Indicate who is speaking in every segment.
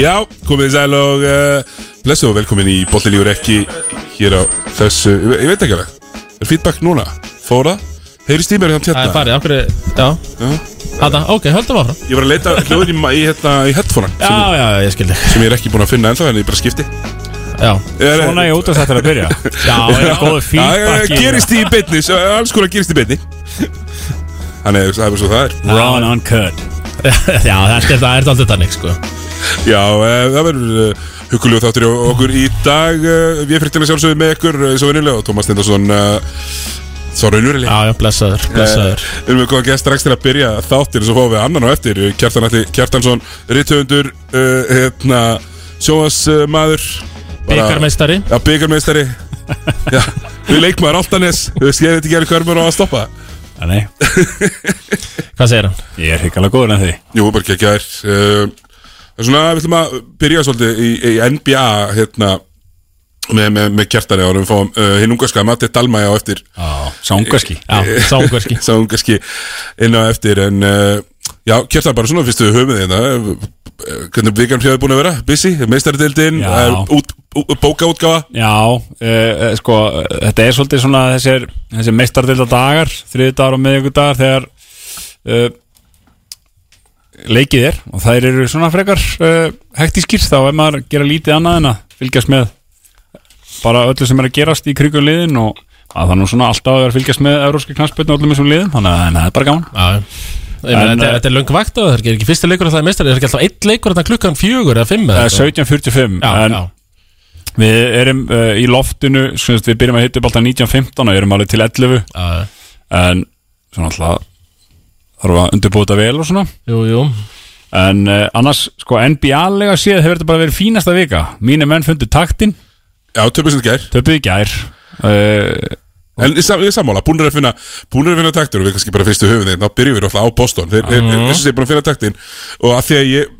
Speaker 1: Já, komið þið sæl og uh, blessuð og velkomin í Bóttilígur ekki hér á þessu, ég, ég veit ekki alveg Er feedback núna? Fóra? Heyrist í mér hérna
Speaker 2: Það er
Speaker 1: hérna?
Speaker 2: farið, okkur er, já
Speaker 1: Já.
Speaker 2: Þetta, ok, höldum áfram
Speaker 1: Ég var að leita hljóðin í, ma- í, hérna, í headphone
Speaker 2: Já,
Speaker 1: sem,
Speaker 2: já, ég skildi
Speaker 1: sem ég er ekki búin að finna ennþá en ég bara skipti
Speaker 2: Já,
Speaker 1: er,
Speaker 3: Svona ég út af þetta að byrja Já, ég er
Speaker 1: Já,
Speaker 2: hérna.
Speaker 3: góðu feedback í- hérna?
Speaker 1: gerist í beinni, svo- alls konar gerist í beinni Þannig, það er bara svo það er
Speaker 3: Raw and uncut
Speaker 2: já þetta er, það er aldrei þannig, sko
Speaker 1: Já, uh, það verður uh, hugulegu þáttur hjá okkur í dag uh, Við fréttina sjálfsögum með ykkur, uh, svo venulega og Tómas Stendarsson uh, Svo raunurilega
Speaker 2: Já, já, blessaður,
Speaker 3: Eh,
Speaker 1: Við
Speaker 2: blessaður
Speaker 1: Eh, erum við góðan gæst strax til að byrja þáttir og svo fáum við annan á eftir Kjartan Alli Kjartansson, rithöfundur uh, hérna, sjóasmaður
Speaker 2: Byggarmeistari
Speaker 1: Já, byggarmeistari Já, við leikmaður Altanes Þú veist, ég veit ekki alveg hvað er maður á að stoppa
Speaker 3: Nei,
Speaker 2: Hvað segir hann?
Speaker 3: ég er hikalega góður en því
Speaker 1: Jú, bara ekki að það er Svona, við ætlum að byrja svolítið í, í NBA hérna með, með, með Kjartani og við fáum uh, hinn ungarska Matti Dalmæja á eftir
Speaker 3: Sángaski
Speaker 2: Já, sángverski
Speaker 1: sá hún kannski inn á eftir en uh, já, kjartan bara svona fyrstu höfumið hérna eh, hvernig vikan hefur búin að vera, busy, meistaradeildin
Speaker 3: Já.
Speaker 1: eh, út, ú- bókaútgáfa
Speaker 3: Já, uh, sko, eh, þetta er svolítið svona þessir, þessir meistardilda dagar, þriðdagar og miðjögudagar þegar uh, leikið er og þær eru svona frekar uh, hektískir þá er maður að gera lítið annað en að fylgjast með bara öllu sem er að gerast í krigum liðin og að það er nú svona alltaf að vera að fylgjast með euróski knarspötn og öllum þessum liðum, þannig að þannig að það er bara gaman.
Speaker 2: Já, já Ég meina,
Speaker 3: En,
Speaker 2: þetta,
Speaker 3: eh,
Speaker 2: þetta er löng vakt á það, er ekki fyrsti leikur að það er meistari, er ekki alltaf eitt leikur að það klukkan fjögur eða fimm eða
Speaker 3: Það er
Speaker 2: eitthvað?
Speaker 3: 17.45 Eh, en
Speaker 2: Já, já,
Speaker 3: við erum uh, í loftinu, sem sagt, við byrjum að hitta upp alltaf 19.15 og erum alveg til 11
Speaker 2: já, já.
Speaker 3: en svona alltaf þarf að undirbúta vel og svona
Speaker 2: jú, jú
Speaker 3: en uh, annars, sko, NBA-lega séð hefur þetta bara verið fínasta vika mínu menn fundu taktin,
Speaker 1: já, töpuð sem gær,
Speaker 3: töpuð í gær uh,
Speaker 1: en ég sam- ég er sammála búin að finna, búin að finna taktur og við kannski bara fyrstu höfumið, þá byrjum við alltaf á Boston þeir, þeir, þeir, þessu sé búin að finna taktin og að því að ég,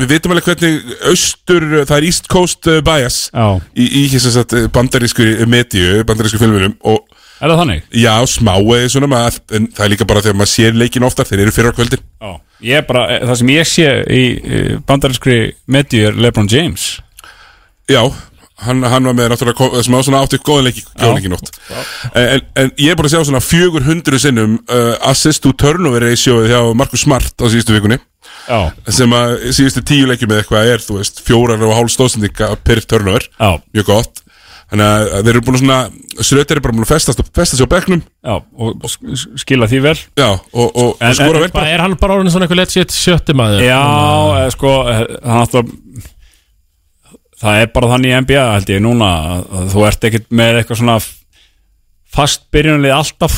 Speaker 1: við vitum alveg hvernig austur, það er East Coast eh, bias
Speaker 3: Já.
Speaker 1: í, í hér sem sagt eh, bandarísku mediu, bandarísku filmunum og
Speaker 3: er það þannig?
Speaker 1: Já, smá eða svona maður, en það er líka bara þegar maður sér leikin oftar, þeir eru fyrir á kvöldin
Speaker 3: Já. ég er bara, eh, það sem ég sé í eh, bandarinskri medju er Lebron James
Speaker 1: Já, hann, hann var með náttúrulega ko- smá svona átti góðan leiki, góðan leiki nótt en, en ég er bara að sjá svona 400 sinnum uh, assist úr turnover ratioið hjá Markus Smart á síðustu vikunni
Speaker 3: já,
Speaker 1: sem að síðustu tíu leikjum með eitthvað er, þú veist, fjórar og hálf stóðsendinga per turnover,
Speaker 3: Já.
Speaker 1: mjög gott Þannig að þeir eru búin að svona, Sröter er bara búin að festast og festast á bekknum
Speaker 3: já og s- skila því vel
Speaker 1: Já, og, og, og
Speaker 3: En-
Speaker 1: skora
Speaker 3: en-
Speaker 1: vel bara
Speaker 2: Bara er hann bara orðin svona eitthvað lett sétt sjötti maður
Speaker 3: Já, eða, sko hann alltaf það er bara þannig í NBA held ég núna að að þú ert ekkert með eitthvað svona f- fast byrjunalið alltaf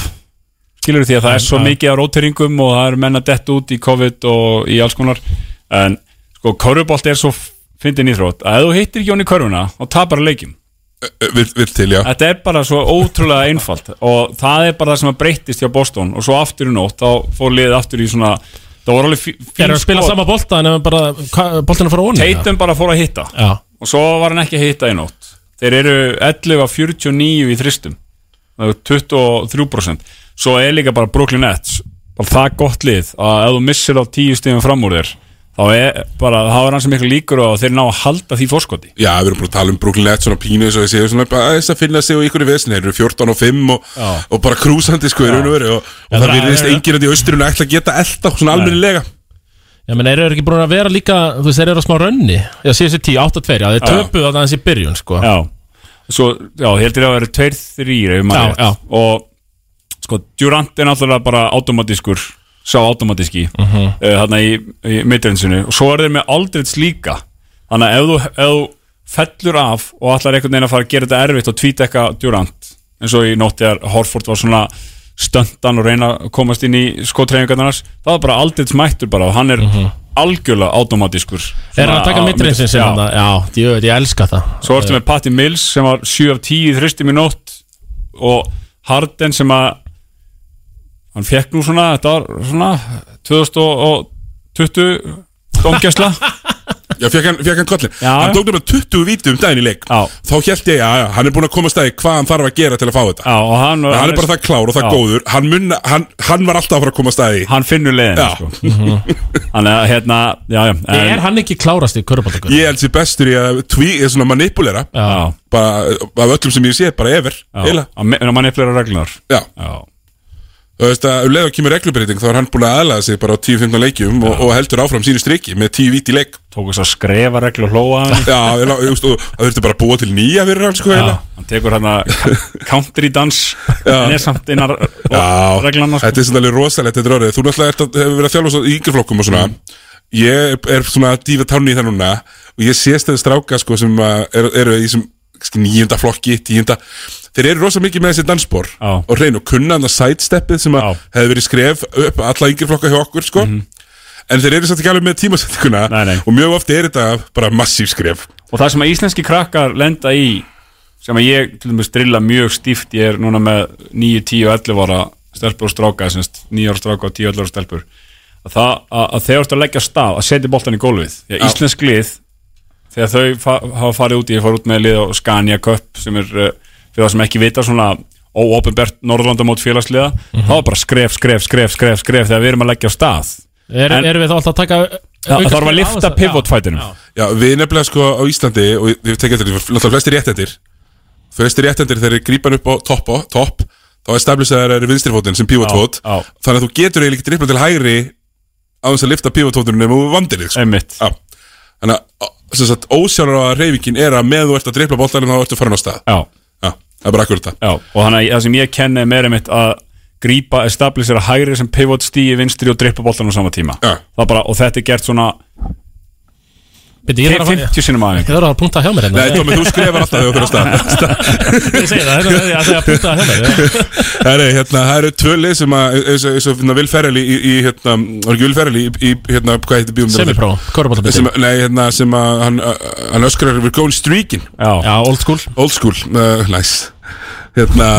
Speaker 3: skilur því að það er svo mikið á róteringum og það eru menn að detta út í COVID og í alls konar en sko, körfubolt er svo f- fyndin íþrótt að ef þú hittir ekki hún í körfuna og tapar leikin
Speaker 1: Eh, Vill vill til, já
Speaker 3: þetta er bara svo ótrúlega einfalt og það er bara það sem að breyttist hjá Boston og svo aftur í nótt þá fór liðið aftur í svona það voru alveg fí-
Speaker 2: Þeir
Speaker 3: fín
Speaker 2: eru að spila
Speaker 3: skot.
Speaker 2: sama bolta en ef hann bara, hva- boltinn er að fara onni
Speaker 3: Tatum bara fór að hitta
Speaker 2: Já,
Speaker 3: og svo var hann ekki að hitta í nótt þeir eru 11 af 49 í þristum það er 23% svo er líka bara Brooklyn Nets bara það gott lið að ef þú missir á 10 stíðum fram úr þér þá er bara, þá er hann sem miklu líkur og þeir ná að halda því fórskoti
Speaker 1: Já, við erum bara að tala um Brooklyn Nets svona pínu eins og ég séu svona bara aðeins að finna sig og ykkur í vesin, þeir eru 14 og 5 og,
Speaker 3: Já.
Speaker 1: og bara krúsandi sko í raun og veru og, og það
Speaker 2: það-
Speaker 1: virðist enginn að því austurinn ætla að geta elda svona almennilega
Speaker 2: ég meina, þeir eru ekki búin að vera líka Þú veist, þeir eru að smá rönni Já, síðan sér 10, 8-2, já, þeir töpuð á það hans í byrjun, sko
Speaker 3: já, svo, já, heldur ég að vera 2-3 ef
Speaker 2: Já,
Speaker 3: maður rétt.
Speaker 2: já.
Speaker 3: og sko, Durant er náttúrulega bara automatískur sá automatíski uh
Speaker 2: Mhm.
Speaker 3: -huh. þarna í, í mitturinsinu og svo er þeir með Aldrich líka þannig að ef þú, ef þú fellur af og allar einhvern veginn að fara að gera þetta erfitt og tvíta eitthvað Durant eins og í nótt þegar Horford var svona stöndan og reyna að komast inn í skotreifingarnarnas, það var bara Aldrich mættur bara og hann er algjörlega automatískur
Speaker 2: Þeir eru Mhm. að taka
Speaker 3: Svona á-
Speaker 2: mittreinsinn sem
Speaker 3: Já.
Speaker 2: hann Já, ég veit, ég elska það
Speaker 3: Svo ertu með Patti Mills sem var 7 af 10 í þristum í nótt og Harden sem að hann fekk nú svona, þetta var svona 2020 domgjæsla
Speaker 1: Já, fekk hann, fekk hann kollin
Speaker 3: Já.
Speaker 1: Hann tók nefnilega 20 víti um daginn í leik
Speaker 3: Já.
Speaker 1: Þá held ég, já, já, hann er búin að koma stæði hvað hann þarf að gera til að fá þetta
Speaker 3: Já, og hann,
Speaker 1: En Hann er bara það klár og það
Speaker 3: Já.
Speaker 1: góður hann, munna, hann, hann var alltaf að fara að koma stæði
Speaker 3: hann finnur leiðin
Speaker 1: Já.
Speaker 3: sko. hann er hérna já, já, en,
Speaker 2: Er hann ekki klárast í körubaldakar?
Speaker 1: Ég held sér bestur í að tví, eða svona manipulera
Speaker 3: já,
Speaker 1: Bara af öllum sem ég sé, bara ever
Speaker 3: já,
Speaker 1: Eila,
Speaker 3: Hann- en mann er fleira reglunar
Speaker 1: já
Speaker 3: já,
Speaker 1: Þú veist að um leið og kemur reglubreiting þá er hann búin að aðlaða sig bara á 10-15 leikjum og, og heldur áfram sínu striki með 10 víti leik
Speaker 3: tók þess að skrefa reglu og hlóa hann
Speaker 1: Já, ég lá- þú veist, og það þurfti bara að búa til nýja fyrir hann sko
Speaker 3: já,
Speaker 1: eiginlega.
Speaker 3: hann tekur hérna country dans en er samt innar
Speaker 1: Já,
Speaker 3: reglana sko.
Speaker 1: þetta er svona alveg rosalegt þetta er orðið Þú náttúrulega ert að- hefur verið að þjálfa svo í yngri flokkum og svona Ég er svona að dífa tánni í það núna Og ég sést þeir stráka sko sem að eru, eru í sem nýjunda flokki, tíunda Þeir eru rosa mikið með þessi dansbor
Speaker 3: Já.
Speaker 1: Og hrein og kunna hann að sidesteppið sem að
Speaker 3: Já. Mhm.
Speaker 1: hefði verið skref upp alla yngri flokka hjá okkur sko En þeir eru satt ekki alveg með tímasettinguna
Speaker 3: Nei, nei.
Speaker 1: Og mjög ofti er þetta bara massíf skref
Speaker 3: og það sem að íslenski krakkar lenda í sem að ég til dæmis drilla mjög stíft ég er núna með 9, 10 og 11 ára stelpur og stráka, semst 9 ára stráka og 10 og 11 ára stelpur að, það, að, að þegar þú ert að leggja af stað að setja boltan í gólfið því að
Speaker 1: Já.
Speaker 3: íslensk lið þegar þau fa hafa farið út ég fór út með lið á Scania Cup sem er uh, fyrir það sem ekki vita svona óopenbert Norðurlandamót félagsliða þá er bara skref, skref, skref, skref, skref þegar við erum að leggja af stað
Speaker 2: Er,
Speaker 3: En-
Speaker 2: erum Mhm. við þá alltaf að taka
Speaker 3: það
Speaker 2: aukaspyrnu
Speaker 3: þarf að
Speaker 2: á
Speaker 3: lifta
Speaker 2: þessa-
Speaker 3: pivot
Speaker 2: Já.
Speaker 3: fætinum
Speaker 1: Já, við nefnilega sko á Íslandi og ég- ég tekja þetta, náttúrulega flestir réttendir flestir réttendir þegar þeir grípan upp á topp, topp þá er stabilisaðar er vinstrifótinn sem pivotfót
Speaker 3: Já, já.
Speaker 1: þannig að þú getur eiginlega ekki drippla til hægri á þess að lifta pivotfótinn nema þú vandir þig sko.
Speaker 3: einmitt
Speaker 1: Já. Þannig að sem sagt, ósjálfráða reyfingin er að með þú ert að drippla boltanum þá ertu farin á stað
Speaker 3: Já.
Speaker 1: Já, það er bara akkur þetta
Speaker 3: Já, og þannig að það sem ég kenni er meira mitt að grípa, establisera hægri sem pivot stíi vinstri og drippa boltan á sama tíma
Speaker 1: Já.
Speaker 3: Það er bara, og þetta er gert svona
Speaker 2: Bíddu, Ég þarf að fara-
Speaker 3: 50 sinum
Speaker 2: ég
Speaker 3: aðeins
Speaker 2: þarf að punta hjá mér hérna
Speaker 1: Nei, Tómi, þú skrifar alltaf þegar þú fyrir að stað
Speaker 2: Ég segi það, þetta er ég ætla að punta hjá mér já.
Speaker 1: Það eru, hérna, það eru tvö lið sem að eins og- eins og hérna, Will Ferrell í, í- í hérna, var ekki Will Ferrell í, í hérna, hvað heitir bíum
Speaker 2: Semipró,
Speaker 1: sem,
Speaker 2: körubaldabíti
Speaker 1: nei, hérna, sem að hann, uh, hann öskrar We're going streaking,
Speaker 3: Já,
Speaker 2: Já, old school
Speaker 1: old school uh, Nice hérna,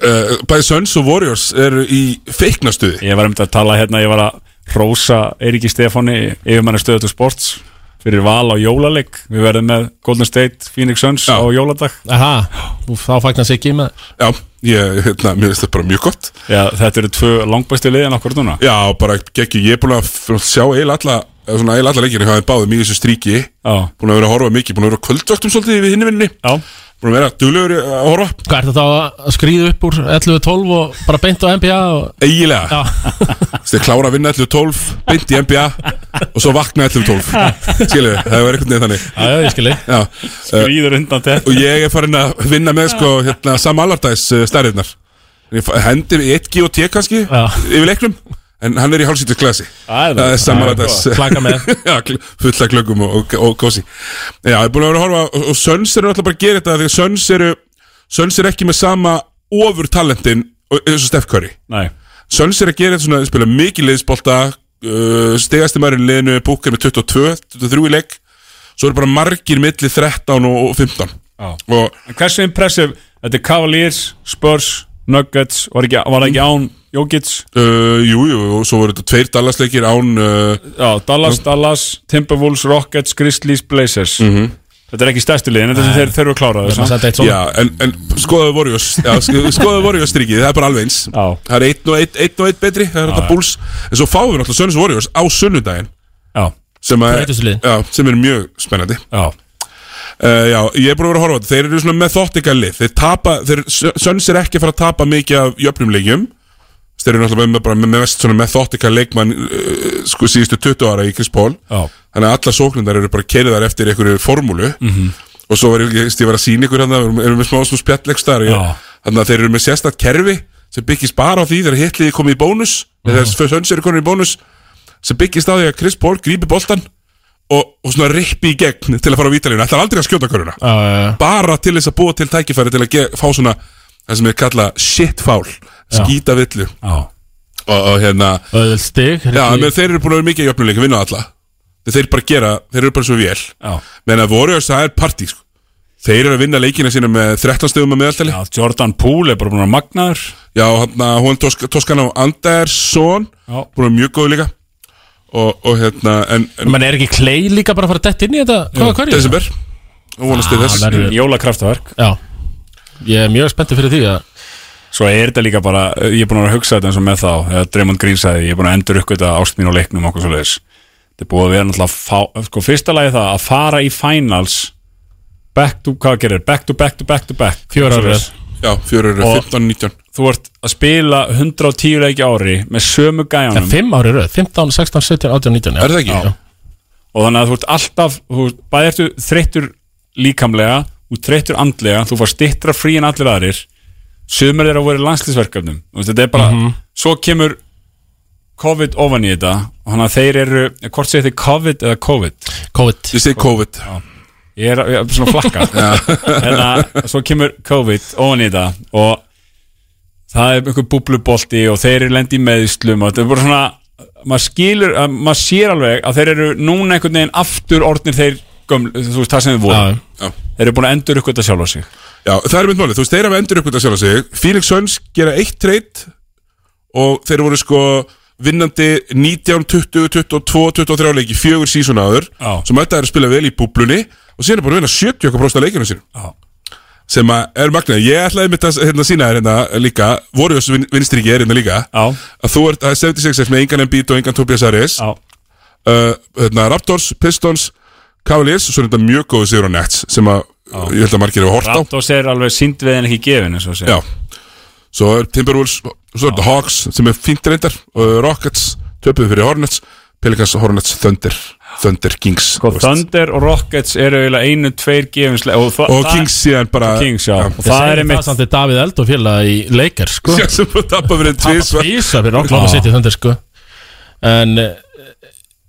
Speaker 1: uh, Bæði Suns og Warriors eru í feiknastuði
Speaker 3: ég var um þetta að tala hérna, ég var að rósa Eiríki Stefáni yfirmanni stöðu til sports fyrir val á jólaleg Við verðum með Golden State, Phoenix Suns
Speaker 1: Já.
Speaker 3: á jóladag
Speaker 2: Aha, úf, þá fagnar sig ekki með
Speaker 1: Já, ég, hérna, mér finnst það bara mjög gott
Speaker 3: Já, þetta eru tvö langbæstu liðin okkur núna
Speaker 1: Já, bara geggju, ég er búin að f- sjá eil alla, eða svona eil alla leikir hvað þeir báðum í þessu stríki
Speaker 3: Já,
Speaker 1: Búin að vera að horfa mikið, búin að vera á kvöldvöktum svolítið við hinnivinni
Speaker 3: já
Speaker 1: Búin að vera duglegur í- að horfa
Speaker 2: Hvað ertu þá að skrýða upp úr 11-12 og bara beint á NBA og...
Speaker 1: Eigilega,
Speaker 2: Já,
Speaker 1: þeir klára að vinna 11-12, beint í NBA og svo vakna 11-12 Skilu, það var einhvern veginn þannig
Speaker 2: já, já, ég skilji
Speaker 1: Já,
Speaker 2: Eh,
Speaker 1: uh,
Speaker 3: Gríður undan þetta
Speaker 1: og ég er farin að vinna með sko, hérna, Sam Allardyce uh, stærðirnar Ég fa- hendi í 1G og T kannski
Speaker 2: Já.
Speaker 1: yfir leiknum en hann er í hálsýtis klasi
Speaker 3: Það er það.
Speaker 1: það er Sam
Speaker 3: Það er
Speaker 1: Allardyce
Speaker 2: gott. Klaka með.
Speaker 1: Já, kl- fulla klökum og, og, og kósi Já, ég er búin að vera að horfa og, og Söns eru alltaf bara að gera þetta því að Söns eru Söns eru ekki með sama ofur talentin og- eins og Steph Curry
Speaker 3: Nei,
Speaker 1: Söns er að gera þetta svona, þeir spila mikið liðsbolta uh, stegasti maðurinn í liðinu er búkar með 22, 23 í leik svo eru bara margir milli 13 og, og 15
Speaker 3: Já.
Speaker 1: og
Speaker 3: En hversu impressive, þetta er Cavaliers, Spurs, Nuggets, var, ekki, var það ekki án Jokic,
Speaker 1: uh, jú, jú, og svo voru þetta tveir Dallasleikir án uh,
Speaker 3: já, Dallas, Dallas, Timberwolves, Rockets, Grizzlies, Blazers.
Speaker 2: Mhm.
Speaker 3: Þetta er ekki stærstu liðin, þetta er þeir þurfa að klára
Speaker 2: Þannig að
Speaker 3: þessu.
Speaker 2: senda eitt svona
Speaker 1: já, en, en skoðaðu Warriors já, sk- skoðaðu Warriors strikið, það er bara alveg eins
Speaker 3: Já.
Speaker 1: það er einn og einn, einn og einn betri það er þetta búls, en svo fáum við náttúrulega Söns Warriors á sunnudaginn
Speaker 3: Já,
Speaker 1: sem, að,
Speaker 2: Breytustu liðin.
Speaker 1: já, sem er mjög spennandi
Speaker 3: já,
Speaker 1: Uh, já, ég er búin að vera að horfa á þetta Þeir eru svona methodical lið Þeir tapa, þeir, Söns er ekki að fara að tapa mikið af jöfnum leikjum Þeir eru náttúrulega með, bara, með, með mest svona methodical leikmann uh, sko síðustu 20 ára í Chris Paul
Speaker 3: já,
Speaker 1: Þannig að alla sóknundar eru bara keiriðar eftir einhverju formúlu
Speaker 3: Mhm.
Speaker 1: -hmm. Og svo var ég, ég ég var að sína ykkur hann Erum erum við smá smá spjallegstar
Speaker 3: Já.
Speaker 1: Þannig að þeir eru með sérstætt kerfi Sem byggist bara á því þegar hitliði komið í bónus mm -hmm. Þegar Söns eru komin í bónus Sem byggist á því að Chris Paul grípi boltan Og, og svona rippi í gegn til að fara á vítalíuna Þetta er aldrei að skjóta köruna
Speaker 2: Já, já, já.
Speaker 1: bara til þess að búa til tækifæri til að ge- fá svona það sem er kalla shit foul skýta villu
Speaker 3: já.
Speaker 1: og, og hérna
Speaker 2: Öðvöld stig
Speaker 1: já, menn, þeir eru búin að vera mikið í öfnuleik vinna alla þeir eru bara að gera þeir eru bara svo vel
Speaker 3: Já.
Speaker 1: menn að Warriors það er partí sko. þeir eru að vinna leikina sína með 13 stegum að meðaltali hérna, já,
Speaker 3: Já, Jordan Poole er bara búin að magnaður
Speaker 1: já hann, hún Tosk, Toskan á Andersson
Speaker 3: Já.
Speaker 1: búin að vera mjög góð líka og, og hérna en, en
Speaker 2: Man er ekki klei líka bara að fara að detta inn í þetta Hvað, hvað er ég?
Speaker 1: desember og vonast til
Speaker 2: Ah,
Speaker 1: þess
Speaker 2: verður-
Speaker 3: Jólakraftverk
Speaker 2: Já Ég er mjög spenntið fyrir því að
Speaker 3: Svo er þetta líka bara, ég er búin að vera að hugsa þetta eins og með þá eða Draymond Green sagði, ég er búin að endur ykkur þetta ást mín á leiknum og okkur svo leiðis Þetta er búið að vera náttúrulega fá, sko, fyrsta lagi það að fara í finals back to, hvað gerir, back to back to back to back
Speaker 2: Fjögur ár
Speaker 3: Svoleiðis.
Speaker 1: já, fjörur,
Speaker 3: Og-
Speaker 1: 15, 19
Speaker 3: Þú ert að spila 110 leiki á ári með sömu
Speaker 2: En
Speaker 3: gæjanum
Speaker 2: fimm ári röð 15, 16, 17, 18, 19 já.
Speaker 1: Er það ekki?
Speaker 2: Já.
Speaker 3: og þannig að þú ert alltaf þú ert, bæði ertu þreyttur líkamlega og þreyttur andlega, þú far stittra frí en allir aðrir sömur þeirra voru í landslýsverkefnum þetta er bara, svo kemur COVID ofan í þetta og þannig að þeir eru, hvort segir þið COVID eða COVID
Speaker 2: COVID
Speaker 1: ég segi COVID
Speaker 3: ég er, ég er svona flakka en að svo kemur COVID ofan í þetta og það er einhver búblubolti og þeir eru lendi í meðslum og þetta er bara svona maður skilur, að maður sér alveg að þeir eru núna einhvern veginn aftur orðnir þeir gömlu, þú veist það sem þeir voru
Speaker 2: Já.
Speaker 1: já.
Speaker 3: þeir eru búin að endur ykkur þetta sjálf á sig
Speaker 1: já, það er mitt málið, þú veist, þeir hafa endur ykkur það sjálf að sig Phoenix Suns gera eitt treyt og þeir voru sko vinnandi 19, 20, 22, 23 leiki fjögur sísun áður
Speaker 3: Já.
Speaker 1: sem þetta er að spila vel í búblunni og síðan er búin að vinna 70% af leikinu sínum
Speaker 3: Já.
Speaker 1: sem að er magnað, ég ætlaði mitt að hérna, sína þér hérna líka, Warriors vin, vinstríki er hérna líka
Speaker 3: Já.
Speaker 1: að þú ert að 76 með engan Embiid og engan Tobias Harris
Speaker 3: Já.
Speaker 1: uh, hérna, Raptors, Pistons Cavaliers, svo er þetta mjög góðu sigur á Nets sem að ég held að margir hefur hort á
Speaker 3: Raptors er alveg sínd við en ekki gefin eins og
Speaker 1: Já,
Speaker 3: segja
Speaker 1: svo er Timberwolves svo er þetta Hawks sem er fínt reyndar uh, Rockets, töpuð fyrir Hornets Pelicans, Hornets, Thunder Thunder, Kings
Speaker 3: Sko,
Speaker 1: þú veist.
Speaker 3: Thunder og Rockets eru eiginlega einu, tveir gefinslega og, það-
Speaker 1: og
Speaker 3: það-
Speaker 1: Kings síðan bara
Speaker 3: Kings, já. Og
Speaker 1: já.
Speaker 3: það er
Speaker 2: einmitt
Speaker 3: einmitt
Speaker 2: Það samt er Davíð Eld og félag í leikar sko
Speaker 1: Já, sem bara tappa fyrir
Speaker 2: Tappa
Speaker 1: tvisvar.
Speaker 2: físa fyrir Oklahoma
Speaker 3: Já.
Speaker 2: City Thunder sko En eh,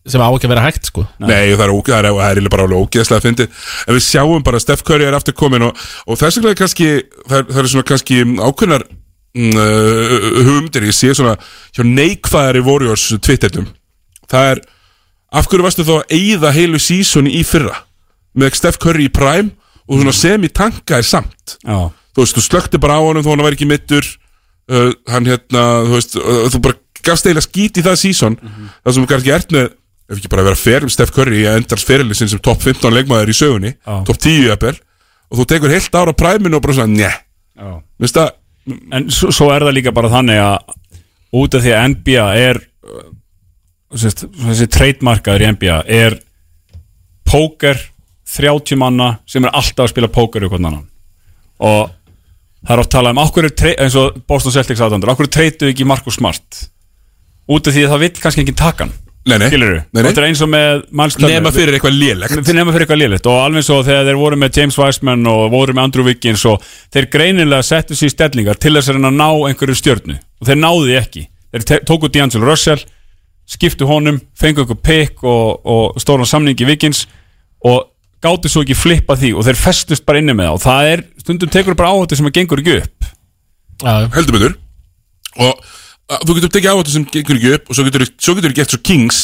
Speaker 2: sem á ekki að vera hægt sko
Speaker 1: Nei, og það er ógeð, það er, það er eiginlega bara alveg ógeðslega að fyndi En við sjáum bara að Steph Curry er aftur komin og, og þess vegna er kannski, það er, það er svona kannski ákveðnar mm, uh, hugmyndir Ég sé svona hjá neikvæðari Warriors twittetum Það er, af hverju varstu þá að eyða heilu sísoni í fyrra Með Steph Curry í prime og svona sem í tanka er samt
Speaker 3: Já.
Speaker 1: Þú veist, þú slökkti bara á honum þó hann væri ekki mittur uh, Hann hérna, þú veist, uh, þú bara gafst eiginlega skít í það sísón mm -hmm. Það sem þú kannski ert með Ef ekki bara að vera ferum Steff Curry í að endast ferilin sinn sem topp 15 leikmaður í sögunni
Speaker 3: Já.
Speaker 1: Topp 10 jafnvel Og þú tekur heilt ára præminu og bara svona, njæ
Speaker 3: Já.
Speaker 1: Veist það,
Speaker 3: En svo, svo er það líka bara þannig að út af því að NBA er uh, sérst, þessi trademarkaður í NBA er póker 30 manna sem er alltaf að spila póker ykkur annan og það er oft talað um okkur er tre- eins og Boston Celtics aðdandur, okkur treytu ekki Marcus Smart út af því að það vill kannski ekki taka hann
Speaker 1: nei, nei,
Speaker 3: skilur
Speaker 1: nei, nei.
Speaker 3: þetta er eins og með Miles Turner.
Speaker 1: Nema fyrir eitthvað lélegt
Speaker 3: Þeir nefna fyrir eitthvað liðlegt og alveg svo þegar þeir voru með James Wiseman og voru með Andrew Wiggins og þeir greinilega settu sér í stellingar til þess að reyna að ná einhverju stjörnu og þeir náðu því ekki þeir te- tóku D'Angelo Russell skiptu honum, fengu einhver pick og, og stóran samningi Wiggins og gáttu svo ekki flippa því og þeir festust bara inni með það og það er stundum tekur bara áhættu sem að gengur ekki upp
Speaker 2: Já,
Speaker 1: heldur betur og uh, þú getur tekið áhættu sem gengur ekki upp og svo getur, svo getur gett svo Kings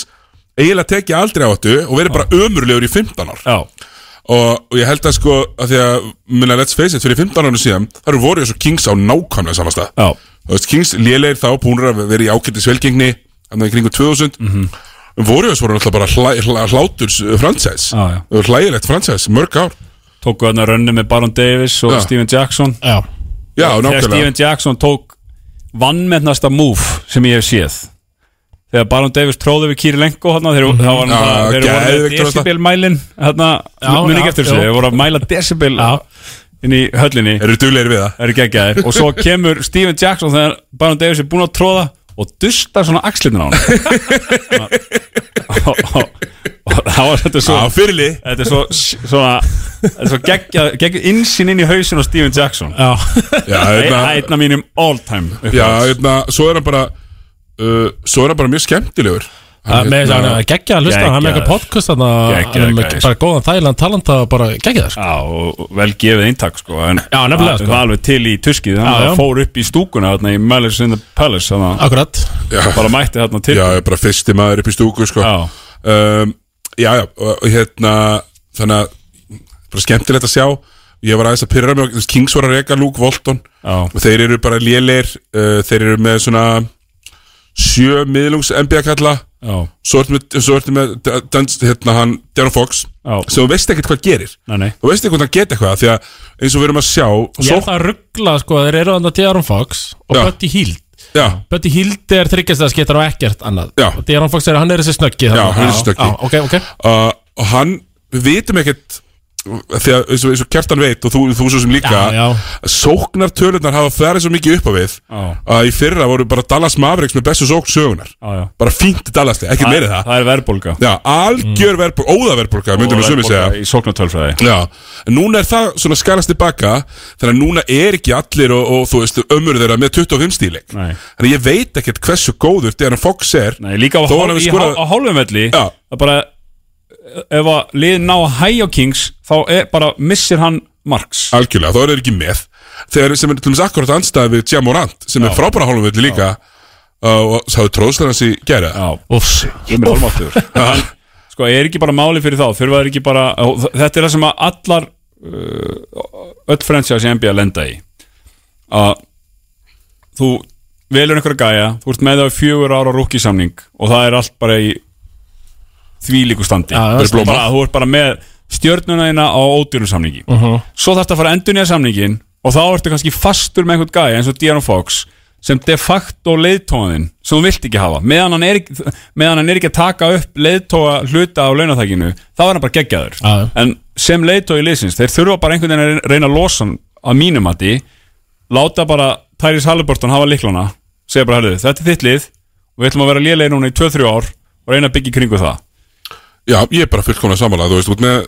Speaker 1: eiginlega tekið aldrei áhættu og verið bara ömurlegur í 15 ár
Speaker 3: Já,
Speaker 1: og, og ég held að sko að því að minna let's face it fyrir 15 árinu síðan þar eru voru svo Kings á nákvæmlega samasta
Speaker 3: Já.
Speaker 1: þú veist Kings lélegir þá búinur að vera í ákvæmtis velgengni hann í kringu 2000 mm
Speaker 3: Mhm.
Speaker 1: -hmm. voru þess voru alltaf bara hla, hla, hlátur uh, fransæs
Speaker 3: Já, já.
Speaker 1: hlægilegt fransæs mörg ár
Speaker 3: tóku þarna rönni með Baron Davis og
Speaker 1: Já.
Speaker 3: Steven Jackson
Speaker 2: já,
Speaker 1: já
Speaker 3: þegar
Speaker 1: nákvæmlega
Speaker 3: Steven Jackson tók vannmennasta move sem ég hef séð þegar Baron Davis tróði við Kýri Lenko þarna, þeir, mm -hmm.
Speaker 1: Mhm. Já,
Speaker 3: var, þeir voru
Speaker 1: geðveikt
Speaker 3: með
Speaker 1: var þetta.
Speaker 3: decibel-mælin þarna,
Speaker 2: Já,
Speaker 3: muni
Speaker 2: já,
Speaker 3: ekki eftir þessu
Speaker 2: já.
Speaker 3: þeir voru að mæla decibel inn í höllinni
Speaker 1: eru duglegir við það
Speaker 3: er ekki ekki og svo kemur Steven Jackson þegar Baron Davis er búinn að tróða og dusta svona axlirna á hann og, og, og, og það var þetta svo
Speaker 1: á fyrli
Speaker 3: þetta er svo, svona, þetta er svo geggja, geggja insýn inn í hausin á Steven Jackson
Speaker 2: já.
Speaker 1: já,
Speaker 3: Það
Speaker 1: hérna-
Speaker 3: er einn af mínum all time
Speaker 1: já, hérna, svo er hann bara uh, svo er hann bara mjög skemmtilegur
Speaker 2: Það með þess að hann geggja að hlusta, hann með
Speaker 3: Geggjaður.
Speaker 2: eitthvað podcast þarna, hann er
Speaker 3: Geggjaður,
Speaker 2: með
Speaker 3: gæs.
Speaker 2: bara góðan þægilegan talanda og bara geggja það sko.
Speaker 3: Já, og vel gefið eintak sko en
Speaker 2: Já, nefnilega,
Speaker 3: það
Speaker 2: sko.
Speaker 3: var alveg til í tuskið þannig
Speaker 2: Já,
Speaker 3: að
Speaker 2: já.
Speaker 3: það fór upp í stúkuna þarna í Malice in the Palace þannig
Speaker 2: Akkurat,
Speaker 3: að bara mætti þarna til
Speaker 1: já, ég er bara fyrsti maður upp í stúku sko.
Speaker 3: Já.
Speaker 1: um, já, já, og og hérna þannig að bara skemmtilegt að sjá ég var aðeins að pyrra mig, á- þú veist, Kings var að reka Luke Walton
Speaker 3: Já.
Speaker 1: og þeir eru bara lélir uh, þeir eru með svona sjö miðlungs NBA kalla
Speaker 3: já,
Speaker 1: svo ertu með, svo ertu með D- Duns, hérna, hann, Darren Fox
Speaker 3: Já.
Speaker 1: sem þú veist ekkert hvað gerir
Speaker 3: Nei, nei.
Speaker 1: þú veist ekkert hvað hann geta eitthvað því að eins og við erum að sjá
Speaker 2: Ég
Speaker 1: svo,
Speaker 2: er það að ruggla sko að þeir eru þannig að Dearon Fox og
Speaker 1: Já.
Speaker 2: Buddy Hield
Speaker 1: já,
Speaker 2: Buddy Hield er þryggjast að sketar á ekkert annað
Speaker 1: Já.
Speaker 2: Og Dearon Fox er, hann er þessi snöggi þarna.
Speaker 1: Já, hann er þessi snöggi.
Speaker 2: Já, ok, ok
Speaker 1: uh, og hann við vitum ekkert því að eins og, eins og kjartan veit og þú, þú svo sem líka
Speaker 2: Já, já.
Speaker 1: sóknar tölunar hafa ferið svo mikið upp á við
Speaker 3: Já.
Speaker 1: að í fyrra voru bara Dallas Mavericks með bestu sókn sögunar
Speaker 3: já, já.
Speaker 1: bara fínt Dallas, ekki meira það
Speaker 3: það er verðbólga
Speaker 1: já, algjör mm. verðbólka, óða verðbólka myndum við sumi segja
Speaker 3: Verðbólga í sóknartölfræði
Speaker 1: Já, en núna er það svona skalast tilbaka þannig að núna er ekki allir og, og þú veist, ömur þeirra með 25 stíleik
Speaker 3: Nei.
Speaker 1: þannig að ég veit ekkert hversu góður þegar hann Fox er
Speaker 3: Nei, líka á,
Speaker 1: Þó hann
Speaker 3: hál,
Speaker 1: hafi
Speaker 3: í
Speaker 1: skorað-
Speaker 3: hál, á hálfumvelli
Speaker 1: Já.
Speaker 3: það bara ef að liðin ná að hæja á Kings þá er, bara missir hann Marks
Speaker 1: algjörlega, þá er þeir ekki með þegar sem er til dæmis akkurat anstæði við Jamorant sem er frábæra hálfumvilli líka uh, og það er tróðslega hans í gæra
Speaker 3: Já,
Speaker 2: Úfs
Speaker 3: Guð minn hálfmáttur Sko, er ekki bara máli fyrir þá Þurfa er ekki bara og þ- Þetta er það sem að allar uh, öll franchise í NBA lenda í að þú velur einhverja gæja þú ert með það í fjögur ára rúkisamning og það er allt bara í þvílíku standi
Speaker 2: Já,
Speaker 3: Þú ert
Speaker 1: blóma.
Speaker 3: bara, þú ert bara með stjörnuna þína á ódýrum samningi svo þarfst að fara endur nýja samningin og þá ertu kannski fastur með einhvern gæja eins og De'Aaron Fox sem de facto leiðtóðin sem þú vilt ekki hafa meðan hann er, ekki- meðan hann er ekki að taka upp leiðtóa hluta á launatækinu þá er hann bara geggjaður
Speaker 2: Já.
Speaker 3: en sem leiðtói liðsins, þeir þurfa bara einhvern veginn að reyna að losa hann að mínum að því láta bara Tyrese Halliburton hafa liklana segja bara, herðu, þetta er þitt lið og við ætlum að vera lélegir núna í 2-3 ár og reyna að byggja í kringu það
Speaker 1: Já, ég er bara fullkomna samanlega, þú veist, út með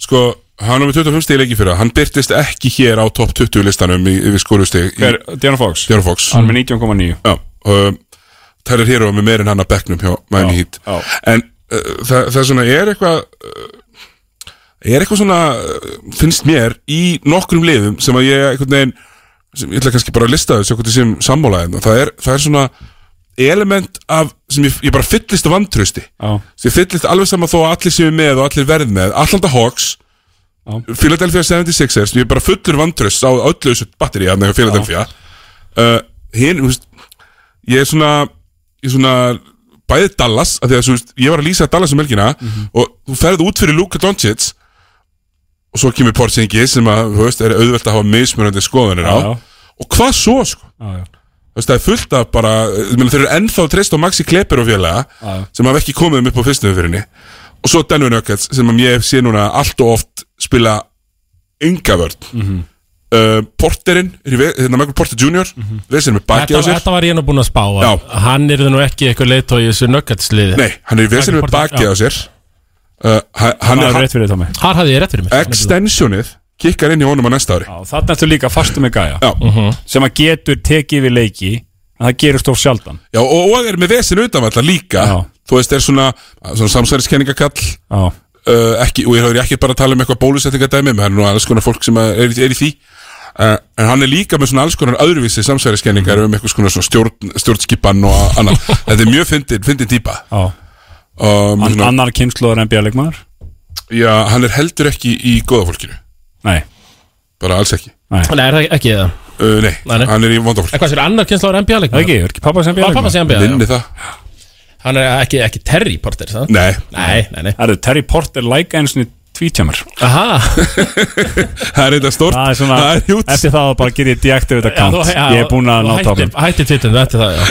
Speaker 1: sko, hann var með 25 stíleiki fyrir hann byrtist ekki hér á topp 20 listanum í, í skorustík í
Speaker 3: Hver, Diana Fox,
Speaker 1: Fjara Fox
Speaker 3: hann er með 19,9
Speaker 1: Já, um, Tyler Hero er með meirinn hann að bekknum hjá Miami Heat
Speaker 3: já.
Speaker 1: En uh, það, það er svona, er eitthvað uh, er eitthvað svona uh, finnst mér í nokkrum liðum sem að ég einhvern veginn sem ég ætla kannski bara að lista þessu einhvern sem sammálaðin og hérna. það er, það er svona element af, sem ég, ég bara fyllist af vantrösti
Speaker 3: Já.
Speaker 1: sem ég fyllist alveg saman þó að allir séu með og allir verð með Atlanta Hawks
Speaker 3: Já.
Speaker 1: Philadelphia 76ers ég er bara fullur vantröst á öllu þessu batteri hann eða Philadelphia uh, hinn, þú veist ég er svona, ég er svona bæðið Dallas, af því að þú veist, ég var að lýsa Dallas um helgina
Speaker 3: Mhm.
Speaker 1: og þú ferð út fyrir Luka Doncic og svo kemur Porzingis sem að, þú veist, er auðvelt að hafa mismunandi skoðanir á,
Speaker 3: Já.
Speaker 1: og hvað svo sko?
Speaker 3: já.
Speaker 1: þú veist, það er fullt af bara ég meina, þeir eru ennþá treyst á Maxi Kleber og félaga
Speaker 3: Já.
Speaker 1: sem hafa ekki komið um upp á fyrstu umfyrinni og svo Denver Nuggets sem að ég sé núna allt og oft spila ynga vörn
Speaker 3: Mhm.
Speaker 1: uh, Porterinn, er í ve- hérna Michael Porter Jr. Mm
Speaker 3: Mhm.
Speaker 1: -hmm. reisir með baki á
Speaker 2: þetta,
Speaker 1: sér
Speaker 2: þetta var ég nú búinn að spá að
Speaker 1: Já.
Speaker 2: Hann er það nú ekki eitthvað leiðtói í þessu nuggatsliði
Speaker 1: Nei, hann er í vesinu með
Speaker 2: Michael Porter,
Speaker 1: bakið á sér uh, hann, hann
Speaker 3: Það
Speaker 1: er
Speaker 3: er
Speaker 1: hann,
Speaker 3: rétt fyrir Tommy
Speaker 2: Þar hafði ég rétt fyrir mig
Speaker 1: Extensionið kikkar inn í honum á næsta ári
Speaker 3: Já, þarna ertu líka fastur með gæja
Speaker 1: Já,
Speaker 3: sem að getur tekið við leiki en það gerist of sjaldan
Speaker 1: já og, og er með vesinu utanvallar líka
Speaker 3: Já.
Speaker 1: Þú veist, er svona, svona samsæriskenningakall
Speaker 3: Já,
Speaker 1: uh, ekki, Og ég hefur ekki bara að tala um eitthvað bólusettingadæmi menn nú alls konar fólk sem er, í- er í því uh, En hann er líka með svona alls konar öðruvísi samsæriskenningar um eitthvað svona svona stjórn, stjórnskipan og annað Þetta er mjög fyndin, fyndin típa
Speaker 3: já.
Speaker 1: um,
Speaker 3: An
Speaker 1: svona,
Speaker 3: Annar kynnslóður NBA-leikmaður?
Speaker 1: Já, hann er heldur ekki í góða fólkinu
Speaker 3: Nei,
Speaker 1: Bara alls ekki
Speaker 2: Nei, er það ekki það
Speaker 1: uh, nei,
Speaker 2: Nei, nei.
Speaker 1: hann er í vondafólk
Speaker 2: Eitthvað sér annar kynsla á NBA
Speaker 3: það
Speaker 2: leikmaður
Speaker 3: ekki, er ekki pappa sem
Speaker 2: Það er pappa
Speaker 3: NBA-leikmaður?
Speaker 2: sem NBA já.
Speaker 1: Vinni það
Speaker 2: Hann er ekki, ekki Terry Porter það?
Speaker 1: Nei,
Speaker 2: Nei, nei, nei
Speaker 3: Það eru Terry Porter læka eins og tvítjamar
Speaker 2: Aha,
Speaker 1: það er eitthvað stort
Speaker 3: Það er svona,
Speaker 1: það er hjút
Speaker 3: eftir það bara ger ég deaktivið að kant Ég er búin að ná
Speaker 2: tápum
Speaker 3: tópum
Speaker 2: Hætti tvittin, þetta er það,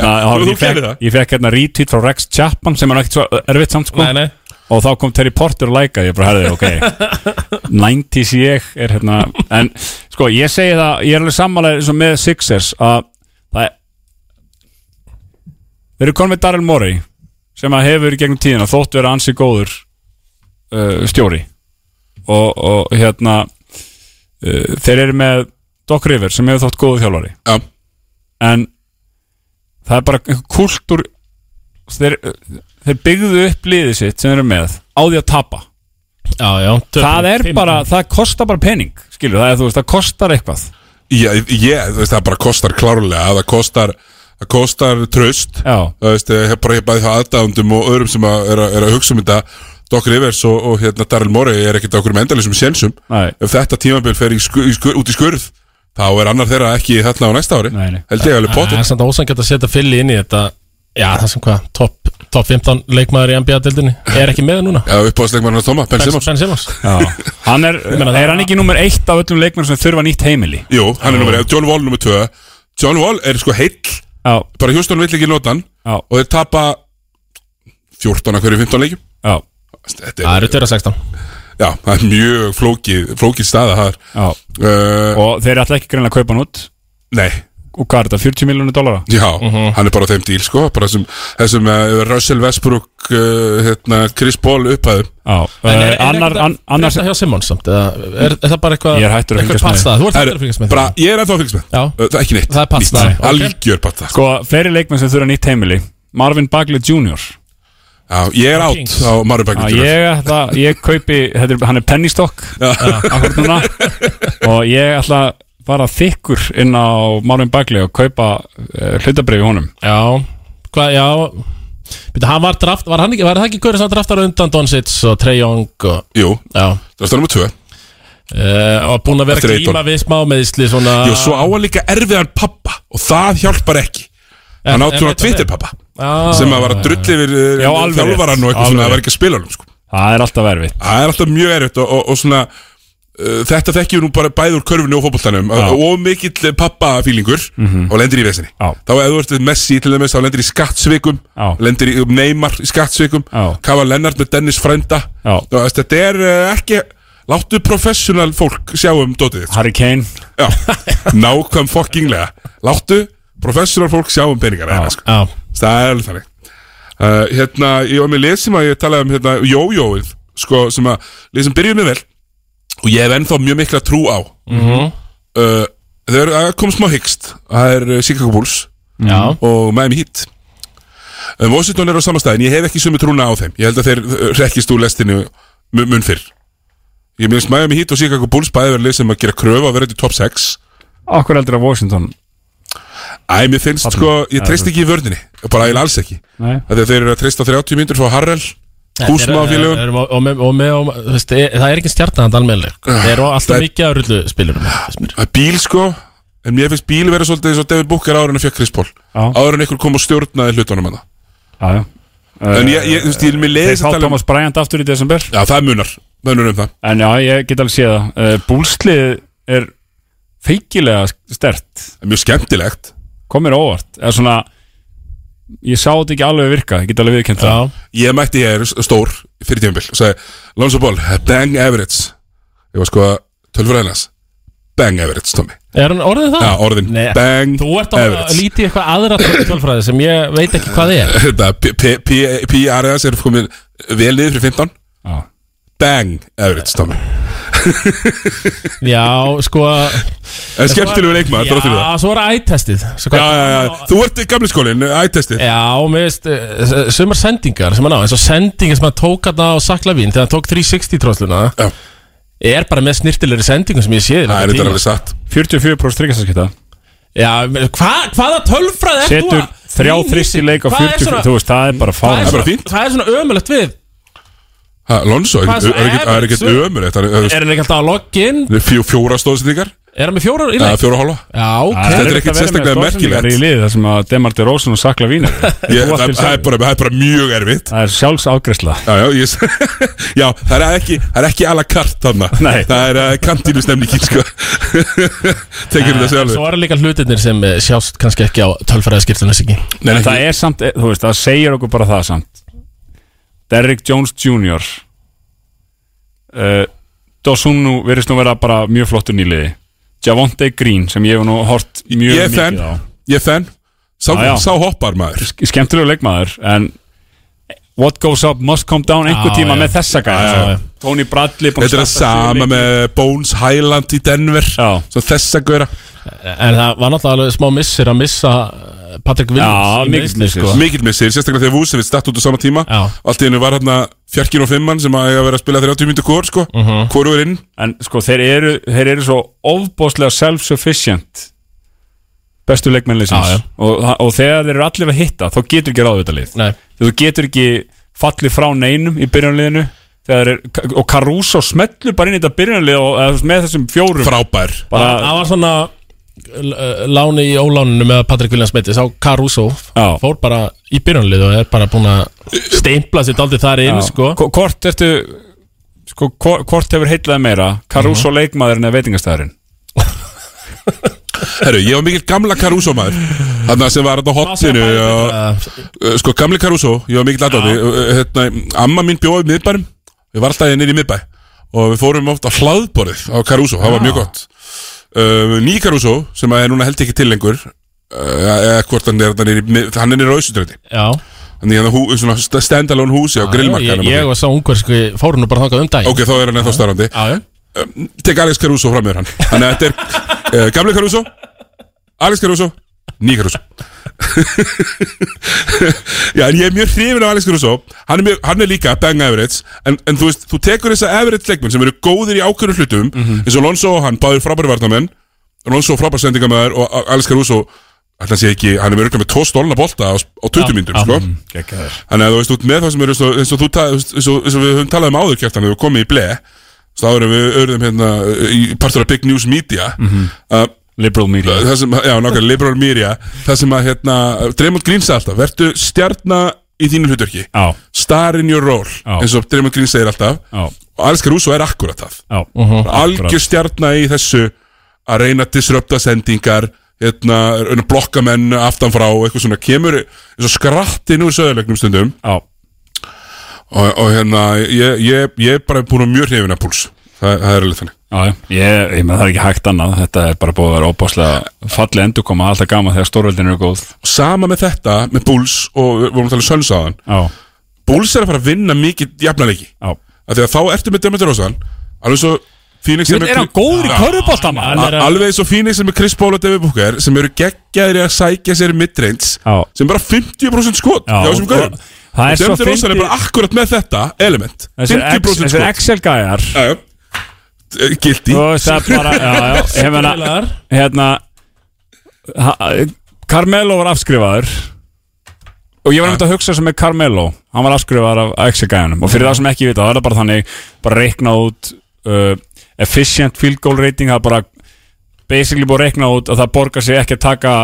Speaker 1: þú- þú
Speaker 3: Ég
Speaker 1: gerðir það.
Speaker 3: fekk- ég fekk hérna retweet frá Rex Chapman sem er ekkert svo erfitt samt sko
Speaker 2: Nei, nei
Speaker 3: og þá kom Terry Porter og læka ég bara herði, ok 90s ég er hérna en sko ég segi það, ég er alveg sammálega eins og með Sixers að það er þeir eru konum með Daryl Morey sem að hefur í gegnum tíðina þótt vera ansi góður uh, stjóri og, og hérna uh, þeir eru með Doc Rivers sem hefur þótt góðu þjálfari
Speaker 1: Já,
Speaker 3: en það er bara einhver kultúr þeir, þeir byggðu upp liðið sitt sem þeir eru með á því að tapa
Speaker 2: Já, já
Speaker 3: það er
Speaker 2: Fimm-
Speaker 3: bara, það kostar bara pening skilur, það, er, þú veist, það kostar eitthvað
Speaker 1: Já, ég, þú veist, það bara kostar klárlega það kostar, það kostar tröst
Speaker 3: já,
Speaker 1: það veist, eh, bara ég bæði það aðdáðundum og öðrum sem að, er, að, er að hugsa um þetta Doc Rivers og, og hérna Daryl Morey er ekkert okkur með endalisum sjensum
Speaker 3: Nei.
Speaker 1: ef þetta tímabil fer í sku, í sku, út í skurð þá er annar þeirra ekki þarna á næsta ári
Speaker 3: Nei, nei.
Speaker 1: held ég alveg
Speaker 2: Það
Speaker 1: potið
Speaker 2: er samt ósangjart að setja fylli inn í þetta já, það sem hvað, topp top 15 leikmaður í NBA-dildinni er ekki með núna
Speaker 1: Já, uppáðsleikmann hans Tóma, Ben
Speaker 2: Ben
Speaker 1: Simmons
Speaker 2: Ben Simmons
Speaker 3: Hann er,
Speaker 2: það-
Speaker 3: er hann ekki nummer eitt af öllum leikmennum sem þurfa nýtt heimili
Speaker 1: Jú, hann er nummer 1, John Wall nummer 2 John Wall er sko heill
Speaker 3: Já,
Speaker 1: bara Houston vill ekki nota hann
Speaker 3: Já.
Speaker 1: og þeir tapa 14 af hverju 15 leikjum
Speaker 3: já,
Speaker 1: Þetta
Speaker 2: Það
Speaker 1: er,
Speaker 2: eru þeirra 16
Speaker 1: já, það er mjög flókið flókið staða þar
Speaker 3: já
Speaker 1: uh,
Speaker 3: Og þeir ætla ekki greinlega að kaupa hann út
Speaker 1: Nei,
Speaker 3: Og hvað er þetta, 40 miljónu dólara?
Speaker 1: já,
Speaker 2: Mhm.
Speaker 1: hann er bara á þeim díl sko, bara sem, þessum uh, Russell Westbrook uh, hérna, Chris Paul upphæðum
Speaker 3: Já,
Speaker 2: En
Speaker 3: eh,
Speaker 2: er- er
Speaker 3: annar,
Speaker 2: ekkert að
Speaker 3: an- annars
Speaker 2: frétta hjá Simmons samt eða er, er það bara eitthvað
Speaker 3: Ég er hættur að
Speaker 2: eitthvað
Speaker 3: fylgjast með.
Speaker 2: pattstaða? þú ert
Speaker 1: Herru,
Speaker 2: hættur að fylgjast með
Speaker 1: bara- Ég er ennþá að fylgjast með
Speaker 2: Já.
Speaker 1: Uh, Það er ekki neitt
Speaker 2: Það er pattstaða,
Speaker 1: Nýtt.
Speaker 2: ok.
Speaker 1: Algjör patta
Speaker 3: Sko, fleiri leikmenn sem þurfa nýtt heimili Marvin Bagley Jr.
Speaker 1: Já, ég er átt
Speaker 2: Kings.
Speaker 1: á Mario
Speaker 3: Já,
Speaker 2: Ah,
Speaker 1: Bagley Jr.
Speaker 3: ég, ætla, ég kaupi, þetta er, hann er penny stock
Speaker 2: Ah.
Speaker 3: akkur núna Og ég ætla að fara þykkur inn á Marvin Bagley og kaupa uh, hlutabrifi honum
Speaker 2: já hvað já Býtu, hann var draft var, hann ekki, var það ekki gaurið sem draftar undan Donsits og Trey Young og
Speaker 1: Jú,
Speaker 2: já
Speaker 1: það er nummer 2
Speaker 2: uh, og búin að vera
Speaker 1: Eftir
Speaker 2: að
Speaker 1: eitt
Speaker 2: glíma við smá meðisli svona
Speaker 1: Jú, svo á hann líka erfiðan pappa og það hjálpar ekki Hann
Speaker 2: En-
Speaker 1: átt
Speaker 2: en
Speaker 1: svona
Speaker 2: veit það
Speaker 1: Twitter pappa
Speaker 2: Já.
Speaker 1: sem að var að drulli yfir eh,
Speaker 3: Já, alveg rétt.
Speaker 1: þjálfarann og eitthvað
Speaker 3: Alveg
Speaker 1: svona að
Speaker 3: rétt.
Speaker 1: vera ekki að spila hann sko.
Speaker 3: Það er alltaf erfitt
Speaker 1: það er alltaf mjög erfitt og, og, og svona uh, þetta þekkjum við nú bara bæði úr körfinu og fótboltanum að- og mikill eh, pappafílingur og lendir í vesinni
Speaker 3: Mhm. Já.
Speaker 1: þá eða þú ert Messi til dæmis þá lendir í skattsvikum
Speaker 3: Já.
Speaker 1: lendir í um Neymar í skattsvikum
Speaker 3: Já.
Speaker 1: Kafa Lennart með Dennis Frænda
Speaker 3: Já.
Speaker 1: Þú veist, þetta er uh, ekki láttu professional fólk sjá um dótið þitt
Speaker 3: Harry Kane
Speaker 1: Já, nákvæm fokkinglega Láttu, professional fólk sjá um peningar hérna, sko.
Speaker 2: já
Speaker 1: Það er alveg þannig uh, Hérna, ég var með lið sem að ég talaði um hérna, Jójóið, sko, sem að Lið sem byrjuð mjög vel Og ég hef ennþá mjög mikla trú á mm uh, Þau eru að koma smá hyggst Það er uh, Chicago Bulls
Speaker 2: já
Speaker 1: og Miami Heat um, Washington er á sama stað en ég hef ekki sömu trúna á þeim ég held að þeir uh, rekkist úr lestinu mun, mun fyrr ég minnst Miami Heat og Chicago Bulls bæði verið lið sem að gera kröfu að vera þetta í top 6
Speaker 3: Akkur heldur að Washington
Speaker 1: Æ, mér finnst sko, ég treyst ekki í vörninni bara ég alls ekki
Speaker 3: Nei.
Speaker 1: Af því að þeir eru að treysta á 30 mínútur frá Harrell húsmáfélögum
Speaker 2: Þeir eru- og, með- og, með- og, þú veist, e- það er ekki stjarnan almennileg þeir eru alltaf
Speaker 1: Ah, Það- Ah,
Speaker 2: mikið að rullu spilunum
Speaker 1: að bíl sko en mér finnst bíl vera svolítið eins og David Booker áður en að fjökk Chris Paul
Speaker 3: Já.
Speaker 1: áður en einhver kom og stjórnaði hlutunum hana
Speaker 3: Já, já
Speaker 1: en ég, ég, þú veist, ég er mér leiðis
Speaker 3: Þeir fá
Speaker 1: að tala um
Speaker 3: Thomas Bryant aftur í desember
Speaker 1: já, það munar, munar um það
Speaker 3: En já, ég get alveg séð það uh, Búlslið er feikilega stert
Speaker 1: Það er mjög skemmtilegt
Speaker 3: Komir óvart Eða svona Ég sá þetta ekki alveg virka Ég get alveg viðkjönd það
Speaker 2: já
Speaker 1: Ég mætti hér stór fyrir tímabil og sagði Lonzo Ball, bang average Ég var sko að tölfræðinas Bang average, Tommy
Speaker 2: er hann orðið það?
Speaker 1: Já, orðin,
Speaker 2: Nei,
Speaker 1: bang
Speaker 2: Þú ert að
Speaker 1: average
Speaker 2: lítið í eitthvað aðra tölfræði sem ég veit ekki hvað er
Speaker 1: Þetta, P- P- P- PRS er komin vel niður fyrir 15
Speaker 3: Já,
Speaker 1: Bang average, Tommy
Speaker 2: Já, sko
Speaker 1: En skemmtilegu Eh, leikmaður, þróttir það
Speaker 2: Já, svo er ættestið Svo
Speaker 1: Já,
Speaker 2: hvað-
Speaker 1: já, já, þú ert í gamli skólinn, eh, ættesti
Speaker 2: Já, mér veist, eh, sumar sendingar sem hann á, eins og sendingar sem hann tók hann á Saklavín þegar hann tók 360 tróðsluna
Speaker 1: Já.
Speaker 2: er bara með snirtilegri sendingum sem ég sé í
Speaker 1: Það
Speaker 2: langan
Speaker 1: er þetta
Speaker 2: tíma.
Speaker 1: alveg satt
Speaker 3: 44% tryggastaskipta
Speaker 2: Já, mér- hva, hvaða tölfræð er þú
Speaker 3: Setur
Speaker 2: að
Speaker 3: þrjá
Speaker 2: Nýnýting,
Speaker 3: þristi leik á
Speaker 2: hvað er
Speaker 3: 40
Speaker 2: svona-
Speaker 3: Þú veist, það er bara
Speaker 2: Hvað
Speaker 1: Það
Speaker 2: er
Speaker 3: fána
Speaker 1: bara
Speaker 2: svona-
Speaker 1: fínt.
Speaker 2: hvað er svona ömulegt við?
Speaker 1: Ha, Lonzo,
Speaker 2: Hvað er Eh. svo
Speaker 1: er ekkert- það er ekkert
Speaker 2: average?
Speaker 1: ömur Þetta er-
Speaker 2: Er hann ekki alltaf að loggin?
Speaker 1: það er fjó- fjóra stóðsendingar
Speaker 2: Er hann með fjórar í leik?
Speaker 1: Fjóra og hálfa
Speaker 2: Já, ok
Speaker 1: er ekkert sérstaklega merkilegt.
Speaker 3: í lið Það sem að Demar de Rósun og Sakla Vínar
Speaker 1: Ég- Það það er bara- það er bara mjög erfitt
Speaker 3: Það er sjálfságresla
Speaker 1: Já, já, ég, já það, er ekki, það er ekki alla kart þarna
Speaker 3: Nei.
Speaker 1: Það er uh, kantínustemningin sko Tekur þetta sjálfur
Speaker 2: Eh, Svo er líka hlutirnir sem eh, sjást kannski ekki á tölfræðaskiptunis ekki
Speaker 1: Nei,
Speaker 3: En
Speaker 1: ekki-
Speaker 3: það er samt, þú veist, það segir okkur bara það samt Derrick Jones Jr. Uh, Dosunu verðist nú vera bara mjög flottur nýliði Javonte Green sem ég hef nú hort mjög
Speaker 1: Ég er fenn
Speaker 3: mikið á
Speaker 1: Ég er fenn Sá,
Speaker 3: Já, já.
Speaker 1: sá hoppar maður
Speaker 3: Skemmtilegu leikmaður en What goes up must come down einhver
Speaker 2: Já,
Speaker 3: tíma
Speaker 2: já.
Speaker 3: með þessa gæja
Speaker 2: Já, já.
Speaker 3: sko. Tony Bradley búinn
Speaker 1: Þetta er
Speaker 3: að
Speaker 1: það
Speaker 3: starta
Speaker 1: sama
Speaker 3: sig í leik-
Speaker 1: með eh, Bones Highland í Denver
Speaker 3: Já.
Speaker 1: Svo þessa gauðra
Speaker 2: En það var náttúrulega alveg smá missir að missa eh, Patrick Williams
Speaker 3: Já,
Speaker 2: í
Speaker 3: mikill
Speaker 2: meiðsli,
Speaker 3: missir.
Speaker 2: sko.
Speaker 1: Mikill missir, sérstaklega þegar Vucevic datt út á sama tíma
Speaker 2: Já.
Speaker 1: Allt í hennu var hérna fjarkin og fimmann sem að eiga að vera að spila 30 myndu kór sko uh -huh. Kóru er inn
Speaker 3: En sko þeir eru, þeir eru svo ofbóðslega self-sufficient
Speaker 2: Já,
Speaker 3: bestu
Speaker 2: já.
Speaker 3: leikmennleysins og, og þegar þeir eru allir að hitta þá getur ekki ráðu þetta lið
Speaker 2: Nei,
Speaker 3: þú getur ekki fallið frá neinum í byrjanliðinu þegar er, og Caruso smellur bara inn í þetta byrjanlið og eða, þú veist, með þessum fjórum
Speaker 1: Frábær
Speaker 2: það
Speaker 3: bara,
Speaker 2: það var svona l- láni í óláninu með Patrik Williams meitist á Caruso
Speaker 3: Já.
Speaker 2: fór bara í byrjunlið og er bara búin að steimpla sér daldið þar inn sko.
Speaker 3: Hvo- Hvort ertu sko, hvo- Hvort hefur heitlaði meira Caruso leikmaðurinn eða veitingastæðurinn
Speaker 1: Herru, ég var mikill gamla Caruso maður Þannig sem var þetta á hotinu og,
Speaker 2: Eh,
Speaker 1: uh, Sko, gamli Caruso, ég var mikill aðdóti hérna, Amma mín bjóði miðbærum Við var alltaf inn í miðbæ Og við fórum oft á hlaðborðið á Caruso Það var mjög gott uh, Ný Caruso, sem að er núna held ekki til lengur uh, Eða hvort hann er þarna niðri í mið- Hann er nýr á Ísutræti
Speaker 2: Já,
Speaker 1: Þannig að hérna hú, svona st- standalone húsi á
Speaker 2: ég,
Speaker 1: grillmarkanum
Speaker 2: ég
Speaker 1: og
Speaker 2: og sá ungverski fórum nú bara þangað um
Speaker 1: því.
Speaker 2: daginn
Speaker 1: Ok, þá er hann ennþá starfandi
Speaker 2: Já, já.
Speaker 1: um, tek Alex Caruso fram með hann þannig að þetta er uh, gamli Caruso Alex Caruso ný Caruso já en ég er mjög hrifin af Alex Caruso hann er, mjög, hann er líka bang average en, en þú veist þú tekur þessa average leikmenn sem eru góðir í ákveðnum hlutum eins og Lonzo og hann báður frábæri varnamenn Lonzo frábær sendingamæður og A- Alex Caruso ætla sé ekki hann er mjög með tvo stólna bolta á, á 20 myndum sko
Speaker 3: Gekkjaður
Speaker 1: Þannig að þú veist út með það sem eru eins og- eins og þú ta- eins og eins og við höfum talað um áður kjartan þegar við komum í ble þá erum við örðum hérna í partur af Big News Media mm
Speaker 3: Mhm. Liberal media
Speaker 1: það sem, já nákvæmlega liberal media það sem að hérna, Dremond Green sagði alltaf vertu stjarna í þínu hlutverki
Speaker 3: Já,
Speaker 1: star in your role,
Speaker 3: Já.
Speaker 1: eins og Dremond Green segir alltaf
Speaker 3: já,
Speaker 1: og Aliska Rússo er akkurat það
Speaker 3: já
Speaker 1: algjör stjarna í þessu að reyna að disrupta sendingar hérna, reyna að blokka menn aftanfrá og eitthvað svona kemur eins og skrattin úr söðulegnum stundum
Speaker 3: Já,
Speaker 1: og, og hérna, ég, ég, ég er bara búin að mjög hrifin af púls það, það er alveg þannig
Speaker 3: já, já. Ég, ég með það er ekki hægt annað Þetta er bara búið að vera óbáslega fallið endurkoma Alltaf gaman þegar stórveldin eru góð
Speaker 1: og sama með þetta, með púls og við vorum að tala um Suns áðan
Speaker 3: Já,
Speaker 1: púls er að fara að vinna mikið jafnanleiki
Speaker 3: já
Speaker 1: af því að þá ertu með Demeter Rósan alveg svo Phoenix
Speaker 3: Þetta er hann góður í körfubolta maður
Speaker 1: A- alveg svo Phoenix sem er Chris Paul og David Booker sem eru geggjaðir í að sækja sér midreins
Speaker 3: Já.
Speaker 1: sem bara 50% skot
Speaker 3: Já,
Speaker 1: hjá þessum
Speaker 3: og-
Speaker 1: gaurum
Speaker 3: það er
Speaker 1: og
Speaker 3: svo
Speaker 1: Demeter Rósan er
Speaker 3: fyndið-
Speaker 1: bara akkurat með þetta element
Speaker 3: Þessi X-
Speaker 1: 50%
Speaker 3: Þessi
Speaker 1: skot
Speaker 3: Excel gæjar
Speaker 1: Já, já. Eh, Gildi
Speaker 3: Þú veist það er bara já, já, Ég meina,
Speaker 2: Félagar.
Speaker 3: hérna ha- Carmelo var afskrifaður og ég var nefnt að hugsa sem með Carmelo hann var afskrifaður af Excel gæjanum og fyrir það sem ekki vita, það er það bara þannig bara reiknað út uh, efficient field goal rating, það er bara basically búið að reikna út að það borgar sig ekki að taka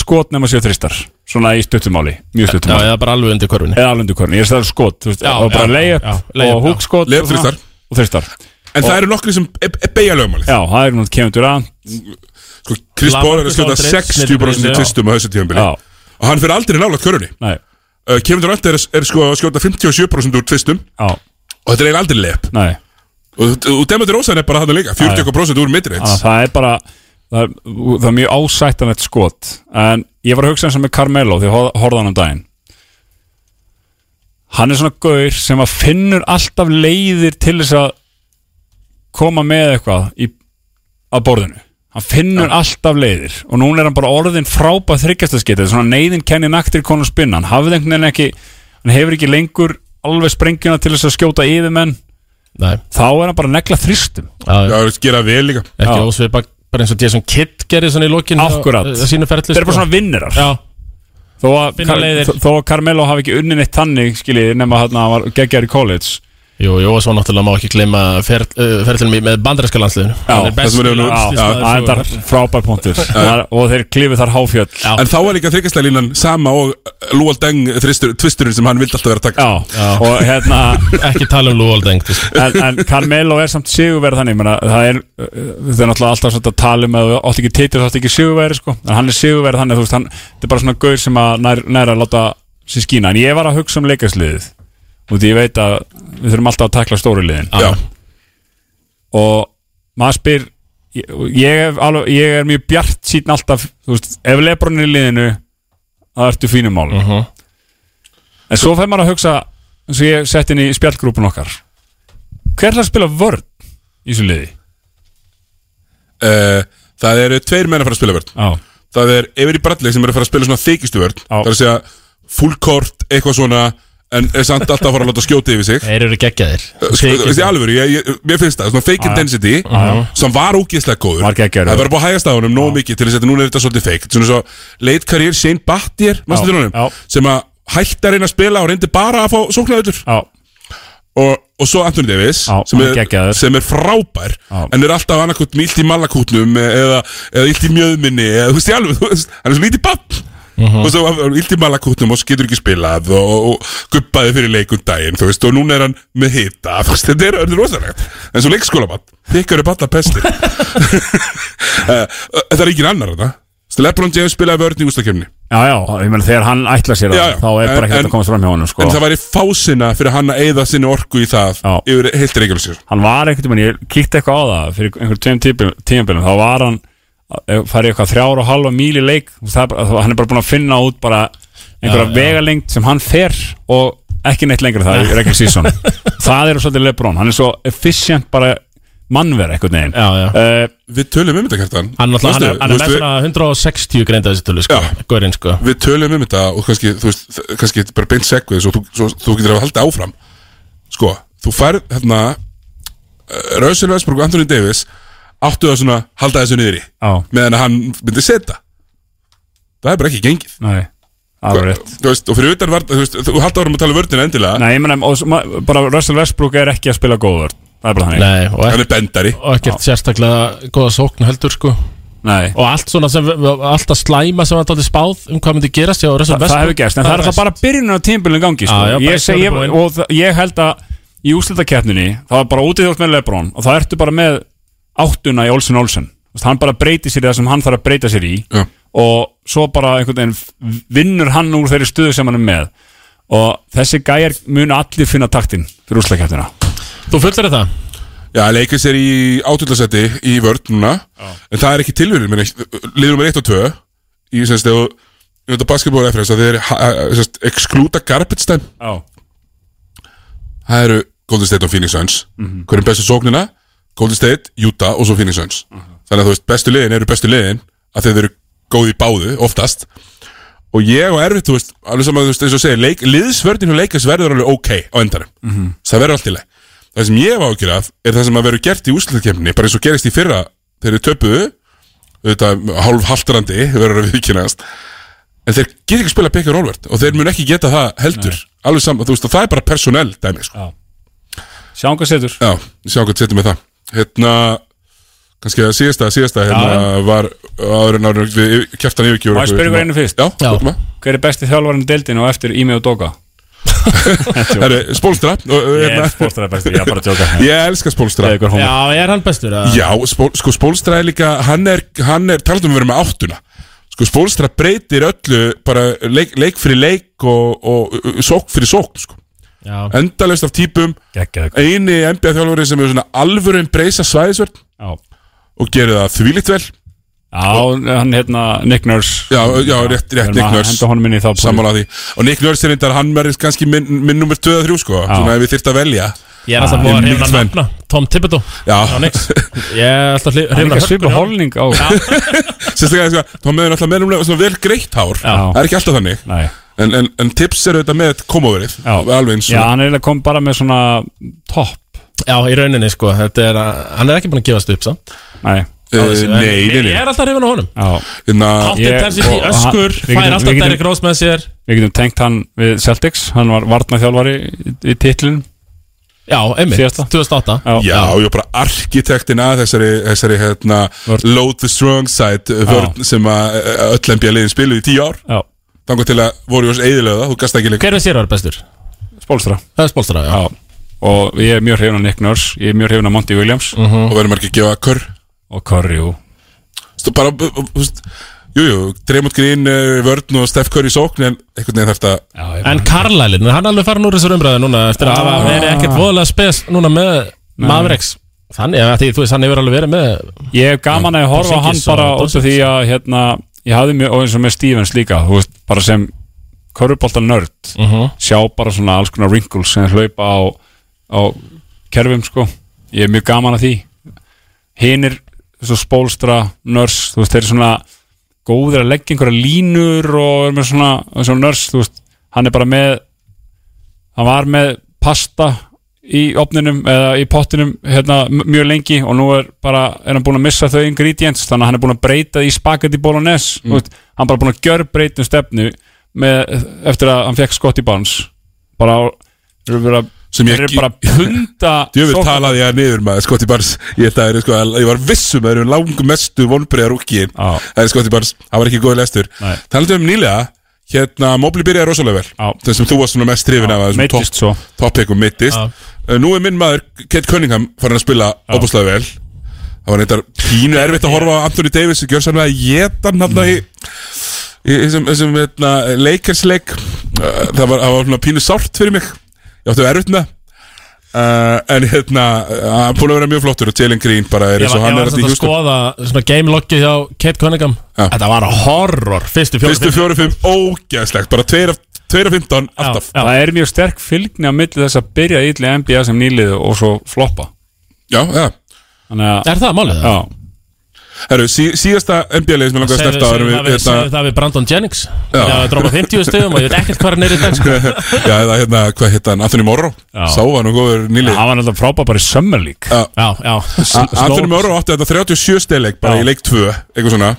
Speaker 3: skot nema sér þristar, svona í stuttumáli mjög
Speaker 2: Já,
Speaker 3: stuttumáli,
Speaker 2: eða bara alveg undir körfunni
Speaker 3: eða alvöndukorn ég er stæður skot, þú veist,
Speaker 2: Já,
Speaker 3: og bara
Speaker 2: já,
Speaker 3: layup
Speaker 2: já, layup,
Speaker 3: og
Speaker 2: já.
Speaker 3: hookskot og
Speaker 1: Layup
Speaker 3: svona,
Speaker 1: þristar.
Speaker 3: og þristar
Speaker 1: En það eru nokkri sem e e beigja lögmálið
Speaker 3: Já, það er nú kemur Durant
Speaker 1: sko, Chris
Speaker 2: Lamarcus
Speaker 1: Paul er að skjóta
Speaker 2: Aldridge,
Speaker 1: 60% í
Speaker 2: já.
Speaker 1: tvistum á þessu tíðanbili
Speaker 3: Já.
Speaker 1: og hann fyrir aldrei nálaðt körunni
Speaker 3: Nei,
Speaker 1: uh, Kevin Durant er, er sko að skjóta 57% úr tvistum
Speaker 3: já,
Speaker 1: og þetta er eiginlega aldrei lepp
Speaker 3: nei
Speaker 1: og, og Demetri Rósan er bara hann líka 40% úr
Speaker 3: Þannig að
Speaker 1: midreins
Speaker 3: Ah, það er bara það er, það er mjög ásættanlegt skot en ég var að hugsa eins og með Carmelo því að horða hann um daginn hann er svona gaur sem að finnur alltaf leiðir til þess að koma með eitthvað í, að borðinu hann finnur alltaf leiðir og núna er hann bara orðin frábæð þryggjastasketið svona neyðin kenni naktir konum spinn hann hafði einhvern veginn ekki hann hefur ekki lengur alveg sprengjuna til þess að skjóta yfir menn
Speaker 2: Nei,
Speaker 3: þá er hann bara að negla þristum
Speaker 2: já,
Speaker 1: Já, það gera vel líka
Speaker 2: ekki
Speaker 3: Já.
Speaker 2: ósvipa bara eins og Jason Kidd gerði svona í lokinu
Speaker 3: Akkurat.
Speaker 2: sínu ferli
Speaker 3: þeir eru bara
Speaker 2: sko.
Speaker 3: svona vinnirar
Speaker 2: Já,
Speaker 3: þó að,
Speaker 2: Finna
Speaker 3: Kar
Speaker 2: leiðir.
Speaker 3: þó- þó að Carmelo hafi ekki unnin eitt þannig skiljið nema þarna að hann var geggjar í college
Speaker 2: jú, jú, og svo náttúrulega má ekki gleyma fer, uh, ferlinum í- með bandarinska landsliðinu Hann er
Speaker 1: það
Speaker 2: best
Speaker 1: sem er nú-
Speaker 2: landsliðsmaður
Speaker 1: já,
Speaker 2: sögunnar.
Speaker 3: það er frábær punktur Þar- og þeir klifið þar háfjöll
Speaker 2: Já.
Speaker 1: En þá er líka þryggastælínan sama og Lúal Deng þristur- tvisturinn sem hann vildi alltaf vera að taka
Speaker 3: já, ah. og hérna
Speaker 2: Ekki tala um Lúaldeng sko.
Speaker 3: en, en Carmelo er samt sigurverð þannig menna, það er, uh, það er náttúrulega alltaf svona að tala um að þú átt ekki titil, þú átt ekki sigurverð sko. en hann er sigurverð þannig, þú veist, hann þetta er bara svona gaur sem að nær, nær að láta sér skína, en ég var að hugsa um leikasliðið og því ég veit að við þurfum alltaf að takla stóru liðin
Speaker 2: Ah,
Speaker 1: Já,
Speaker 3: og maður spyr ég, ég, hef alveg, ég er mjög bjart síðan alltaf, þú veist, ef Lebron er í liðinu það ertu fínum mál
Speaker 2: Mhm.
Speaker 3: en svo fer maður að hugsa eins og ég sett inn í spjallgrúpun okkar hver er að spila vörn í þessu liði?
Speaker 1: uh, það eru tveir menn að fara að spila vörn
Speaker 3: Já,
Speaker 1: Það er Every Bradley sem er að fara að spila svona þykistu vörn
Speaker 3: Já.
Speaker 1: Það er að segja full court, eitthvað svona En er samt alltaf að fara að láta skjóta yfir sig
Speaker 2: Þeir eru geggjaðir
Speaker 3: Uh,
Speaker 1: Sko, þú veist, í alvöru, ég, ég, mér finnst það, svona fake intensity sem var ógeðslega góður
Speaker 3: Var geggjaður.
Speaker 1: það var búið að hægast á honum nóg mikið til þess að núna er þetta svolítið fake svona svo late career Shane Battier,
Speaker 3: Já,
Speaker 1: mannstu til honum
Speaker 3: já.
Speaker 1: sem að hætti að reyna að spila og reyndi bara að fá sóknaröldur
Speaker 3: já,
Speaker 1: og, og svo Anthony Davis
Speaker 3: Já,
Speaker 1: sem,
Speaker 3: hann er
Speaker 1: er,
Speaker 3: geggjaður.
Speaker 1: sem er frábær
Speaker 3: Já.
Speaker 1: en er alltaf annarkot með illt í malakútnum eða, eða illt í mjöðminni eða, þú veist, í alveg, þú veist, hann er svo lítið bann
Speaker 3: Mhm.
Speaker 1: og svo hann er illt í malakútnum og svo getur ekki spilað og, og, og guppaði fyrir leikundaginn þú veist, og núna er hann með hita þú veist, þetta er örður rosalegt en svo leikskólabann, þykkar upp alla pestir Eh, þetta er engin annar þetta Lebron James spilaði vörn í ústakefni
Speaker 3: Já, já, ég meina þegar hann ætla sér
Speaker 1: Já, já.
Speaker 3: það þá er
Speaker 1: En-
Speaker 3: bara ekkert
Speaker 1: en-
Speaker 3: að komast fram hjá honum sko.
Speaker 1: En það væri fásina fyrir hann að eyða sinni orku í það
Speaker 3: Já.
Speaker 1: yfir heilt reykjálsir
Speaker 3: Hann var ekkert, menn, ég kíkti eitthvað á það fyrir einhver tveim tímabilum, þá var hann að- farið eitthvað þrjára og halva míl í leik þú veist, það er bara, þá- hann er bara búin að finna út bara einhverja
Speaker 2: Já, já.
Speaker 3: vegalengt sem hann fer og ekki neitt lengra það er ekki sísson það er svolítið Lebron, hann er svo efficient bara mannver eitthvað neginn
Speaker 2: Já, já.
Speaker 3: Eh,
Speaker 1: Við tölum um þetta kjartan
Speaker 2: Hann, alltaf, hann, er,
Speaker 1: Manstu,
Speaker 2: hann er
Speaker 1: þú
Speaker 2: með
Speaker 1: veist,
Speaker 2: svona 160 greinda þessi tölu sko,
Speaker 1: Já.
Speaker 2: Górin sko
Speaker 1: við, við tölum um þetta og kannski, þú veist, þ- kannski þetta er bara beint segvið svo, þú- svo þú getur að halda áfram Sko, þú færð hérna eh, Russell Westbrook og Anthony Davis áttu að svona halda þessu niðri
Speaker 3: Já.
Speaker 1: meðan að hann myndi setja Það er bara ekki gengið
Speaker 3: Nei, alveg rétt
Speaker 1: Þú veist, og fyrir utan var, þú veist, þú halda áfram að tala um vörnina endilega
Speaker 3: Nei, ég meina, og, s- ma- bara Russell Westbrook er ekki að spila góður Það er bara þannig
Speaker 2: Nei, og,
Speaker 1: Hann
Speaker 2: ekki,
Speaker 1: er bendari
Speaker 2: og ekkert sérstaklega góða sókn heldur sko
Speaker 3: Nei.
Speaker 2: Og allt svona sem, við- við- allt að slæma sem var dálítið spáð um hvað myndi gerast hjá Russell
Speaker 3: Þa, það
Speaker 2: Westbrook
Speaker 3: hefur gerst, en það er það bara byrjun á tímbilinu gangi sko.
Speaker 2: Já, já, bara
Speaker 3: ég, seg, ég,
Speaker 2: búin.
Speaker 3: og það, ég held að í úslitakeppninni, það var bara útið þjótt með Lebron og það ertu bara með áttuna í Olsen Olsen Þess, hann bara breytir sér í það sem hann þarf að breyta sér í
Speaker 1: Já.
Speaker 3: og svo bara einhvern veginn f- vinnur hann úr þeirri stuðu sem hann er með og þessi gæjar mun allir finna taktinn fyrir úslitakeppnina
Speaker 2: Þú fullir það?
Speaker 1: Já, Lakers er í átöldasæti í vörð núna En það er ekki tilvíðin minn Liður nummer 1 og 2 Í semst eða Í þetta basketball reference að Þeir ha- ha- semst Excluta garbage time
Speaker 3: Já,
Speaker 1: Það eru Golden State og Phoenix Suns Hver er bestu sóknina? Golden State, Utah og svo Phoenix Suns Þannig að þú veist Bestu liðin eru bestu liðin Að þeir eru góð í báðu Oftast Og ég og erfitt, þú veist Alveg saman, þú veist, eins og segir leik, Liðsvörðin og leikast verður alveg ok Á endanum Það verður allt í leið Það sem ég var ágjur af Er það sem að verður gert í úslutakemni Bara eins og gerist í fyrra Þeir eru töpuðu Þetta hálf haltrandi Verður að viðkynast En þeir geta ekki að spila Pekka Rólvert Og þeir mun ekki geta það heldur Alveg saman, þú veist, og það er bara persónell dæmi sko.
Speaker 3: sjáum hvað setur
Speaker 1: Já, ég sjá hvað setjum með það Hérna, kannski að síðasta, síðasta hérna var áður en áður en við kjæftan yfirkjör
Speaker 3: Má ég spyrja ykkur einu fyrst?
Speaker 1: hérna. Já,
Speaker 2: Já.
Speaker 1: já.
Speaker 3: Hver er besti þjálfarinn deildin og eftir Ími og Doga?
Speaker 1: Herri, spólstra og, og,
Speaker 3: Ég er
Speaker 1: hérna,
Speaker 3: spórstara besti, ég er bara að djóka
Speaker 1: Ég elska spólstra
Speaker 3: Ég er ykkur homo.
Speaker 2: Já, er hann bestur? eða?
Speaker 1: Já, spól, sko spólstra er líka Hann er, hann er talandum við verðum með áttuna Sko spólstra breytir öllu bara leik, leik fyrir leik og, og, og sók fyrir sók sko.
Speaker 2: Já.
Speaker 1: Endalaust af típum
Speaker 3: Geggjaður.
Speaker 1: Eini NBA þjálfurinn sem er svona alvöru breysa svæðisverð
Speaker 3: Já.
Speaker 1: og gerir það þvílíkt vel
Speaker 3: Já, hann hérna Nick Nurse
Speaker 1: Já, já, rétt, rétt,
Speaker 3: Við erum
Speaker 1: Nick
Speaker 3: að
Speaker 1: Nurse.
Speaker 3: Henda honum inn í þá púl.
Speaker 1: sammála því og Nick Nurse er reyndar hann verður kannski minn, minn nummer 2 og 3 sko svona ef við þyrft að velja
Speaker 2: Ég er alltaf búin að hrifna
Speaker 1: mikill fan.
Speaker 2: nafna Tom Thibodeau Já,
Speaker 1: já,
Speaker 2: nix Ég er alltaf hli-
Speaker 3: Hann er
Speaker 2: hrifna
Speaker 1: Hérna
Speaker 3: ekki að svipa
Speaker 2: hörku-
Speaker 3: holning á
Speaker 1: sérstaklega sko, þá meður alltaf með numlega svona vel greitt hár
Speaker 2: Já.
Speaker 1: það er ekki alltaf þannig
Speaker 3: Nei
Speaker 1: en, en, en tips eru þetta með komoverið
Speaker 3: Já.
Speaker 1: alveg eins
Speaker 3: Já,
Speaker 1: og
Speaker 3: hann er eiginlega kom bara með svona topp
Speaker 2: Já, í rauninni sko Þetta er að Hann er ekki búin að gefast upp samt
Speaker 1: uh,
Speaker 3: Nei
Speaker 2: En-
Speaker 1: nei, nei,
Speaker 2: Ég
Speaker 1: nei
Speaker 2: er alltaf hrifna á honum
Speaker 3: Já
Speaker 1: hérna,
Speaker 2: Hátt
Speaker 3: Ég-
Speaker 2: intensity,
Speaker 3: og-
Speaker 2: öskur
Speaker 3: Við getum-
Speaker 2: Fær alltaf
Speaker 3: við getum-
Speaker 2: Derrick Rose með sér
Speaker 3: Við getum tengt hann við Celtics Hann var varnaþjálfari í, í titlin
Speaker 2: Já, einmitt
Speaker 3: Síðasta.
Speaker 2: 2008
Speaker 3: Já,
Speaker 1: já, ég er bara arkitektin að þessari, þessari hérna,
Speaker 3: Vörn.
Speaker 1: load the strong side uh, vörn sem að uh, öll NBA liðin spilu í 10 ár
Speaker 3: já.
Speaker 1: þangar til að voru jós eðilega þú gasta ekki líka
Speaker 2: Hver er sér að vera bestur?
Speaker 3: Spólstra
Speaker 2: Það er Spolstra, já
Speaker 3: Já Og ég er mjög hrifin af Nick Nurse Ég er mjög hrifin af Monty Williams
Speaker 1: og verður maður ekki að gefa kör
Speaker 3: Og Curry og
Speaker 1: Stu bara, b- b- þú veist Jú, jú, Dremont Green, uh, vörn og Steph Curry í sókn En einhvern veginn þarf þetta
Speaker 3: Já, ég
Speaker 2: En Karlælin, hann er alveg farin úr þessar umræðu núna Eftir að hafa verið ekkert voðalega spes Núna með Mavericks Þannig að því, þú veist, hann hefur alveg verið með
Speaker 3: Ég hef gaman að horfa á hann
Speaker 2: Porzingis
Speaker 3: bara
Speaker 2: og
Speaker 3: út af því að hérna, ég hafði mjög, og eins og með Stevens líka þú veist, bara sem körfubolta nörd
Speaker 2: Mm.
Speaker 3: sjá bara svona alls konar wrinkles sem hlaupa á, á kerfum sko, ég er mjög gaman að því hinir svo spólstra, nörs, þú veist, þeir eru svona góðir að leggja einhverja línur og er með svona, svona nörs, þú veist hann er bara með hann var með pasta í opninum eða í pottinum hérna, m- mjög lengi og nú er, bara, er hann búin að missa þau ingredients þannig að hann er búin að breyta í spagetti bolognese mm. veist, hann er bara búin að um gjör breytum stefnu með, eftir að hann fekk Scotty Barnes bara um- á- eru verið að
Speaker 1: sem
Speaker 3: Þeir
Speaker 1: ég
Speaker 3: eru bara punda
Speaker 1: Djöfur
Speaker 3: sókn-
Speaker 1: talaði ég niður maður Scotty Barnes Ég, það er, sko, ég var vissum að það eru langmestu vonbreiðar úkiðin
Speaker 3: Já.
Speaker 1: Það er Scotty Barnes, það var ekki góð lestur
Speaker 3: Nei.
Speaker 1: Talandi um nýlega Hérna, Mobley byrjaði rosalega
Speaker 3: Já.
Speaker 1: vel Það sem þú varst svona mest hrifin af af þessum
Speaker 3: meiddist svo.
Speaker 1: topp- topppikum mittist
Speaker 2: Já.
Speaker 1: Eh, Nú er minn maður, Kate Cunningham farin að spila óbúslega vel Það var reyndar pínu erfitt að horfa á Anthony Davis Gjör sannlega að geta hann í í þessum, þessum hérna, leikersleik það var, það var svona pínu sárt fyrir mig ég átti að erfitt með það. uh, en hérna, uh, hann er búin að vera mjög flottur og Jalen Green bara er
Speaker 2: Ég
Speaker 1: eins og
Speaker 2: var, ég
Speaker 1: hann
Speaker 2: var
Speaker 1: er
Speaker 2: samt
Speaker 1: að
Speaker 2: að
Speaker 1: hlusta
Speaker 2: skoða svona game loggi hjá Kate Cunningham
Speaker 1: Já.
Speaker 2: Þetta var horror Fyrstu fjóra
Speaker 1: fyrstu fjóru fimm, ógeðslegt bara 2 af 2 af 15, alltaf
Speaker 2: Já.
Speaker 3: Það er mjög sterk fylgni á milli þess að byrja ítli NBA sem nýlið og svo floppa
Speaker 1: já, já,
Speaker 3: Þannig að
Speaker 2: Er það málið?
Speaker 3: Já,
Speaker 1: herru, sí, síðasta NBA-leið sem ég langaði að
Speaker 2: Segðu
Speaker 1: snerta á erum
Speaker 2: segðu
Speaker 1: við
Speaker 2: það við-
Speaker 1: hérna,
Speaker 2: segðu það við Brandon Jennings
Speaker 1: Já.
Speaker 2: Já, það droppa 50 stegum og ég veit ekkert hvað hann er í dag sko.
Speaker 1: já, eða hérna, hvað hérna, Anthony Morrow
Speaker 3: Já.
Speaker 1: sá hann og góður nýli
Speaker 3: hann var náttúrulega frábæð bara í Summer League
Speaker 2: Já, já
Speaker 1: Anthony Morrow átti þetta 37 stegleik bara
Speaker 3: Já.
Speaker 1: í leik 2, eitthvað svona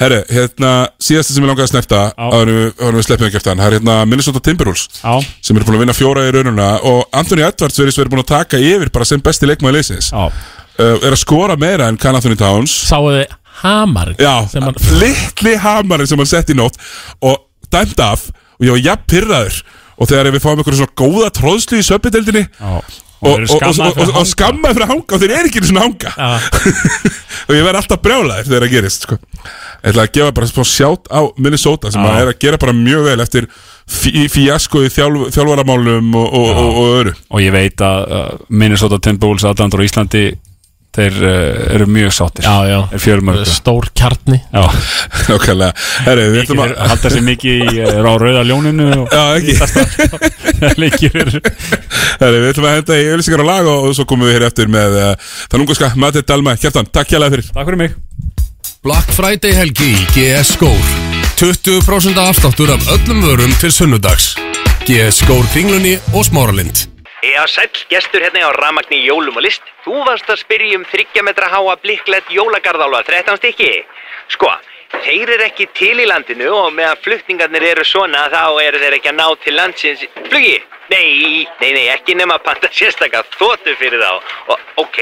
Speaker 1: Herru, hérna, síðasta sem ég langaði að snerta áður en við, áður en við sleppum ekki eftir hann, það er hérna Minnesota Timberwolves
Speaker 3: Já,
Speaker 1: sem eru búin að vinna fjóra í raununa og Anthony Edwards verið verið búin að taka yfir bara sem besti leikmaði leysins uh,
Speaker 3: já
Speaker 1: er að skora meira en Can Anthony Towns
Speaker 2: Sáu þið Hamar
Speaker 1: já,
Speaker 2: sem hann-
Speaker 1: litli hamarinn sem hann sett í nótt og dæmt af og ég var jafn pyrraður og þegar við fáum einhverju svona góða tróðslu í söpindeldinni
Speaker 3: Já.
Speaker 1: og,
Speaker 3: eru
Speaker 1: og, og,
Speaker 3: skammaðir
Speaker 1: og, og,
Speaker 3: fyrir að
Speaker 1: og skammaði fyrir að hanga og þeir eru ekki einu svona hanga
Speaker 2: Já.
Speaker 1: og ég verð alltaf brjálaður þegar það gerist sko. ég ætla að gefa bara smá sjátt á Minnesota sem
Speaker 3: Já.
Speaker 1: að er að gera bara mjög vel eftir fí- fíasko í þjálf, þjálfaramálum og, og, og, og öru
Speaker 3: Og ég veit að uh, Minnesota Timberwolves aðdandur á Íslandi þeir uh, eru mjög sáttir
Speaker 2: Já, já
Speaker 3: er fjölmörg
Speaker 2: Stór kjarni
Speaker 3: Já,
Speaker 1: Nákvæmlega, herru, við
Speaker 3: þeir
Speaker 1: ætlum að
Speaker 3: halda sér mikið í, er á rauða ljóninu og
Speaker 1: Já, ekki,
Speaker 3: leikir eru
Speaker 1: herru, við ætlum að henda í öllisingar og lag og, og svo komum við hér eftir með uh, þann ungarska Matti Dalma, Kjartan, takk hérlega fyrir
Speaker 3: Takk fyrir mig
Speaker 4: Black Friday helgi í GS Skór 20% afsláttur af öllum vörum til sunnudags GS Skór kringlunni og smáralind
Speaker 5: Já, sæll, gestur hérna á Ramagni í Jólum og List. Þú varst að spyrja um 30 metra háa blikklet jólagarðálfa, 13 stykki. Sko, þeir eru ekki til í landinu og meðan flutningarnir eru svona þá eru þeir ekki að ná til landsins. Flugi! Nei, nei, nei, ekki nema að panta sérstaka þóttu fyrir þá. Og, ok,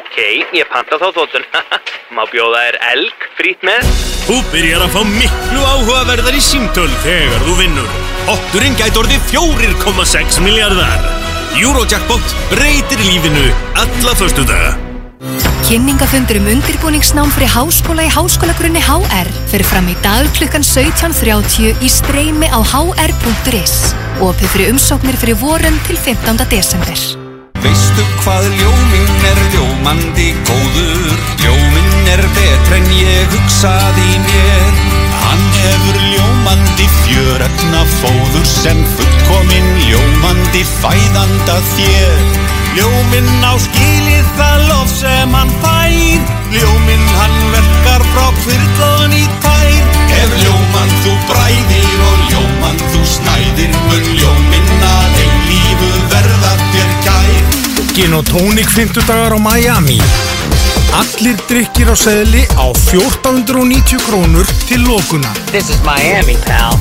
Speaker 5: ok, ég panta þá þóttun. Má bjóða þér elg frýtt með?
Speaker 6: Þú byrjar að fá miklu áhugaverðari símtöl þegar þú vinnur. Otturinn gæti orðið 4,6 miljardar. Eurojackpot breytir lífinu alla föstudaga.
Speaker 7: Kynningafundur um undirbúningsnám fyrir háskóla í háskólagrunni HR fer fram í dag klukkan 17.30 í streymi á hr.is. Opið fyrir umsóknir fyrir vorum til 15. desember.
Speaker 8: Veistu hvað ljóminn er ljómandi góður? Ljóminn er betr en ég hugsaði mér. Hann hefur ljómandi fjöröfna fóður sem fullkominn ljómandi fæðanda þér.
Speaker 6: Ljóminn á skilið það lof sem hann fær. Ljóminn hann verkar frá kvyrlaðan í tær.
Speaker 8: Ef ljómann þú bræðir og ljómann þú snæðir, mun ljóminn að eilífu verða þér kær.
Speaker 9: Gin og tónik 50 dagar á Miami Allir drikkir á seðli á 1490 krónur til lókunar
Speaker 5: This is Miami, pal.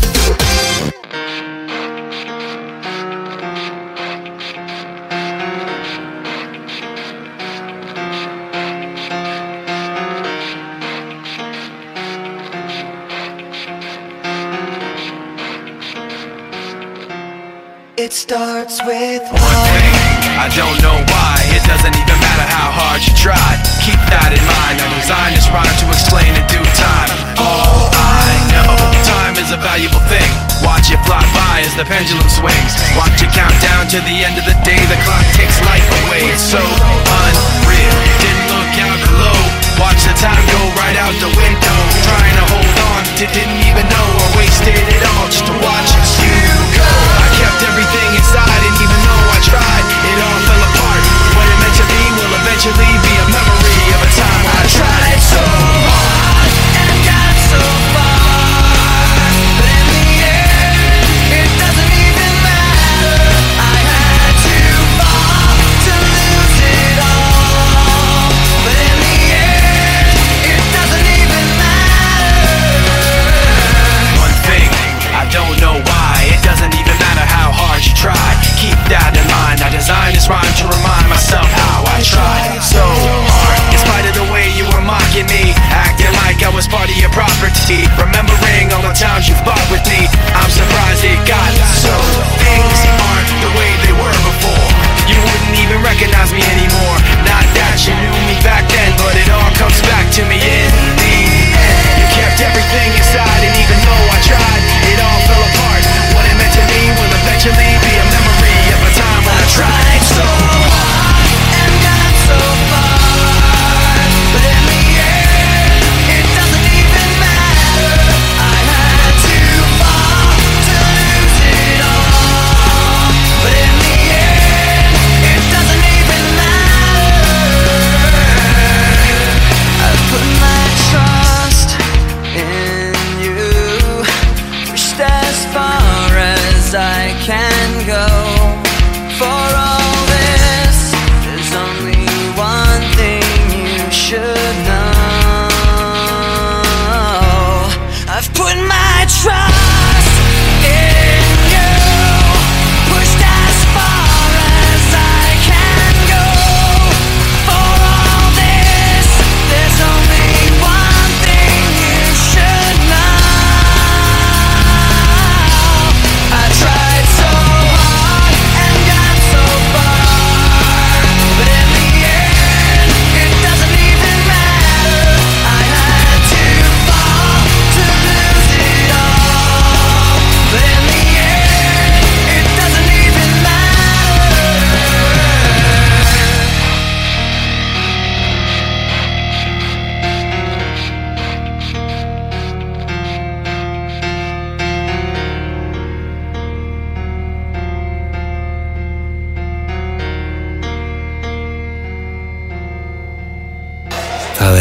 Speaker 10: It starts with
Speaker 11: one thing. I don't know why. It doesn't even matter how hard you try. Keep that in mind. I designed this rhyme to explain in due time. All I know, time is a valuable thing. Watch it fly by as the pendulum swings. Watch it count down to the end of the day. The clock takes life away. It's so unreal. Didn't look out below. Watch the time go right out the window. Trying to hold on to didn't even know I wasted it all just to watch you go. I kept everything inside and even though I tried, it all fell apart. What it meant to be will eventually be a memory of a time I tried so hard and got so far. But in the end, it doesn't even matter. I had to fall to lose it all. But in the end, it doesn't even matter.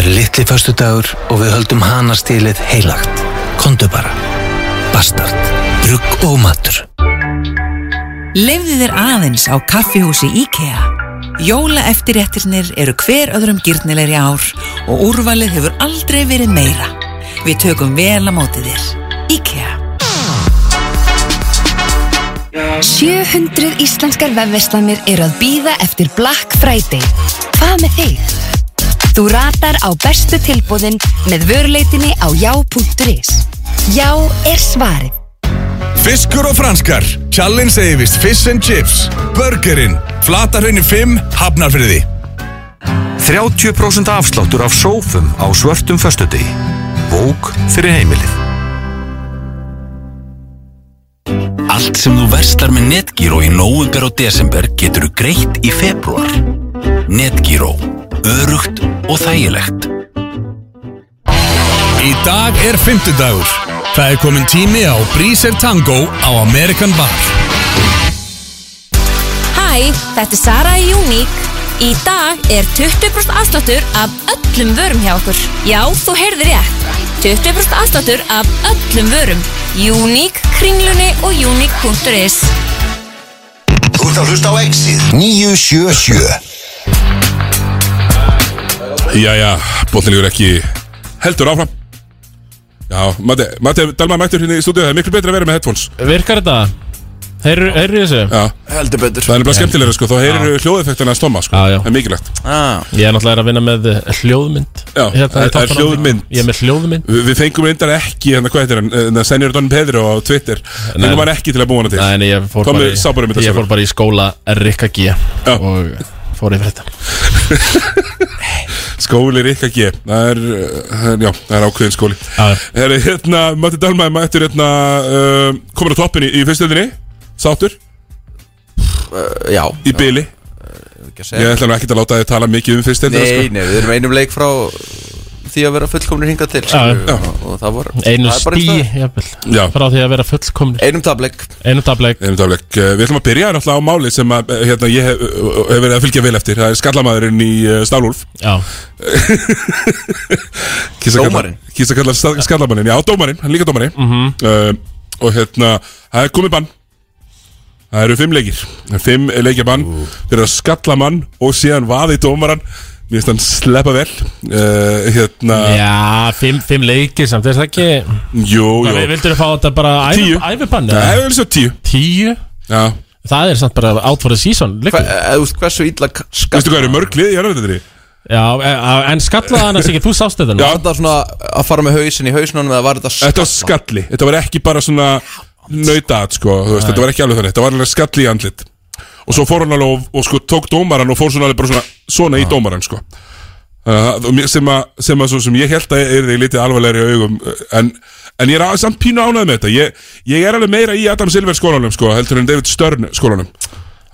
Speaker 10: Litli föstudagur og við höldum hanastilið heilagt. Kondu bara. Bastard. Rugg og matur.
Speaker 12: Lefðu þér aðeins á kaffihúsi IKEA. Jóla eftirréttirnir eru hver öðrum gyrnilegri ár og úrvalið hefur aldrei verið meira. Við tökum vel að móti þér. IKEA.
Speaker 7: 700 íslenskar vefverslanir eru að býða eftir Black Friday. Hvað með þig? Þú ratar á bestu tilbúðin með vöruleitinni á já.is. Já er svarið.
Speaker 4: Fiskur og franskar, Challenge Davis Fish and Chips, Burgerinn, Flatarhaunin 5, Hafnarfriði
Speaker 13: 30% afsláttur af sófum á svörtum föstudegi. Vók fyrir heimilið.
Speaker 10: Allt sem þú verslar með Netgyro í nóvember og desember getur þú greitt í februar. Netgyro. Örugt og þægilegt.
Speaker 4: Í dag er fymtudagur Það er komin tími á Breezer Tango á American Bar
Speaker 14: Hæ, þetta er Sara í Unique. Í dag er 20% afsláttur af öllum vörum hjá okkur. Já, þú heyrðir rétt. 20% afsláttur af öllum vörum. Unique, kringlunni og unique.is.
Speaker 15: Þú ert að hlusta á Exið 977
Speaker 1: Jæja, bóttinlegur ekki heldur áfram Já, Matti, Matti Dalma mættur hérna í stúdíu Það er miklu betra að vera með headphones
Speaker 2: Virkar þetta? Heyrðu heyrðu þessu?
Speaker 1: Já
Speaker 2: Heldur betur
Speaker 1: Það er nefnilega skemmtilega sko, þá heyrir hljóðeffektina að stóma sko, það er mikilvægt
Speaker 2: ah. Ég er náttúrulega að vinna með eh, hljóðmynd
Speaker 1: Já,
Speaker 2: Hérna,
Speaker 1: það
Speaker 2: ég
Speaker 1: það
Speaker 2: tappa
Speaker 1: er
Speaker 2: nafnið.
Speaker 1: hljóðmynd
Speaker 2: Ég er með hljóðmynd
Speaker 1: Vi, Við fengum reyndar ekki, hérna hvað heitir hann, hérna, Senjor Don Pedro á Twitter Fengum hann ekki til að búa hana til
Speaker 2: Nei, nei, ég fór,
Speaker 1: Tommi
Speaker 2: bara,
Speaker 1: sá bara um
Speaker 2: í,
Speaker 1: þetta
Speaker 2: ég
Speaker 1: sjálfur.
Speaker 2: fór bara í skóla Rikka G Og fór yfir þetta
Speaker 1: Skóli Rikka G Það er, uh, já, það er ákveðin skóli Það er hérna, Matti Dalma mættur hérna uh, Komur á toppin í, í fyrstöldinni Sáttur
Speaker 16: Já
Speaker 1: Í byli Ég ætla nú ekki að láta þið tala mikið um fyrstöldina
Speaker 16: Nei, nei, við erum einum leik frá því að vera fullkomnir hingað til skilurðu,
Speaker 1: já.
Speaker 16: og, og það var
Speaker 2: Einu
Speaker 16: það er bara eins
Speaker 2: stí,
Speaker 16: og það er.
Speaker 2: jafnvel
Speaker 1: Já.
Speaker 2: Frá því að vera fullkomni
Speaker 16: Einum tableik
Speaker 2: Einum tableik
Speaker 1: Einum tableik Eh, Við ætlum að byrja náttúrulega á máli sem að, eh, hérna, ég hef, eh, hef verið að fylgja vel eftir Það er skallamæðurinn í uh, Stálúlf
Speaker 2: Já
Speaker 1: Dómarinn Kýsa kalla skallamæðurinn, já dómarinn, hann er líka dómarinn
Speaker 2: Mhm.
Speaker 1: uh, Og hérna, það er komið bann Það eru fimm leikir Það eru Fimm leikja bann Fyrir að skalla mann og síðan vaði dómarann Mér finnst hann sleppa vel uh, Hérna
Speaker 2: Já, fimm, fimm leiki samt, er það ekki
Speaker 1: Jú, jú
Speaker 2: Við vildur fá þetta bara
Speaker 1: Tíu.
Speaker 2: æfibann
Speaker 1: Nei, ég vil sjá tíu
Speaker 2: Tíu?
Speaker 1: Já
Speaker 2: Það er samt bara out for the season Hva,
Speaker 16: eh, veist, Hversu ítla skall
Speaker 1: Veistu hvað eru mörg lið í jarðarveitindri?
Speaker 2: Já, e- en skallaði hann að segja, þú sást þetta nú
Speaker 16: Var þetta svona að fara með hausin í hausnum eða var þetta skall
Speaker 1: Þetta var skalli, þetta var ekki bara svona nautat sko, þú veist,
Speaker 16: Nei.
Speaker 1: þetta var ekki alveg þannig, þetta var alveg skalli í andlit og svo fór hann alveg og, og sko tók dómaran og fór svona alveg bara svona, svona í dómaran sko Uh, og mér- sem, að, sem að svo sem ég held að er því litið alvarlegri í augum uh, en, en ég er að, samt pínu ánægð með þetta ég, ég er alveg meira í Adam Silver skólanum sko, heldur en David Stern skólanum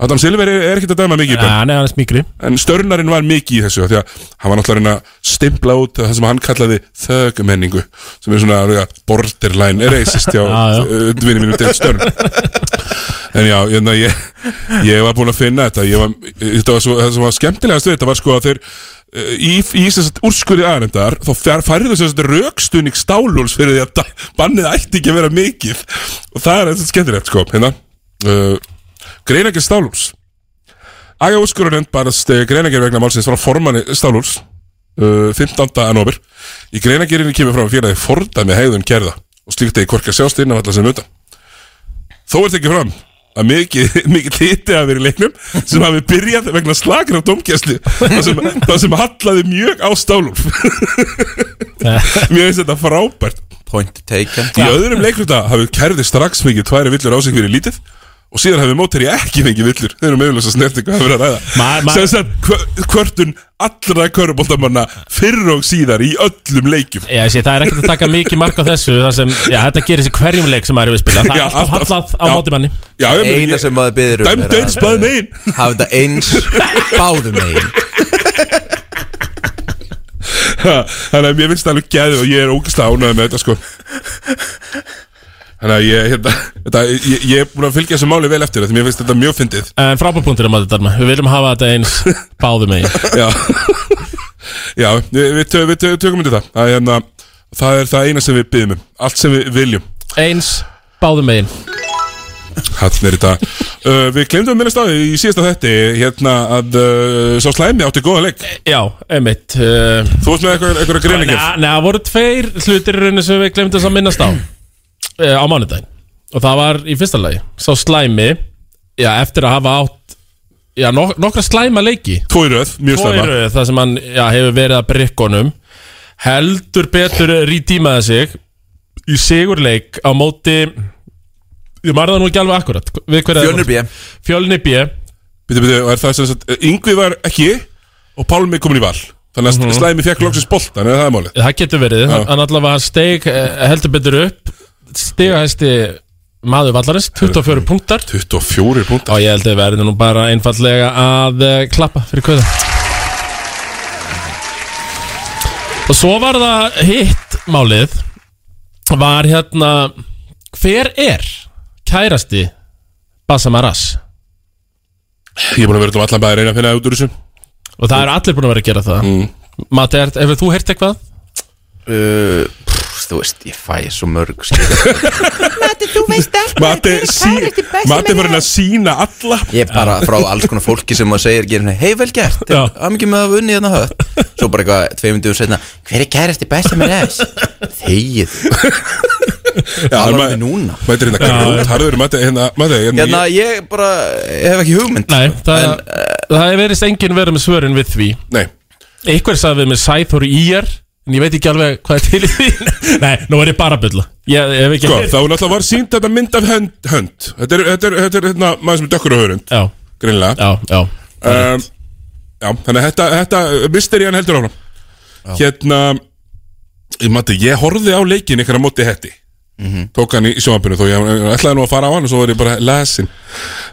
Speaker 1: Adam Silver er, er ekkert að dæma mikið ja,
Speaker 2: hann er smíkri
Speaker 1: en Störnarinn var mikið í þessu af því að hann var náttúrulega að reyna að stimpla út það sem hann kallaði þögmenningu sem er svona alveg að borderline racist hjá
Speaker 2: Já, já.
Speaker 1: vinni mínum David Stern en já, ég, ég, ég var búin að finna þetta ég var, þetta var svo, það sem var skemmtilegast við þetta var sko að þeir eh, í, í þess að úrskurði aðrendar þá fær, færðu þess að rökstunning stálúls fyrir því að da- bannið ætti ekki að vera mikið og það er þetta skemmtilegt sko hérna uh, greina ekki stálúls Aga úrskurunend barast greinagir vegna málsins frá formanni Stálúls uh, 15. anóber Í greinagirinni kemur frá félagi fordæmi hegðun kerða og slíkt eigi hvorki að sjást innan allar sem utan Þó er tekið fram að mikið, mikið liti að vera í leiknum sem hafi byrjað vegna slakra domkjæslu það sem, það sem hallaði mjög á Stálúls Mér finnst þetta frábært
Speaker 16: Point taken
Speaker 1: Í öðrum leikluta hafið kerði strax fengið tværi villur á sig fyrir lítið og síðan hafið mótari ekki fengið villur þeir eru meðlösa snertingu að vera að
Speaker 2: Ma-
Speaker 1: ræða
Speaker 2: ma-
Speaker 1: sem sagt hvö- kvörtun allra köruboltamanna fyrr og síðar í öllum leikjum
Speaker 2: Já, ég sé, það er ekkert að taka mikið mark á þessu Það sem, já, þetta gerir sig hverjum leik sem maður er við að spila Það
Speaker 1: Já,
Speaker 2: er alltaf
Speaker 1: alltaf.
Speaker 2: hallað á
Speaker 1: Já.
Speaker 2: móti manni
Speaker 1: Já, ég meina,
Speaker 16: Eina
Speaker 1: ég-
Speaker 16: sem maður byrður
Speaker 1: Dæmd eins báðum megin
Speaker 16: Hafa þetta eins báðum megin
Speaker 1: Ha, þannig að mér finnst það alveg gæði og ég er ógeðslega ánægð með þetta sko þannig að ég hérna, þetta, ég, ég er búin að fylgja þessu máli vel eftir því mér finnst þetta mjög fyndið
Speaker 2: En frábæpuntur um að þetta, við viljum hafa þetta eins báðum megin
Speaker 1: Já Já, við, við, tö- við tö- tökum undir það það er, hérna, það er það eina sem við byggjum um Allt sem við viljum
Speaker 2: Eins, báðum megin
Speaker 1: Hann er þetta uh, Við glemdum minnast á því í síðasta þetti Hérna að uh, sá slæmi átti góða leik
Speaker 2: Já, einmitt uh,
Speaker 1: Þú varst með eitthvað, eitthvað greiningir
Speaker 2: Nei, það voru tveir hlutir í rauninu sem við glemdum að minnast á uh, Á mánudaginn Og það var í fyrsta lagi Sá slæmi Já, eftir að hafa átt Já, nok nokkra slæma leiki
Speaker 1: Tvo í röð, mjög slæma.
Speaker 2: Tvo í röð, það sem hann já, hefur verið að brikkonum Heldur betur rítímaði sig Í sigurleik á móti Ég marði það nú ekki alveg akkurat Við hverja-
Speaker 16: Fjölnir B.
Speaker 2: Fjölnir B
Speaker 1: Býtu, býtu, og er það sem sagt Yngvi var ekki og Pálmi komin í val Þannig að
Speaker 2: Mhm.
Speaker 1: slæmi fekk loksins boltan Þannig að það er málið
Speaker 2: Það getur verið,
Speaker 1: Já.
Speaker 2: hann allavega steig eh, heldur betur upp stigahæsti maður vallarins 24 punktar
Speaker 1: 24 punktar
Speaker 2: og ég held að við verðum nú bara einfallega að eh, klappa fyrir kvöða og svo var það hitt málið var hérna hver er kærasti Basamaras
Speaker 1: Ég er búin að vera út um allan bæði að reyna að finna út úr þessu
Speaker 2: og það eru allir búin að vera að gera það mm. Mati, er- hefur þú heyrt eitthvað?
Speaker 16: Uh, pff, þú veist, ég fæ svo mörg skilur.
Speaker 1: Mati, sí, Mati fyrir að sína alla
Speaker 16: Ég er bara frá alls konar fólki sem maður segir gerir, hei vel gert, að mikið með að vunni hérna hött Svo bara eitthvað, tveim myndu og setna Hver er kærasti besta með þess? Þegið Það var við núna
Speaker 1: Mæti hérna, grjót, harður Mati, hérna, Mati
Speaker 16: Hérna, ég bara, ég hef ekki hugmynd
Speaker 2: Nei, það, það er verið enginn verið með svörin við því
Speaker 1: Nei
Speaker 2: Einhver sagði við með Sæþór Íjar En ég veit ekki alveg hvað er til í því Nei, nú er ég bara að bylla Ég hef ekki
Speaker 1: Sko, þá náttúrulega var sínt þetta mynd af hönd, hönd. Þetta er, þetta er, þetta er hérna, maður sem er dökkur á hörund
Speaker 2: Já
Speaker 1: Greinlega
Speaker 2: Já, já
Speaker 1: um, Já, þannig að þetta, þetta mysterían heldur áfram Hérna ég, Mati, ég horfði á leikin ykkur á móti hetti
Speaker 16: Mhm.
Speaker 1: Tók hann í sjónvampinu þó ég ég ætlaði nú að fara á hann og svo var ég bara lasin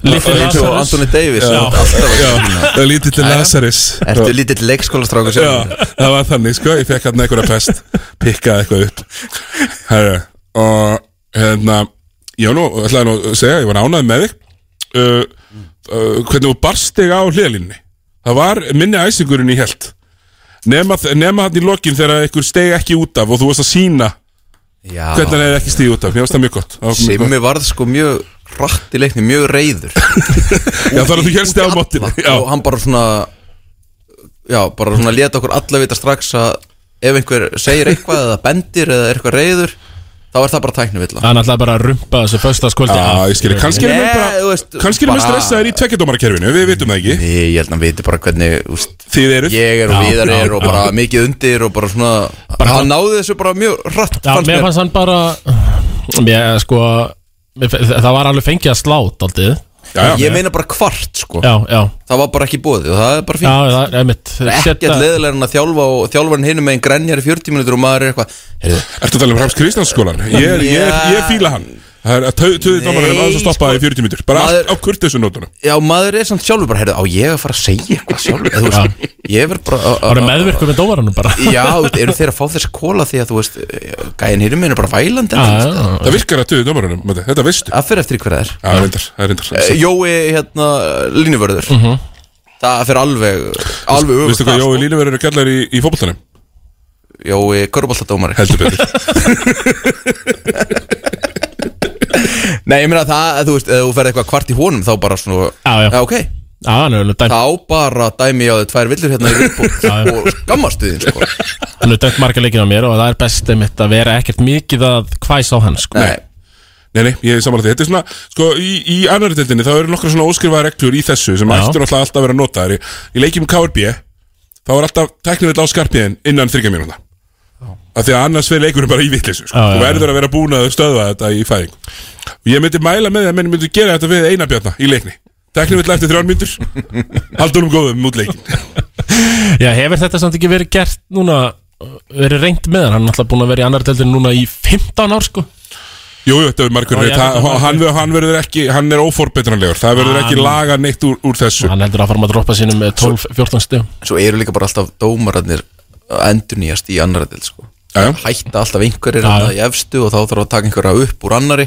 Speaker 16: Litli Eins og Lazarus. Anthony Davis.
Speaker 1: Já,
Speaker 16: Alltaf að
Speaker 1: já,
Speaker 16: sína.
Speaker 1: já lítill
Speaker 16: Jæja.
Speaker 1: Lazarus
Speaker 16: Ertu lítill leikskólastrákur sjálfur?
Speaker 1: Já, það var þannig sko, ég fekk hann einhverja pest Pikkaði eitthvað upp Herru, og hérna Já nú, ætlaði nú að segja, ég var ánæði með þig uh, uh, Hvernig þú barst þig á hliðlinni Það var minni æsingurinn í held Nema, nema hann í lokin þegar einhver steg ekki út af og þú varst að sína
Speaker 16: Já.
Speaker 1: Hvernig hann hefði ekki stíð út af, mér varst það mjög gott Það var mjög gott.
Speaker 16: Ah. Simmi varð sko mjög rætt í leikni, mjög reyður Já
Speaker 1: þannig að þú hélst þig á mótinu, já.
Speaker 16: Og hann bara svona Já, bara svona leta okkur alla vita strax að Ef einhver segir eitthvað eða bendir eða er eitthvað reyður Þá er það bara tæknivilla
Speaker 2: Hann ætlaði bara að rumpa þessu föstaskvöldi
Speaker 1: Já, ég skilji, kannski erum við
Speaker 16: Nei, þú
Speaker 1: bara
Speaker 16: veist,
Speaker 1: Kannski erum við
Speaker 16: bara-
Speaker 1: stressaðir í tvekjadómarakerfinu, við vitum það ekki
Speaker 16: Nei, ég held að hann viti bara hvernig úst,
Speaker 1: Þið eruð
Speaker 16: Ég er og
Speaker 1: Já,
Speaker 16: viðar
Speaker 1: já,
Speaker 16: er og
Speaker 1: já.
Speaker 16: bara mikið undir og bara svona Hann náði þessu bara mjög rætt
Speaker 2: Já, mér fannst hann bara Mér, sko mér, fe- Það var alveg fengið að slátt aldrei
Speaker 16: Ég meina bara hvart sko
Speaker 2: Já, já
Speaker 16: Það var bara ekki bóðið og það er bara fínt
Speaker 2: Já, það er mitt
Speaker 16: Það er ekkert leðilega en að þjálfa og þjálfarinn hinum meginn grenjar í 40 minútur og maður er eitthvað
Speaker 1: Ertu að tala um Rams Kristjánsskólan? Ég, ég, ég, ég fíla hann Það er að töðu dómarinn
Speaker 16: Nei, sko.
Speaker 1: aðeins að stoppa í 40 mítur Bara
Speaker 16: Maður-
Speaker 1: allt á kurtisum nótunum
Speaker 16: Já, maður er samt sjálfur bara, heyrðu, á ég að fara að segja eitthvað sjálfur Eða, þú veist, Ég verð bara
Speaker 2: Það var meðvirkur með dómaranum bara
Speaker 16: Já, þú veist, eru þeir að fá þessi kóla því að þú veist Gæin hinum meginn er bara vælandi
Speaker 2: Já,
Speaker 16: þú veist,
Speaker 2: já, já.
Speaker 1: Það virkar að töðu dómarinn, Matti, þetta veistu
Speaker 16: Það fyrir eftir hverða er
Speaker 1: Já, reyndar, það er reyndar
Speaker 16: Eh, Jói, hérna, línuvörður Það fyrir alveg, alveg sko.
Speaker 1: Veistu hvað Jói Líneverður er kallar í, í fótboltanum?
Speaker 16: Jói, köruboltadómari
Speaker 1: Heldur betur
Speaker 16: Nei, ég meina það, þú veist, ef þú ferð eitthvað kvart í honum Þá bara svona,
Speaker 2: Já, já.
Speaker 16: ok
Speaker 2: Já, hann er alveg dæmt
Speaker 16: Þá bara dæmi ég á þau tvær villur hérna í
Speaker 2: Já, já.
Speaker 16: rúpp Og skammastu þín, sko
Speaker 2: Hann er dæmt marga leikinn á mér og það er best einmitt að vera ekkert mikið að hvæs á hann sko
Speaker 16: Nei
Speaker 1: Nei, nei, ég er samanlega því Þetta er svona, sko, í, í annari tildinni þá eru nokkra svona óskrifaða reglur í þessu sem
Speaker 2: Já.
Speaker 1: ættur alltaf alltaf að vera notaðar í, í leikjum KRB þá er alltaf teknivill á skarpiðin innan þryggja mínúna af því að annars fyrir leikurinn bara í vitleysu sko.
Speaker 2: Já, já,
Speaker 1: þú verður að vera búin að stöðva þetta í fæðing og ég myndi mæla með því að menn myndi gera þetta við einabjarna í leikni teknivill eftir þrjár mínútur haldunum góðum út leikin
Speaker 2: Já, hefur þetta samt ekki verið gert núna uh, verið reynd með hann, hann er alltaf búin að vera í annar deildin núna í 15 ár sko
Speaker 1: Jú, jú, þetta er margur
Speaker 2: Já,
Speaker 1: reynd
Speaker 2: ég veit
Speaker 1: Það-
Speaker 2: það.
Speaker 1: hann, hann verður ekki, hann er óforbetranlegur það verður ekki
Speaker 2: Hann-
Speaker 1: laga neitt úr, úr þessu
Speaker 2: Hann heldur að fara að droppa sínum með 12-14 stíð
Speaker 16: svo eru líka bara alltaf dómararnir að endurnýjast í annara del sko.
Speaker 1: Já, já.
Speaker 16: hætta alltaf einhverjir að það í efstu og þá þarf að taka einhverja upp úr annari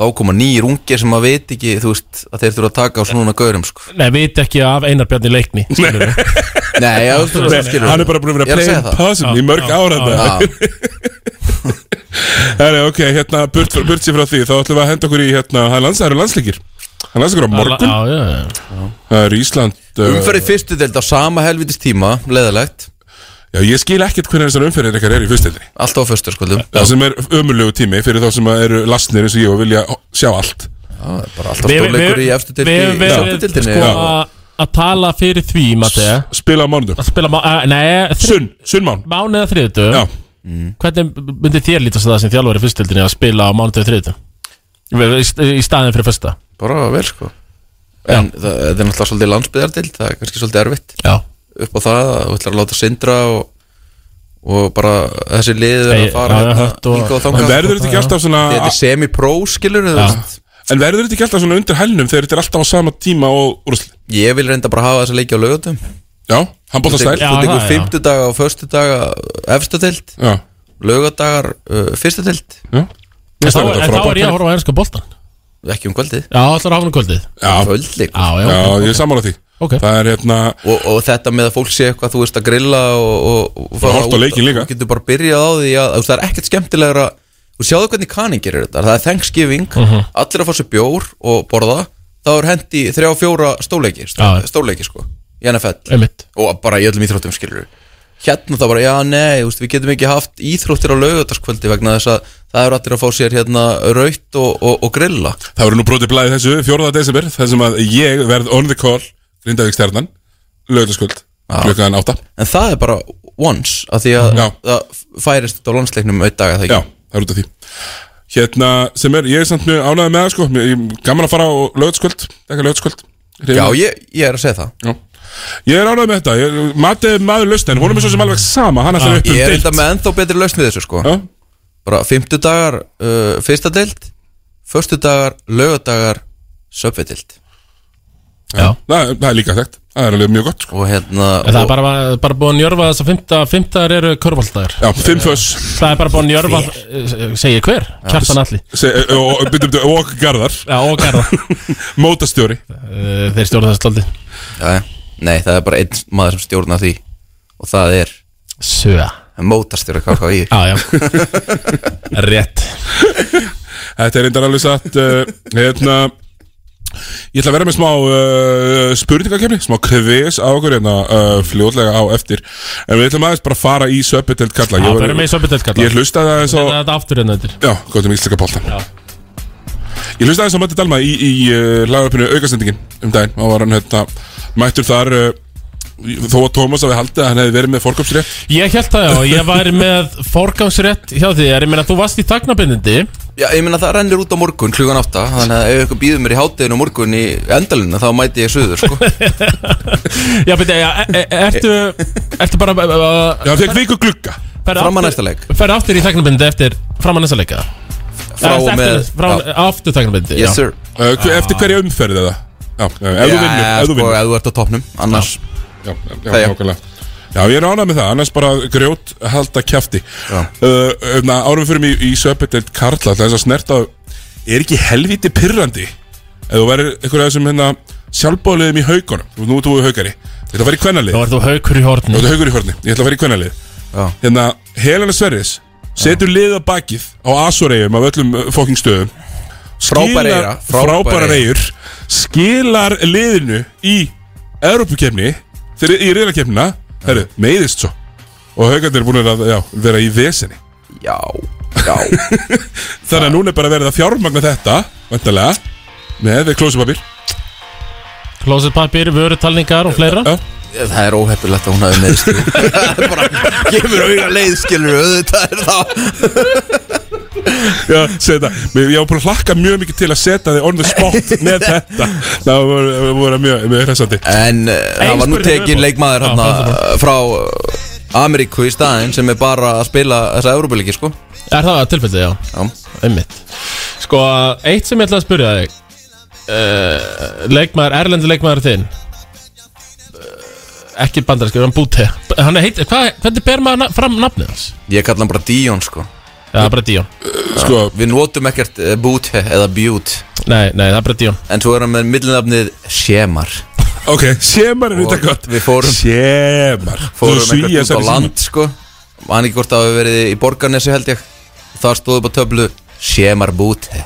Speaker 16: þá koma nýjir ungir sem að veit ekki þú veist, að þeir þurfa að taka á svona gaurum sko.
Speaker 2: Nei, veit ekki af Einar Bjarni leikni skilurðu.
Speaker 16: Nei, já, þú veist, skilurðu.
Speaker 1: Hann er bara búin að
Speaker 16: Ég
Speaker 1: vera
Speaker 16: er að
Speaker 1: plain
Speaker 16: segja það.
Speaker 1: possum í
Speaker 16: Já,
Speaker 1: mörg
Speaker 16: já,
Speaker 1: ára
Speaker 16: já.
Speaker 1: Það er ok, hérna, burt, burt sér frá því Þá ætlum við að henda okkur í, hérna, það er lands- það eru landsleikir Það er landsleikir á morgun
Speaker 2: Já, já, já
Speaker 1: Það er Ísland uh,
Speaker 16: Umferð í fyrstu deild á sama helvitist tíma Leðalegt
Speaker 1: Já, ég skil ekkert hvernig þessar umferðir ykkar er í fyrstendri
Speaker 16: Alltaf á sko, fyrstu skoðum
Speaker 1: Það sem er ömulegu tími fyrir þá sem að eru lastnir eins og ég og vilja sjá allt Já,
Speaker 16: það er bara
Speaker 2: Við- við- Við höfum verið sko að- að tala fyrir því, Matti
Speaker 1: Spila á mánu
Speaker 2: Spila á mánu, nei
Speaker 1: Sunn, sunnmán
Speaker 2: Mánu eða þriðutu Já Hvernig myndi þér lítast á það sem þjálfur í fyrstildinni að spila á mánu eða þriðutu? Í staðin fyrir fyrsta
Speaker 16: Bara vel sko En það, það er náttúrulega svolítið landsbyðardild Það er kannski svolítið erfitt
Speaker 2: Já.
Speaker 16: Upp á það að þú ætlar að láta sindra og, og bara þessi lið er
Speaker 1: Hey,
Speaker 16: að fara
Speaker 1: já, já,
Speaker 16: hérna
Speaker 1: hött og-
Speaker 16: hingað þangað.
Speaker 1: En verður þetta ekki alltaf svona- Ah,
Speaker 16: Þetta er semi-pro skilur þú veist
Speaker 1: En verður þetta ekki alltaf svona undir hælnum þegar þetta er alltaf á sama tíma og úrslit?
Speaker 16: Ég vil reynda bara hafa þessa leiki á lögutum
Speaker 1: Já, handbolta stæl.
Speaker 16: Þú
Speaker 1: Já,
Speaker 16: tekur
Speaker 1: það, já.
Speaker 16: fimmtudaga og föstudaga efstu tild
Speaker 1: Já.
Speaker 16: Lögadagar uh, fyrstu tild
Speaker 1: Já
Speaker 2: En þá en þá er ég að horfa á ennska boltan
Speaker 16: Ekki um kvöldið
Speaker 2: Já, allar hafa um kvöldið
Speaker 1: Já,
Speaker 16: kvöldleikur
Speaker 2: já, Já, ok. ég er
Speaker 1: sammála því
Speaker 2: okay.
Speaker 1: Það er hérna
Speaker 16: og, og þetta með að fólk sé eitthvað, þú veist, að grilla og, og, og fara
Speaker 1: horft á
Speaker 16: út-
Speaker 1: leikinn líka.
Speaker 16: Þú getur bara byrjað á því að, þú veist, það er ekkert skemmtilegra Þú sjáðu hvernig kanin gerir þetta Það er Thanksgiving,
Speaker 2: Mhm.
Speaker 16: allir að fá sér bjór og borða Þá er hendi þrjá fjóra stóleiki
Speaker 2: Já, já.
Speaker 16: Stóleiki, sko, í NFL
Speaker 2: Einmitt.
Speaker 16: Og bara í öllum íþróttum skilur Hérna það bara, já, nei, þú veist, við getum ekki haft íþróttir á laugardaskvöldi vegna þess að það eru allir að fá sér hérna raut og, og, og grilla
Speaker 1: Það verður nú brotið blæðið þessu 4. desember þar sem að ég verð on the call Grindavík stjarnan Lögðaskvöld Klukkaðan átta
Speaker 16: En það er bara once af því að það færist á landsleiknum auðdaga það ekki
Speaker 1: Já, það er út af því Hérna sem er, ég er samt mjög ánægði með það sko Mér- ég, Gaman að fara á lögðaskvöld Dekka lögðaskvöld
Speaker 16: Já, ég, ég er að segja það
Speaker 1: Já. Ég er ánægð með þetta ég, Matið er maður lausn en honum er svo sem alveg sama Hann ætlar upp um
Speaker 16: Ég er
Speaker 1: deild.
Speaker 16: enda með ennþá betri lausn við þessu sko
Speaker 1: Já.
Speaker 16: Bara fimmtudagar uh, fyrsta deild Föstudagar, lögadagar, söpvedild
Speaker 2: Já.
Speaker 1: það, það er líka þekkt, það er alveg mjög gott
Speaker 16: sko. Og hérna
Speaker 2: En það er
Speaker 16: og,
Speaker 2: bara, bara búin að njörfa þess að fimmta, fimmtaðar eru körfaldagar
Speaker 1: Já, fimm föss
Speaker 2: Það er bara búin að njörfa, segir hver, kjartan allir
Speaker 1: Se, og, byrjum, og Garðar
Speaker 2: Já, og Garðar
Speaker 1: Mótastjóri
Speaker 2: Eh, Þeir stjórna þessu tóldi
Speaker 16: já, Nei, það er bara einn maður sem stjórnar því Og það er
Speaker 2: Suða
Speaker 16: Mótastjóra KKI
Speaker 2: Já, já Rétt
Speaker 1: Þetta er reyndar alveg satt uh, hérna, Ég ætla að vera með smá uh, spurningakefni Smá kvis á okkur hérna, uh, fljótlega á eftir En við ætlum aðeins bara að fara í söpudelt kalla
Speaker 2: Já,
Speaker 1: Ég var-
Speaker 2: verðum við í söpudelt kalla.
Speaker 1: Ég hlustaði aðeins á
Speaker 2: Þetta aftur hérna enn þetta
Speaker 1: Já, gott um íslenska boltan Ég hlustaði aðeins á Matti Dalma í, í uh, lagaröpinu aukastendingin um daginn og var hann hérna, mættur þar uh, þó að Tómas hafi haldið að hann hefði verið með fórköpsrétt
Speaker 2: Ég held það já, ég væri með forgangsrétt hjá þér Ég meina, þú varst í tagnabindindi
Speaker 16: Já, ég meina það rennir út á morgun klugan átta Þannig að ef ykkur býður mér í hátteginu á morgun í endalina Þá mæti ég suður sko
Speaker 2: Já, beti, já, e- e- ertu, ertu bara
Speaker 1: Já, fekk viku glugga
Speaker 16: Fram að næsta leik.
Speaker 2: Ferð aftur í tagnabindi eftir fram að næsta leika
Speaker 16: Frá og með- já.
Speaker 2: Aftur tagnabindi
Speaker 16: Yes, sir.
Speaker 1: Uh, hve- eftir hverja umferð eða? Já, eh, ef þú
Speaker 16: Já,
Speaker 1: vinnur, ef þú
Speaker 16: sko,
Speaker 1: vinnur
Speaker 16: ef þú ert á toppnum, annars
Speaker 1: Já, já, já,
Speaker 16: Þegar.
Speaker 1: nákvæmlega Já, ég er ánað með það, annars bara grjót halda kjafti uh, na, Árum fyrir mig í, í söpudelt Karla Það er að snerta, er ekki helviti pirrandi Ef þú verður einhverja þessum hérna sjálfbóðliðum í haugunum Þú- Nú ert þú haugari, ég ætla að fara í kvennalið
Speaker 2: Þá ert þú haukur í horni
Speaker 1: Þú ert haugur í horni, ég ætla að fara í kvennalið
Speaker 16: Já.
Speaker 1: Hérna, Helena Sverris setur lið á bakið á Asoreyjum af öllum fóking stöðum
Speaker 16: Frábær
Speaker 1: Skilar-
Speaker 16: eyra, frábær
Speaker 1: Frábærar
Speaker 16: eyra.
Speaker 1: eigur Skilar liðinu í Evrópukefni Þegar í reyðakefnina Herru, meiðist svo Og haugarnir er búin að já, vera í vesinni
Speaker 16: Já, já
Speaker 1: Þannig að núna er bara verið að fjármagna þetta Vandalega Með klósupapir
Speaker 2: Klósetpapir, vörutalningar og fleira
Speaker 16: Það er óheppilegt að hún hafi meðist Gefur auðvitað leið, skilur auðvitað er það
Speaker 1: Já, segðu það Mér- Ég var búin að hlakka mjög mikið til að setja þig on the spot Með þetta Það voru, voru mjög, mjög hressandi
Speaker 16: En uh, það var nú tekin leikmaður hérna uh, frá uh, Ameríku í staðin sem er bara að spila þessa Európa-leiki sko
Speaker 2: Er það tilfellið, já?
Speaker 16: Já
Speaker 2: Einmitt Sko, eitt sem ég ætla að spyrja þig uh, Leikmaður, erlendi leikmaður þinn uh, Ekki bandarinskjöf, hann búti Hann er heit, hvað, hvernig ber maður na fram nafnið hans?
Speaker 16: Ég kalla hann bara Dion sko
Speaker 2: það er bara Dion
Speaker 16: sko, Við notum ekkert uh, boot eða beaut
Speaker 2: Nei, nei, það er bara Dion
Speaker 16: En svo erum við millinafnið Sjemar
Speaker 1: Ok, Sjemar er þetta gott
Speaker 16: Við fórum
Speaker 1: Sjemar
Speaker 16: Fórum
Speaker 1: Þú svíjar þar
Speaker 16: eitthvað út
Speaker 1: í
Speaker 16: á land sko Man ekki hvort að hafa verið í Borgarnesi held ég Þar stóðu upp á töflu Sjemar Búte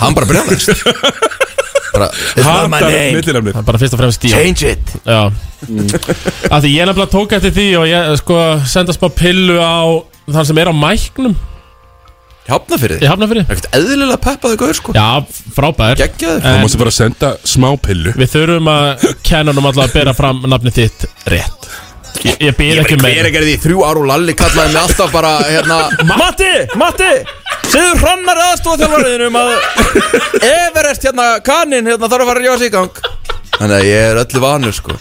Speaker 16: Hann bara brjóðast bara, It's not my name
Speaker 2: Það er bara fyrst og fremst Dion
Speaker 16: Change it
Speaker 2: Já
Speaker 16: Mm.
Speaker 2: Af því ég nefnilega tók eftir því og ég sko senda smá pillu á þann sem er á mæknum
Speaker 16: Hafnafyrði
Speaker 2: Í Hafnafyrði
Speaker 16: Ekkert eðlilega peppaði gauður sko
Speaker 2: Já, frábær
Speaker 16: Gekkjaður
Speaker 1: Þá mástu bara senda smá pillu
Speaker 2: Við þurfum að kennanum alltaf að bera fram nafnið þitt rétt Ég, ég býð ekki um
Speaker 16: Ég er
Speaker 2: meira
Speaker 16: ekki því þrjú ár og Lalli kallaði mig alltaf bara hérna
Speaker 3: Matti, Matti Segðu hrannar aðstofa þjálfariðinum að
Speaker 16: um Everest hérna kaninn hérna þarf að fara að rífa sig í gang Þannig að ég er öllu vanur sko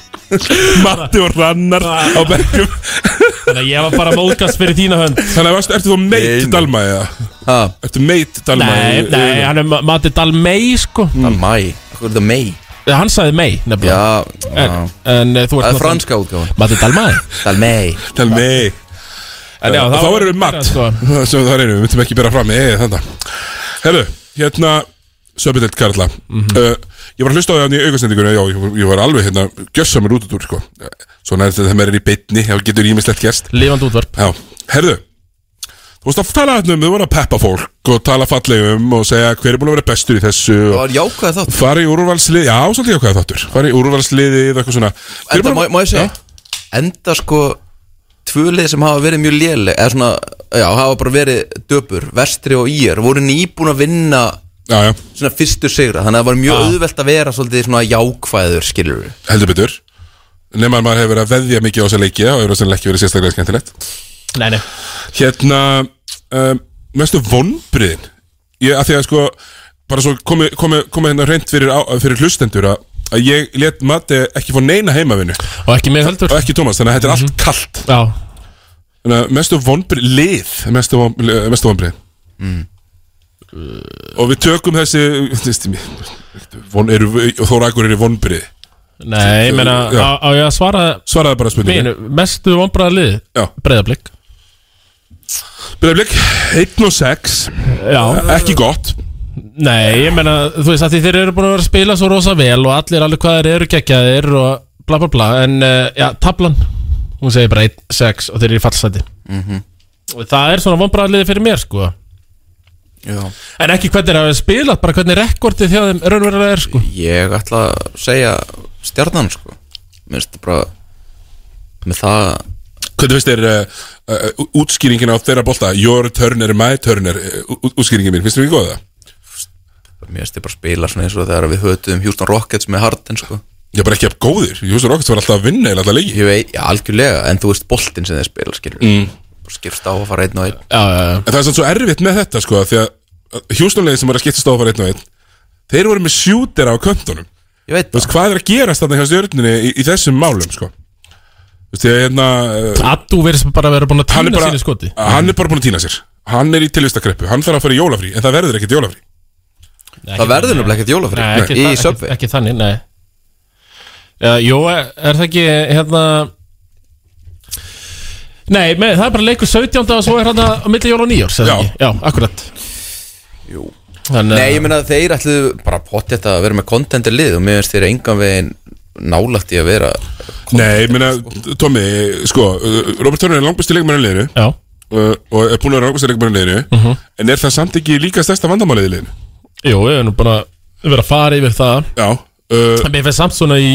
Speaker 1: Matti og Rannar
Speaker 2: Ah.
Speaker 1: á bergjum
Speaker 2: Þannig að ég var bara að móðgast fyrir þína hönd
Speaker 1: Þannig að varstu- ertu þú meit Dalma eða? Ertu meit Dalma
Speaker 2: Nei,
Speaker 1: í-
Speaker 2: nei, hann er Matti Dalmei sko
Speaker 16: Dalmei, hvað er það mei?
Speaker 2: Hann sagði mei nefnilega
Speaker 16: Já,
Speaker 2: En, en eh, þú ert
Speaker 16: Það er franska útgáfan
Speaker 2: Matti Dalmei
Speaker 16: Dalmei
Speaker 1: Dalmei
Speaker 2: En já,
Speaker 1: Og
Speaker 2: það
Speaker 1: þá
Speaker 2: var-
Speaker 1: erum við matt
Speaker 2: sko.
Speaker 1: sem það erum, við myndum ekki bera fram eða þannig Herru, hérna Söpindelt Karla
Speaker 2: Mhm.
Speaker 1: uh, Ég var að hlusta á það í aukastendingunni Já, ég, ég var alveg hérna, gjössamur út út úr sko. Svona er þetta þegar maður er í beinni þá getur ímislegt gæst
Speaker 2: Lifandi útvarp
Speaker 1: Já, herru Þú veist að tala hérna um, þú voru að peppa fólk og tala fallegum og segja hver er búin að vera bestur í þessu
Speaker 16: Það var jákvæð þátt
Speaker 1: Fari í úrvalsliði, já, svolítið jákvæða þáttur Fari í úrvalsliðið, eitthvað svona Hver er
Speaker 16: Enda,
Speaker 1: búin
Speaker 16: má,
Speaker 1: að-
Speaker 16: má ég segja Enda sko Tvölið sem hafa verið mjög léleg Eða svona, já, hafa bara verið döpur Vestri og ír, voru nýbúin að vinna
Speaker 1: Já, já
Speaker 16: Svona fyrstu sigra Þannig að það var mjög auðvelt að vera svolítið svona jákvæður Skilur við
Speaker 1: Heldur betur Nefn að maður hefur verið að veðja mikið á þessa leiki og hefur þessum ekki verið sérstaklega skemmtilegt
Speaker 2: Nei, nei
Speaker 1: Hérna um, Mestu vonbriðin Ég, að því að sko Bara svo komið komi, komi hérna reynd fyrir, á- fyrir hlustendur að, að ég let Matti ekki fá neina heimavinu
Speaker 2: Og ekki mig heldur
Speaker 1: Og ekki Tómas, þannig að þetta er allt kallt
Speaker 2: Já
Speaker 1: Þannig að mestu vonbrið Lið, mestu, von, eh, mestu vonbriðin Og við tökum þessi þessi- von, eru, Þóra Akur er í vonbriði
Speaker 2: Nei, ég meina
Speaker 1: Já.
Speaker 2: á, á ég að svara
Speaker 1: Svaraði bara spurningu
Speaker 2: Mínu, mestu vonbræða lið
Speaker 1: Já.
Speaker 2: Breiðablik
Speaker 1: Breiðablik 1 og 6
Speaker 2: Já
Speaker 1: Ekki gott
Speaker 2: Nei, ég meina, þú veist að því þeir eru búin að vera að spila svo rosa vel og allir alveg hvað þeir eru geggjaðir og bla bla bla en uh, já, tablan, hún segir bara 1, 6 og þeir eru í fallstæti og það er svona vonbræðliði fyrir mér sko
Speaker 16: Já.
Speaker 2: en ekki hvernig þeir hafa spilað, bara hvernig rekordið þjá þeim raunverulega er sko
Speaker 16: Ég ætla að segja stjarnan sko Mér finnst þetta bara Með það
Speaker 1: Hvernig finnst þér uh, uh, útskýringin á þeirra bolta Your turner, my turner uh, ú- Útskýringin mín, finnst þér ekki góða?
Speaker 16: Mér finnst þetta bara spila svona eins og þegar við hötuðum Houston Rockets með Harden sko
Speaker 1: Ég er bara ekki af góðir Júsur Rockets var alltaf að vinna eða alltaf leiki
Speaker 16: Ég veit, já, algjörlega, en þú veist boltinn sem þeir spila skilur
Speaker 1: Mm.
Speaker 16: Skipst á að fara einn og einn
Speaker 2: Já, já, já
Speaker 1: En það er samt svo erfitt með þetta sko Því að hjúsnulegin sem var að skipta stofar einn og einn Þeir voru með sjútera á köntunum
Speaker 16: Ég veit
Speaker 1: Þú veist hvað er að gerast þarna hjá stjörnunni í, í þessum málum sko Þú veist, ég hérna uh,
Speaker 2: Addu verðist bara að vera búin að
Speaker 1: hann, er
Speaker 2: týna
Speaker 1: bara,
Speaker 2: sínu skoti
Speaker 1: hann er bara búin að týna sér Hann er í tilvistakreppu, hann þarf að fara í jólafrí En það verður ekkert jólafrí
Speaker 16: Það verður nefnilega ekkert jólafri
Speaker 2: Nei, ekki,
Speaker 16: Í
Speaker 2: það-
Speaker 16: söpvi
Speaker 2: ekki, ekki þannig, nei Já, Jó, er er það ekki hérna Nei, með, það er bara leikur 17. og svo er hérna á milli jól og nýjórs Já, já akkurat
Speaker 16: Jú.
Speaker 2: Þannig,
Speaker 16: Nei, ég meina að þeir ætluðu bara potið að vera með kontentir lið og mér finnst þeir engan veginn nálægt í að vera
Speaker 1: Nei, ég meina, Tommy, sko uh, Robert Turner er langbæsti leikmærin liðinu
Speaker 2: Já,
Speaker 1: uh, og er búin að vera ákvæmst leikmærin liðinu
Speaker 2: Mhm.
Speaker 1: en er það samt ekki líka stærsta vandamálið í liðinu?
Speaker 2: jú, við erum nú bara Við verðum að fara yfir það
Speaker 1: Já uh,
Speaker 2: En mér finnst samt svona í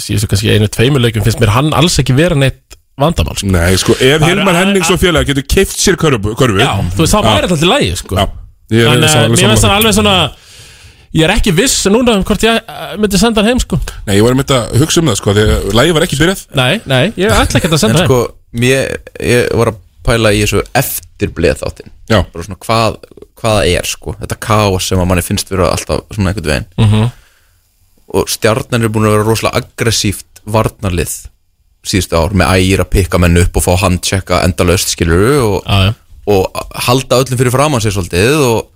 Speaker 2: Síðustu kannski einu, tveimur leikum Finnst mér hann alls ekki vera neitt vandamál sko.
Speaker 1: Nei, sko, ef
Speaker 2: Bara-
Speaker 1: Hilmar Hennings og félagar getur keift sér körfu, körfu
Speaker 2: Já, þú veist, það væri alltaf í lægi sko.
Speaker 1: Já, ég er
Speaker 2: Þannig,
Speaker 1: alveg
Speaker 2: að mér finnst
Speaker 1: sammála.
Speaker 2: það alveg svona Ég er ekki viss núna um hvort ég eh, myndi senda hann heim sko
Speaker 1: Nei, ég var einmitt að hugsa um það, sko, þegar lægi var ekki byrjað
Speaker 2: Nei, nei, ég ætla ekki að
Speaker 16: En
Speaker 2: senda
Speaker 16: sko, mér, ég var að pæla í þessu eftir bleið þáttinn
Speaker 1: Já.
Speaker 16: Bara svona hvað, hvað það er sko Þetta kaos sem að manni finnst vera alltaf svona einhvern veginn
Speaker 2: þeim Mhm.
Speaker 16: Og stjarnan er búin að vera rosalega aggressíft varnarlið síðustu ár með ægir að pikka menn upp og fá handchecka endalaust skilur og,
Speaker 2: Já, já.
Speaker 16: og halda öllum fyrir framann sér svolítið og,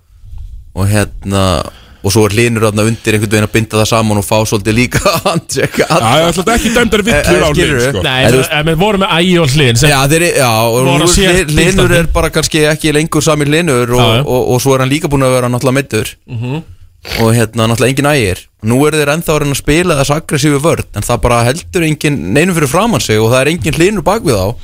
Speaker 16: og hérna og svo er hlinur þarna undir einhvern veginn að binda það saman og fá svolítið líka handtjekk
Speaker 1: Já, það er ekki dæmdar villur á hlið, sko.
Speaker 2: Nei, en, en, við vorum með ægi og hlinn
Speaker 16: Já, þeir, já og
Speaker 2: Voru
Speaker 16: nú
Speaker 2: sér
Speaker 16: er hli- hlinur
Speaker 2: bindandi.
Speaker 16: er bara kannski ekki lengur sami hlinur og,
Speaker 2: Já, já.
Speaker 16: og, og, svo er hann líka búin að vera náttúrulega meittur
Speaker 2: Mhm.
Speaker 16: og hérna náttúrulega engin ægir Nú eru þeir ennþá að reyna að spila þess aggressífu vörð en það bara heldur engin neinum fyrir framann sig og það er engin hlinur bak við þá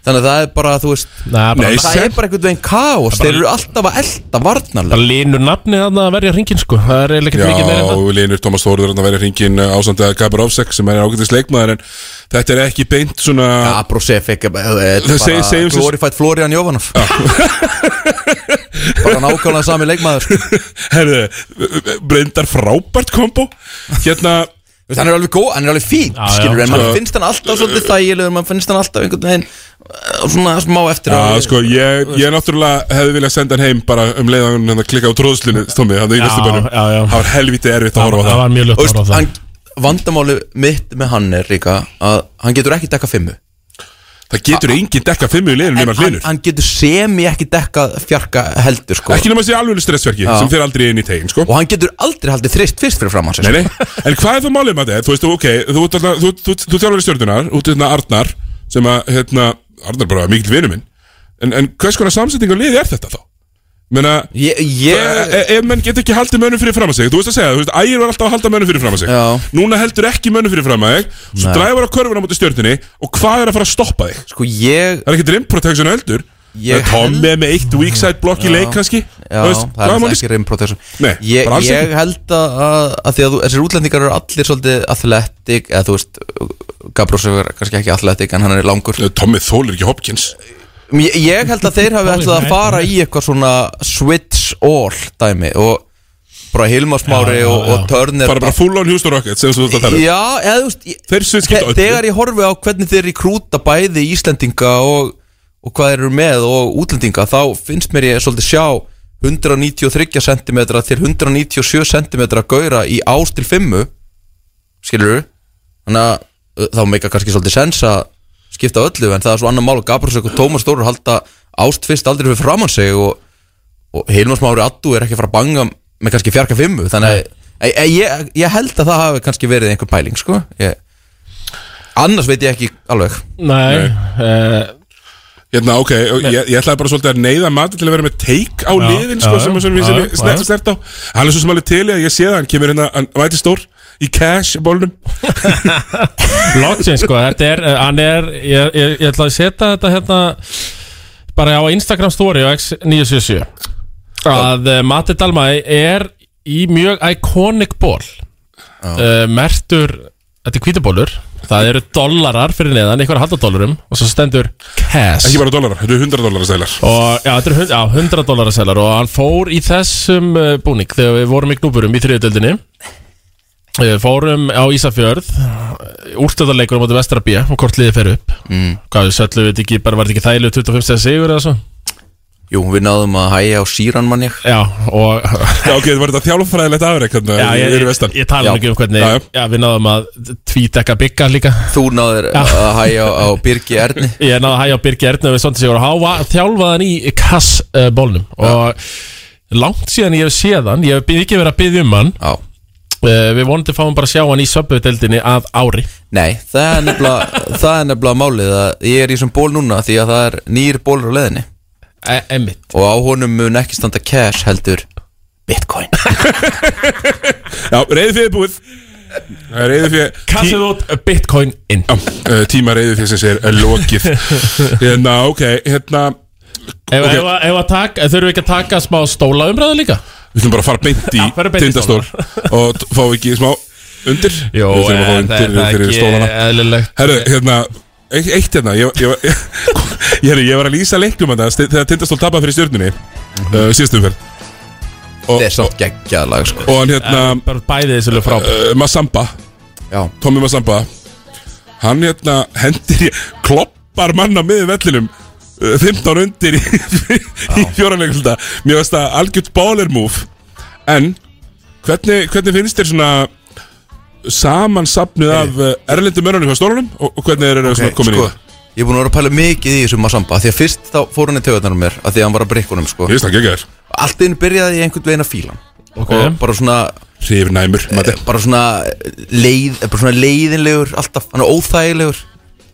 Speaker 16: Þannig að það er bara, þú veist
Speaker 2: bara- Nei,
Speaker 16: Það er
Speaker 2: sem-
Speaker 16: bara einhvern veginn kaos Þeir eru alltaf að elda varnarlega
Speaker 2: Bara línur nafnið þarna að verja hringin sko Það er eiginlega
Speaker 1: Já,
Speaker 2: ekki mikið meira en það
Speaker 1: og Linur Tómas Þóruður að vera hringin ásandi að Gabarovsek eh, sem er ágættis leikmaður en þetta er ekki beint svona
Speaker 16: Gabrosefek bara glorified Florian Jóvanov bara nákvæmlega sami leikmaður sko.
Speaker 1: Herðu, breyndar frábært kombo Hérna
Speaker 16: Hann er alveg góð, hann er alveg fín
Speaker 1: Já, já.
Speaker 16: skilur, en
Speaker 1: Sko-
Speaker 16: mann finnst hann alltaf svolítið þægilegur mann finnst hann alltaf einhvern veginn eh, svona smá eftir á-
Speaker 1: Já, sko, ég, ég náttúrulega hefði viljað senda hann heim bara um leiðan hann að klikka á tróðslunni, Stómi, hann í
Speaker 2: Já,
Speaker 1: næstu bönum.
Speaker 2: já, já.
Speaker 1: Það var helviti erfitt að horfa á það.
Speaker 16: Og veist, hann- Vandamáli mitt með hann er líka að hann getur ekki dekka fimmu
Speaker 1: Það getur enginn dekka fimmu í liðinu nema
Speaker 16: hlinur Hann getur semi ekki dekka fjarka heldur sko
Speaker 1: Ekki nema þessi alveg stressverki
Speaker 16: Já.
Speaker 1: sem fyrir aldrei inn í tegin, sko.
Speaker 16: Og hann getur aldrei haldið þrist fyrst fyrir sko. framann
Speaker 1: Nei, nei, en hvað er það málið með þetta? Þú veist, ok, þú, þú, þú, þú, þú, þú þjálfur í stjórnunar, út í hérna Arnar, sem að, hérna, Arnar er bara mikill vinur minn, en, en hvers konar samsetning og liði er þetta þá? Meina,
Speaker 16: ég, ég...
Speaker 1: ef menn get ekki haldið mönnum fyrir fram að sig Þú veist að segja, þú veist, ægir var alltaf að halda mönnum fyrir fram að sig Já. Núna heldur ekki mönnum fyrir fram að sig Svo
Speaker 16: Nei.
Speaker 1: dræfur á körfuna á móti stjörnunni Og hvað er að fara að stoppa þig?
Speaker 16: Sko ég
Speaker 1: Það er ekki rim protection heldur
Speaker 16: Ég
Speaker 1: Tommi er með eitt weak side block í
Speaker 16: Já.
Speaker 1: leik kannski
Speaker 16: Já,
Speaker 1: Þú veist,
Speaker 16: það
Speaker 1: hvað
Speaker 16: er náttúrulega
Speaker 1: máli-
Speaker 16: ekki rim protection
Speaker 1: Nei,
Speaker 16: Ég,
Speaker 1: bara alls
Speaker 16: ég
Speaker 1: ekki.
Speaker 16: held að, að því að þú, þessir útlendingar eru allir svolítið athletic eða þú veist, Gabrós er kannski ekki athletic en hann er langur
Speaker 1: Tommy Þólir ekki Hopkins
Speaker 16: Ég, ég held að þeir hafi ætlað að fara í eitthvað svona switch all dæmi og bara Hilmar Smári og, og Turner
Speaker 1: Fara bara full on Houston Rockets sem þú veist að tala um.
Speaker 16: Já, eða þú veist ég-
Speaker 1: Þeir sem skipta
Speaker 16: þe-
Speaker 1: öllu.
Speaker 16: Þegar ég horfi á hvernig þeir rekrúta bæði Íslendinga og, og hvað þeir eru með og útlendinga þá finnst mér ég svolítið sjá 193 cm til 197 cm gauðra í ás til 5 skilur við þannig að uh, þá meika kannski svolítið sens að skipta öllu en það er svo annar mál og Gabrúsök og Tómas Dóru halda ást fyrst aldrei fyrir framann sig og, og Hilmar Smári Addu er ekki að fara að banga með kannski fjarka fimmu þannig að ég, ég, ég held að það hafi kannski verið einhver pæling sko ég, annars veit ég ekki alveg
Speaker 2: Nei, eh,
Speaker 1: Hérna, ok, og ég, ég ætlaði bara svolítið að neyða mati til að vera með take á
Speaker 2: Já,
Speaker 1: liðin sko,
Speaker 2: já,
Speaker 1: sem, sem
Speaker 2: já,
Speaker 1: við sem
Speaker 2: já,
Speaker 1: við snert
Speaker 2: já.
Speaker 1: og snert á Hann er svo sem alveg til í að ég sé það, hann kemur hérna, hann væti stór í cash bólnum
Speaker 2: Login sko, þetta er, eh, hann er ég, ég, ég ætla að setja þetta hérna bara á Instagram story á X977 að uh, Matti Dalmæ er í mjög iconic ból uh, mertur þetta er hvítubólur, það eru dollarar fyrir neðan, einhver haldadólarum og svo stendur cash
Speaker 1: Ekki bara dólarar, þetta eru 100 dólarar sælar
Speaker 2: og já, þetta er hund, já, 100 dólarar selar og hann fór í þessum uh, búning þegar við vorum í knúburum í þriðutöldinni uh, fórum á Ísafjörð úrstöðarleikur á móti vestra bíja og hvort liðið fer upp mm. hvað við söllu við ekki, bara var þetta ekki þægilegu 25 stegar sigur eða svo
Speaker 16: Jú, við náðum að hæja á síran mann ég
Speaker 2: Já, og
Speaker 1: Já, ok, var þetta þjálfræðilegt afrek hérna,
Speaker 2: Já, ég,
Speaker 1: í-
Speaker 2: ég,
Speaker 1: fyrir vestan?
Speaker 2: ég tala nú ekki um hvernig
Speaker 1: Já,
Speaker 2: já,
Speaker 1: já.
Speaker 2: við náðum að tvítekka bygga líka
Speaker 16: Þú náður að hæja á, á Birgi Erni
Speaker 2: Ég náði að hæja á Birgi Erni og við svolítið sigur og hann var- þjálfaði hann í kass uh, bólnum og langt síðan ég hef séð hann, ég hef bi- ekki verið að byggja um hann
Speaker 16: Já
Speaker 2: Eh, Við vonandi fáum bara að sjá hann í söpbudeldinni að ári
Speaker 16: Nei, það er nefnilega, það er nefnilega málið að ég er í sem ból núna því að það er nýr bólur á leðinni
Speaker 2: e Emmitt
Speaker 16: Og á honum mun ekki standa cash heldur Bitcoin
Speaker 1: Já, reyði fyrir búið Það er reyði fyrir
Speaker 2: Kassið út bitcoin inn
Speaker 1: Já, uh, tíma reyði fyrir sem sér er lokið Hérna, ok, hérna
Speaker 2: Ef
Speaker 1: ok,
Speaker 2: okay. að taka, þurfum við ekki að taka smá stóla umræðu líka?
Speaker 1: Við þurfum bara að fara beint í
Speaker 2: Já, bara beint í
Speaker 1: tindastól Og t- fá ekki smá undir
Speaker 2: Jó,
Speaker 1: Við þurfum að fá
Speaker 2: eh, það er
Speaker 1: undir
Speaker 2: það
Speaker 1: fyrir
Speaker 2: ekki
Speaker 1: stólana
Speaker 2: eðlilegt.
Speaker 1: Herru, hérna eitt- Eitt hérna, ég, ég, var- ég, herru, ég var að lýsa leiknum að það Þegar tindastól tapaði fyrir stjörnunni
Speaker 16: Mhm.
Speaker 1: uh, Síðastum fyrir
Speaker 16: Það er samt geggjað lag sko
Speaker 1: Og hann hérna
Speaker 2: Eh, bara Bæði þessu lög frábæð
Speaker 1: uh, Masamba
Speaker 16: Já.
Speaker 1: Tommy Masamba Hann hérna hendir í Kloppar manna miður vellinum uh, 15 undir í, í fjóranleikulda Mér veist það algjört baller move En hvernig, hvernig finnst þér svona samansapnið af uh, erlendum mörunum hjá stólunum og, og hvernig er það
Speaker 16: Ok,
Speaker 1: okay, komin í
Speaker 16: sko,
Speaker 1: það?
Speaker 16: Ég er búin að vera að pæla mikið í þessum Masamba Því að fyrst þá fór hann í töðunar á mér Af því að hann var að brikkunum sko
Speaker 1: Ég veist það ekki ekki þér
Speaker 16: Allt einu byrjaði ég einhvern veginn að fíla hann
Speaker 2: Ok.
Speaker 16: og bara svona
Speaker 1: hrifnæmur
Speaker 16: Eh, bara svona, leið, eh, bara svona leiðinlegur alltaf, hann er óþægilegur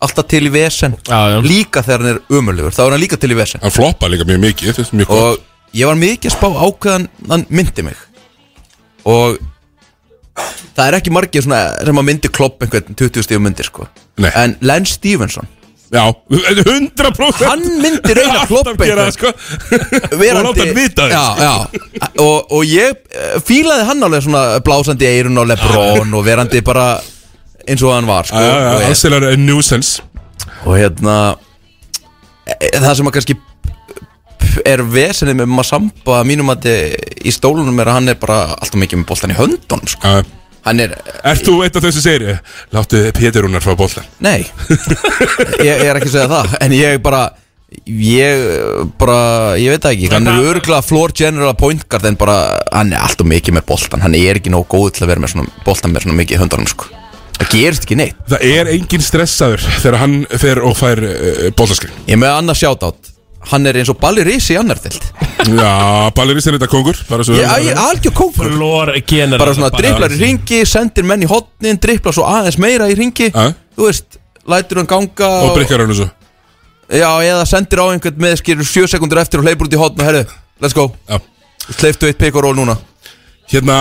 Speaker 16: alltaf til í vesen já, já. líka þegar hann er umölugur, þá er hann líka til í vesen
Speaker 1: hann floppa líka mjög mikið mjög
Speaker 16: og ég var mikið að spá ákveðan hann myndi mig og það er ekki margir svona sem að myndi klopp einhvern 20 stífum myndir sko Nei. en Len Stevenson
Speaker 1: Já, 100%
Speaker 16: Hann myndi reyna að kloppa
Speaker 1: Alltaf gera það, sko.
Speaker 16: Verandi-
Speaker 1: Og láta hann vita það,
Speaker 16: já,
Speaker 1: sko.
Speaker 16: já. Og, og ég eh, fílaði hann alveg svona blásandi eirun og lebrón og verandi bara eins og hann var sko.
Speaker 1: Já, já,
Speaker 16: og,
Speaker 1: alls er nuisance
Speaker 16: og hérna e- e- það sem að kannski er vesenið með Masamba að mínum að í stólunum er að hann er bara alltaf mikið með boltan í höndunum sko. hann er
Speaker 1: Ert þú eitt af þessu séri? Láttu Pétur Rúnar fá bollan
Speaker 16: Nei ég, ég er ekki að segja það En ég bara Ég bara, ég veit það ekki Hann er örgulega floor general point guard En bara, hann er alltaf mikið með boltan Hann er ekki nóg góð til að vera með svona boltan Með svona mikið í höndunum sko Það gerist ekki neitt
Speaker 1: Það er engin stressaður þegar hann fer og fær uh, boltaskring
Speaker 16: Ég er með annars sjátátt Hann er eins og Balli Risi í annar dild
Speaker 1: Já, ballerist er þetta kongur bara svo-
Speaker 16: Ég er algjör kókur
Speaker 2: Flor general
Speaker 16: Bara svona driplar í ringi, sendir menn í hotnin Driplar svo aðeins meira í ringi Þú veist, lætur hann ganga
Speaker 1: Og brikkar hann þessu
Speaker 16: Já, eða sendir á einhvern með skilur sjö sekundur eftir og hleypur út í hotn og herru, let's go
Speaker 1: Já.
Speaker 16: Sleiftu eitt pick og roll núna
Speaker 1: Hérna,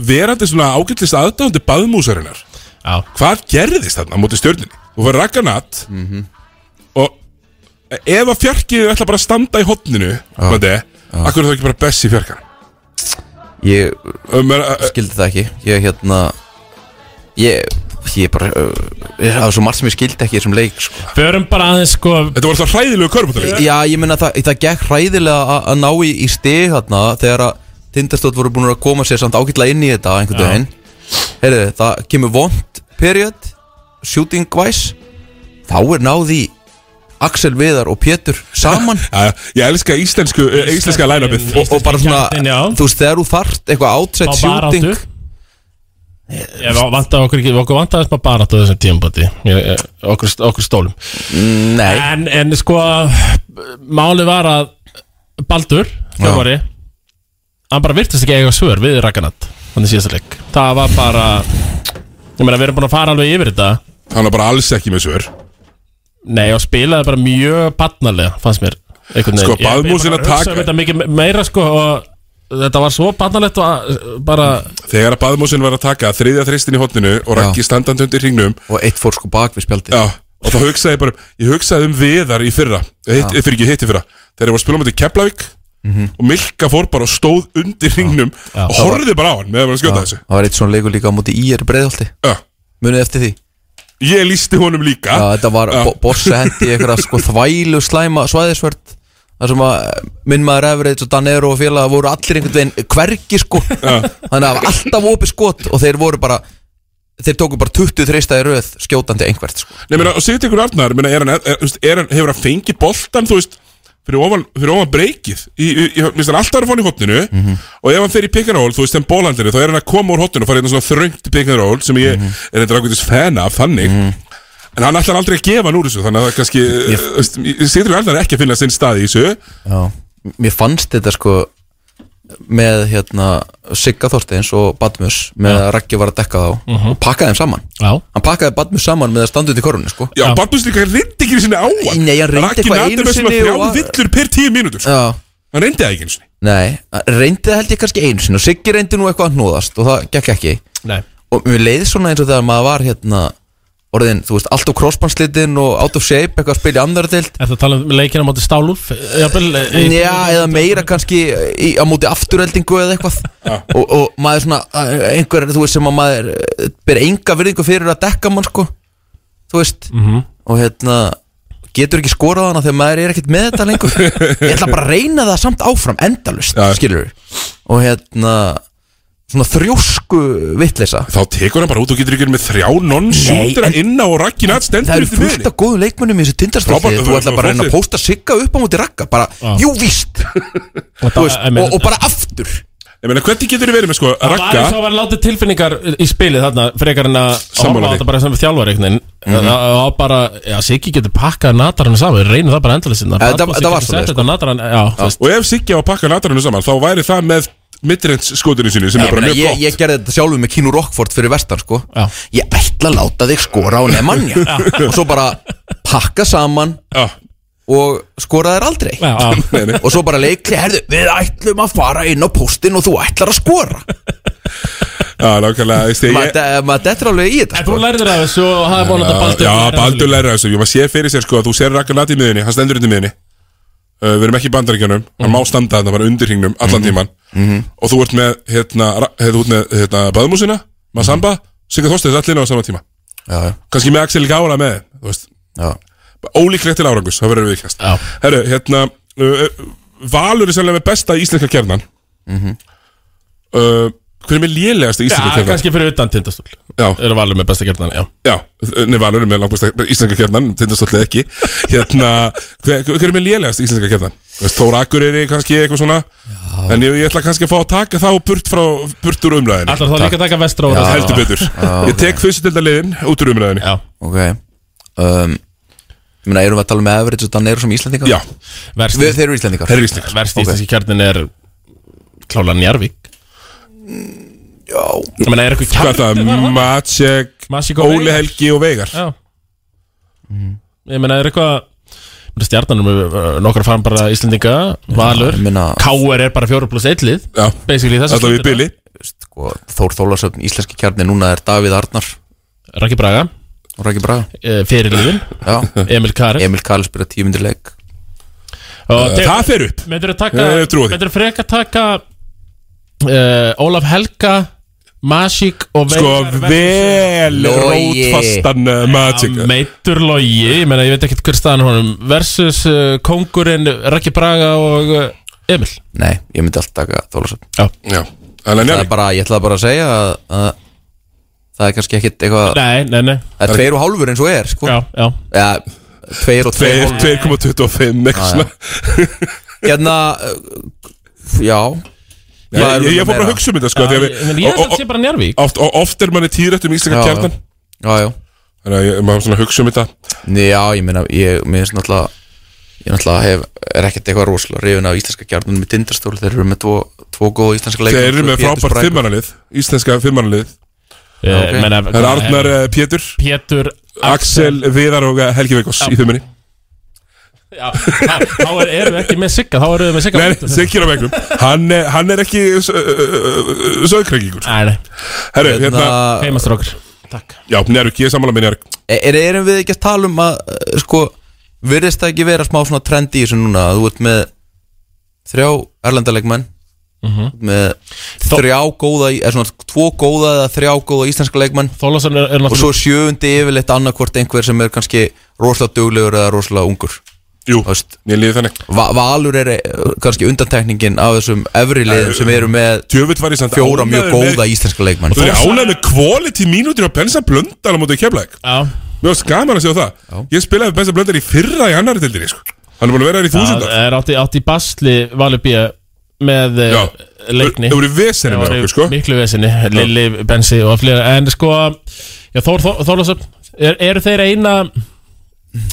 Speaker 1: verandi svona ágætlist aðdáðandi baðmúsarinnar
Speaker 2: Já.
Speaker 1: Hvað gerðist þarna á móti stjörninni? Þú var rakkanat mm -hmm. Og ef að fjarkið ætla bara að standa í hotninu Mandi, akkur er það ekki bara Bessi fjarkar
Speaker 16: Ég
Speaker 1: um,
Speaker 16: skildi það ekki Ég hérna Ég, ég bara uh, Það var svo margt sem ég skildi ekki í þessum leik sko.
Speaker 2: Förum bara aðeins sko
Speaker 1: Þetta var alltaf hræðilegu körfutalegi
Speaker 16: Já, ég meina það, það gekk hræðilega að- að ná í, í stig þarna Þegar að Tindastótt voru búin að koma sér samt ágætlega inn í þetta einhvern
Speaker 1: Já.
Speaker 16: veginn Heyrðu, það kemur vond period Shooting wise Þá er náð í Axel Viðar og Pétur saman
Speaker 1: Já, Ég elska íslensku, eh, íslenska lænabið
Speaker 16: og, og bara svona, þú veist, þegar þú þarft eitthvað outside
Speaker 2: Smá baráttu.
Speaker 16: shooting
Speaker 2: Ég vantaði okkur ekki, okkur vantaði smá baráttu á þessum tímabati okkur, okkur stólum
Speaker 16: Nei
Speaker 2: en, en sko, máli var að Baldur, þjálfari Hann bara virtist ekki eiga svör við Ragnat Þannig síðasta leik Það var bara Ég meina, við erum búin að fara alveg yfir þetta
Speaker 1: Hann var bara alls ekki með svör
Speaker 2: Nei, og spilaði bara mjög batnarlega, fannst mér einhvern veginn.
Speaker 1: Sko,
Speaker 2: Ég- ég
Speaker 1: Baðmúsin
Speaker 2: bara
Speaker 1: að taka-
Speaker 2: hugsaði um þetta mikið me- meira, sko, og Þetta var svo batnarlegt og að- bara
Speaker 1: Þegar að baðmúsin var að taka þriðja þristin í hotninu og rakki standandi undir hringnum
Speaker 16: Og eitt fór sko bak við spjaldi
Speaker 1: Já, og þá hugsaði ég bara, ég hugsaði um viðar í fyrra hitt,
Speaker 16: Já. Mhm.
Speaker 1: Fyrir ekki hitti fyrra Þegar ég var að spila um þetta í Keflavík Og Milka fór bara og stóð undir hringnum Og horfði bara á hann með að vera að skjóta
Speaker 16: Já,
Speaker 1: þessu
Speaker 16: Það var eitt svona leikur líka á móti í er breiðholti
Speaker 1: Já.
Speaker 16: Munið eftir því
Speaker 1: Ég lísti honum líka
Speaker 16: Já, þetta var bo Bosse hendi í einhverja sko þvælu slæma svæðisvörð Það sem að eh, minn maður Everett og Danero og félaga voru allir einhvern veginn hvergi sko Þannig að það var alltaf opið skot og þeir voru bara Þeir tóku bara 23 staði röð skjótandi einhvert sko
Speaker 1: Nei, meina, og segja ykkur Arnar, meina, er hann, er, þú veist, er hann, hefur hann fengið boltan, þú veist, fyrir ofan, fyrir ofan breykið, í, í, í, minnst hann alltaf er að fá hann í hotninu, og ef hann fer í pick and roll, þú veist, þeim bólhandinu, þá er hann að koma úr hotninu og fara í svona þröngt pick and roll, sem ég er eitthvað ákveðis fan af, þannig, en hann ætlar aldrei að gefa hann úr þessu, þannig að það kannski, þú veist, segja ykkur Arnar er ekki að finna sinn stað í þessu,
Speaker 16: Já, mér fannst þetta sko með hérna Sigga Þorsteins og Badmus með að Raggi var að dekka þá og pakkaði þeim saman
Speaker 2: Já.
Speaker 16: hann pakkaði Badmus saman með að standa út í korunni sko
Speaker 1: já, Barbus líka reyndi ekki sinni á hann,
Speaker 16: Nei, hann reyndi
Speaker 1: Raggi
Speaker 16: eitthvað
Speaker 1: Nadem er
Speaker 16: einu
Speaker 1: svona
Speaker 16: sinni
Speaker 1: þrjá
Speaker 16: og-
Speaker 1: villur per tíu mínútur, sko.
Speaker 16: Já.
Speaker 1: hann reyndi það ekki einu sinni.
Speaker 16: Nei, hann reyndi það held ég kannski einu sinni og Siggi reyndi nú eitthvað að hnúðast og það gekk ekki
Speaker 2: Nei.
Speaker 16: og mér leiði svona eins og þegar maður var hérna orðin, þú veist, allt á crossbandslitin og out of shape, eitthvað að spila í andardild
Speaker 2: Er það að tala um leikina á móti Stálúf? eh,
Speaker 16: Já, eða meira kannski í, á móti afturöldingu eða eitthvað og, og maður svona, eh, einhver, þú veist sem að maður eh, ber enga virðingu fyrir að dekka mann sko, þú veist
Speaker 2: Mhm.
Speaker 16: og hérna getur ekki skorað hana þegar maður er ekkert með þetta lengur ég ætla bara að reyna það samt áfram endalust, ja. skilur og hérna svona þrjósku vitleisa
Speaker 1: Þá tekur hann bara út og getur ekki verið með þrjá non-shooter
Speaker 16: Nei, en-
Speaker 1: inna og rakkin að stendur
Speaker 16: það eru
Speaker 1: undir miðjunni.
Speaker 16: fullt af góðum leikmönnum í þessu tindastöldi
Speaker 1: Frábært,
Speaker 16: þú ætla bara að reyna
Speaker 1: fólkið.
Speaker 16: að pósta sigga upp á móti rakka bara, jú víst Þú veist, og, og bara aftur
Speaker 1: Ég meina, hvernig getur þið verið með sko
Speaker 2: Það var
Speaker 1: Ragga
Speaker 2: eins og að vera látið tilfinningar í spilið þarna frekar en að
Speaker 1: Sammála því.
Speaker 2: horfa á
Speaker 1: Mhm.
Speaker 2: þetta bara sem þjálfari einhvern veginn mm -hmm. bara, já, Siggi getur pakkað natarinn saman, við reynum það bara endalist
Speaker 1: Eh, þetta- þetta var
Speaker 2: svolítið
Speaker 1: svoleiðis,
Speaker 2: Þetta natarinn, já, þú veist
Speaker 1: Og ef Siggi á að pakka natarinu saman Þá væri það með midrens skotinu sínu sem
Speaker 16: Ég,
Speaker 1: er bara
Speaker 16: meina,
Speaker 1: mjög
Speaker 16: ég,
Speaker 1: gott
Speaker 16: ég gerði þetta sjálfur með Kínu Rockford fyrir vestan sko.
Speaker 2: Já.
Speaker 16: Ég ætla að láta þig skora á Nemanja
Speaker 2: Já.
Speaker 16: Og svo bara pakka saman
Speaker 1: Já.
Speaker 16: Og skora þær aldrei
Speaker 2: Já. Nei, nei.
Speaker 16: Og svo bara leikli Herðu, við ætlum að fara inn á postin Og þú ætlar að skora
Speaker 1: Já, Ah, nákvæmlega veist þið, ég-
Speaker 16: Maður ma, dettur alveg í þetta sko.
Speaker 2: Þú lærðir af þessu og hafði bólan þetta baldur
Speaker 1: Uh, Já, Baldur læra þessu Ég maður sé fyrir sér sko að þú sér Raka Lati í miðunni Hann stendur inn í miðunni uh, Við erum ekki í bandaríkjunum
Speaker 2: Mhm.
Speaker 1: Hann má standa þarna bara undir hringnum allan tíman Og þú ert með, hérna, ra- hérna, þú ert með, hérna, Baðmúsina,
Speaker 2: Mhm.
Speaker 1: Masamba Sigga Þorsteins allir inn á sama tíma
Speaker 16: Já, já
Speaker 1: Kanski með Axel Gála með þeim, Þú veist
Speaker 16: Já.
Speaker 1: Ólíklegt til árangus, það verður við ekki Herru, hérna uh, uh, Valur er sérlega með besta íslenska kjarnan uh, Hver er með lélegasta
Speaker 2: Mhm. Já,
Speaker 1: íslenska kjarnan?
Speaker 2: kannski fyrir utan tindastól
Speaker 1: Já.
Speaker 2: Eru valur með besta kjarnan, já
Speaker 1: Já, nei Valur er með langbæsta íslenska kjarnan, tindastóllið ekki Hérna, hver, hver er með lélegast íslenska kjarnan? Þú veist, Þóra Akureyri kannski eitthvað svona En ég, ég ætla kannski að fá að taka þá burt, frá, burt úr umræðinu
Speaker 2: Ætlar þá líka að taka vestra úr þessu?
Speaker 1: Heldur betur
Speaker 2: Já.
Speaker 1: Ég tek fyrstu til út úr umræðinu
Speaker 2: Já
Speaker 16: Ok um, Ég meina, erum við að tala með average og Daneiru sem Íslandingar?
Speaker 1: Já
Speaker 2: Verst-
Speaker 16: Við þeir eru Íslandingar
Speaker 1: Þeir eru Íslendingar.
Speaker 2: Verst íslenski kjarnin er klála Njarvík
Speaker 16: Já
Speaker 2: Ég meina, er eitthvað
Speaker 1: Hvað er
Speaker 2: kjarnin
Speaker 1: það? Matsek,
Speaker 2: Matsek og
Speaker 1: Óli
Speaker 2: Veigar.
Speaker 1: Helgi og Veigar
Speaker 2: Já Ég meina, er eitthvað Mér stjarnanum nokkar fann bara uh, Íslendinga Valur
Speaker 16: meina-
Speaker 2: K.R. er bara 4 pluss 1 lið
Speaker 1: Já
Speaker 2: Basically þess
Speaker 1: Alltaf í byli
Speaker 16: sko, Þór Þólasöfn, íslenski kjarni Núna er Davíð Arnar
Speaker 2: Raki Braga
Speaker 16: Og Raki Braga
Speaker 2: eh, Fyrirliðin
Speaker 16: Já.
Speaker 2: Emil Karel
Speaker 16: Emil Karl spyrir tímindir leik
Speaker 2: Og
Speaker 1: Eh,
Speaker 2: te-
Speaker 1: það fer upp.
Speaker 2: Myndirðu
Speaker 1: Ég hef trú á því.
Speaker 2: taka Myndirðu freka taka uh, Ólaf Helga Masík og
Speaker 1: Sko,
Speaker 2: Veigar versus-
Speaker 1: vel
Speaker 2: Logi.
Speaker 1: rótfastan uh, Matsek
Speaker 2: Ja, Meitur logi, ég meina ég veit ekkert hver staðan er honum Versus uh, kongurinn Raki Braga og uh, Emil
Speaker 16: Nei, ég myndi alltaf taka Þólasöfn
Speaker 2: Já,
Speaker 1: Já Það
Speaker 16: er bara, ég ætlaði bara að segja að, að það er kannski ekkit eitthvað
Speaker 2: Nei, nei, nei
Speaker 16: Það er tveir og hálfur eins og er, sko
Speaker 2: Já, já
Speaker 16: ja, Tveir og tveir
Speaker 1: Tveir- 2,25 eitthvað svona.
Speaker 16: Hérna, uh, já
Speaker 1: Ég
Speaker 16: Hvað erum
Speaker 1: ég-
Speaker 16: við
Speaker 1: ég fór bara
Speaker 16: meira?
Speaker 1: að hugsa um þetta sko því að við-
Speaker 2: Ég meina,
Speaker 1: og-
Speaker 2: ég held að
Speaker 1: og-
Speaker 2: það sé bara njárvík
Speaker 1: oft, og oft er manni týrætt um íslenska
Speaker 16: Já, já.
Speaker 1: kjarnan
Speaker 16: Já, já
Speaker 1: Þannig að ég- maður svona hugsa um þetta
Speaker 16: Nei, já, ég meina, ég mér finnst náttúrulega ég náttúrulega hef, er ekkert eitthvað rosalega reyfin af íslenska gjarnunum í tindastól þeir eru með tvo, tvo góð íslenska leikmenn
Speaker 1: Þeir eru með
Speaker 16: Pétur
Speaker 1: frábært
Speaker 16: Sprækur.
Speaker 1: fimmannalið Íslenska fimmannalið
Speaker 2: Já, ok. Eh, meina,
Speaker 1: Það er Arnar eh, Pétur
Speaker 2: Pétur
Speaker 1: Axel Viðar og eh, Helgi Veikos í fimmunni
Speaker 2: Já, þá þá er- erum við ekki með Sigga Þá erum við með Sigga
Speaker 1: Nei,
Speaker 2: Blöndal.
Speaker 1: Sigur á vegnum Hann er- hann er ekki eh, sögkrengingur
Speaker 2: Nei, nei
Speaker 1: eh, Herru,
Speaker 16: Hérna-
Speaker 1: hérna
Speaker 2: Heimastrókur
Speaker 1: Já, njárvík, ég er sammála með njárvík
Speaker 16: E, Er, er, erum við ekki að tala um að eh, sko, virðist það ekki vera smá svona trend í þessu núna að þú ert með þrjá erlendalegmenn mm -hmm. með þrjá góða í- eða svona tvo góða eða þrjá góða íslenska leikmenn
Speaker 2: Þólasson er, er
Speaker 16: og svo
Speaker 2: náttúrulega
Speaker 16: sjöfundi yfirleitt annarkvort einhver sem er kannski rosalega duglegur eða rosalega ungur
Speaker 1: Jú,
Speaker 16: Veist.
Speaker 1: mér líði þannig
Speaker 16: Va Valur er eh, kannski undantekningin af þessum efri liðum sem eru með
Speaker 1: Tjöfull var ég samt
Speaker 16: fjóra
Speaker 1: ánægður
Speaker 16: mjög
Speaker 1: með-
Speaker 16: góða íslenska leikmenn
Speaker 1: Þú er ánægð með quality mínútur á Bensa Blöndal á móti keflæk
Speaker 2: Já,
Speaker 1: Mér varst gaman að sjá það Ég spilaði Bensa Blöndal í fyrra í annari tildinni sko. Hann er búin að vera þér í
Speaker 2: það
Speaker 1: þúsundar
Speaker 2: er átti, átti basli Valur B með eh,
Speaker 1: Já.
Speaker 2: leikni
Speaker 1: Það voru vesenni með okkur sko
Speaker 2: miklu vesinni, Lilli, Bensi og flera En sko, já, Þór Þór- Þórlasöfn er, Eru þeir eina